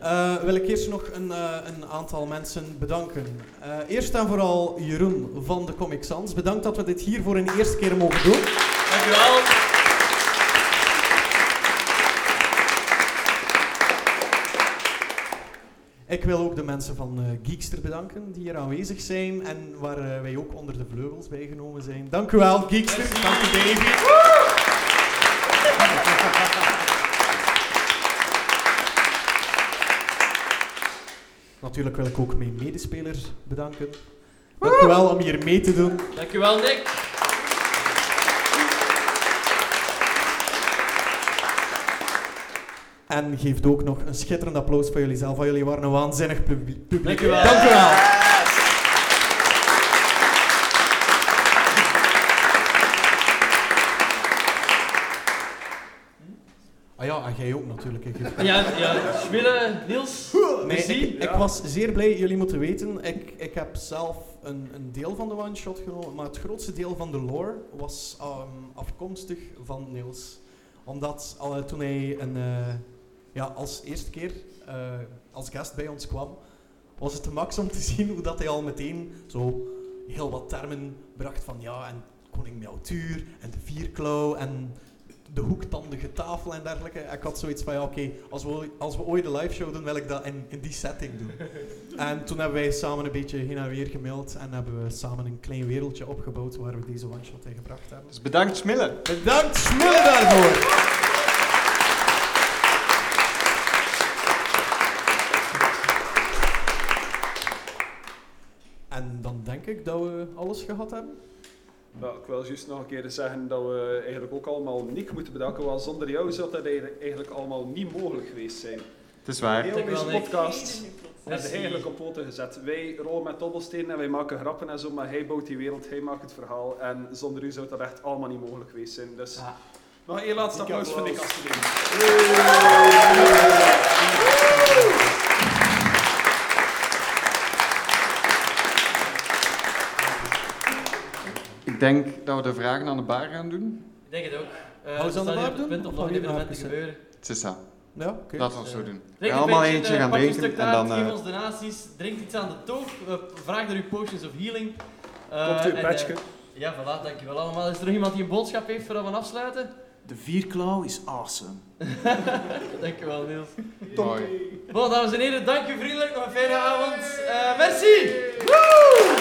S3: eh, wil ik eerst nog een, eh, een aantal mensen bedanken. Eh, eerst en vooral Jeroen van de Comic Sans. Bedankt dat we dit hier voor een eerste keer mogen doen.
S1: Dankjewel.
S3: Ik wil ook de mensen van eh, Geekster bedanken die hier aanwezig zijn en waar eh, wij ook onder de vleugels bijgenomen zijn. Dank u wel, Geekster. Dank u, Davy. Natuurlijk wil ik ook mijn medespelers bedanken. Dank u wel om hier mee te doen.
S1: Dankjewel, Nick.
S3: En geeft ook nog een schitterend applaus voor jullie zelf. want Jullie waren een waanzinnig publie- publiek.
S1: Dank u wel.
S3: Dank u wel. Ah ja, en jij ook natuurlijk. hè, Geert.
S1: Ja, ja. Schmille, Niels.
S3: Nee,
S1: Merci.
S3: ik, ik was zeer blij, jullie moeten weten, ik, ik heb zelf een, een deel van de one-shot genomen, maar het grootste deel van de lore was ehm, afkomstig van Niels. Omdat eh, toen hij een, eh, ja, als eerste keer eh, als gast bij ons kwam, was het te max om te zien hoe dat hij al meteen zo heel wat termen bracht van ja, en koning Miautuur en de vierklauw en de hoektandige tafel en dergelijke. Ik had zoiets van, ja, oké, als, we, als we ooit een live show doen, wil ik dat in, in die setting doen. en toen hebben wij samen een beetje heen en weer gemaild en hebben we samen een klein wereldje opgebouwd waar we deze one-shot in gebracht hebben.
S6: Dus bedankt, Smille.
S3: Bedankt Smille daarvoor! En dan denk ik dat we alles gehad hebben.
S4: Ja, Nou, ik wil juist nog een keer zeggen dat we eigenlijk ook allemaal Nick moeten bedanken, want zonder jou zou dat eigenlijk eigenlijk allemaal niet mogelijk geweest zijn.
S6: Het is waar.
S4: Heel
S1: Dankjewel,
S4: deze
S1: Nick.
S4: podcast is
S1: Merci.
S4: eigenlijk op poten gezet. Wij rollen met dobbelstenen en wij maken grappen en zo, maar hij bouwt die wereld, hij maakt het verhaal. En zonder u zou dat echt allemaal niet mogelijk geweest zijn. Dus
S1: Ah.
S4: nog één laatste applaus voor Nick alsjeblieft.
S6: Ik denk dat we de vragen aan de bar gaan doen.
S1: Ik denk het ook. Eh,
S3: Alles
S1: we
S3: aan de
S1: staan
S3: bar
S1: hier op het
S3: doen?
S1: punt om
S3: Of
S1: nog een
S3: alleen maar
S6: Ah,
S1: evenement te
S3: even-
S1: gebeuren.
S6: Het is dat.
S3: Ja, oké.
S6: Laten we het zo doen. We
S1: Drink
S6: gaan
S1: een
S6: allemaal
S1: beetje,
S6: eentje
S1: eh,
S6: gaan
S1: pak een
S6: drinken
S1: stuk
S6: en
S1: taart,
S6: dan... eh,
S1: Geef ons donaties, drink iets aan de toog, eh, vraag naar uw potions of healing. Eh,
S4: Komt u
S1: en,
S4: een
S1: eh,
S4: patchje.
S1: ja, voilà, dankjewel allemaal. Is er nog iemand die een boodschap heeft voordat we afsluiten?
S7: De vierklauw is awesome.
S1: Dankjewel, Niels.
S6: mooi.
S1: Bon, dames en heren, dank u vriendelijk. Nog een fijne avond. Eh, merci!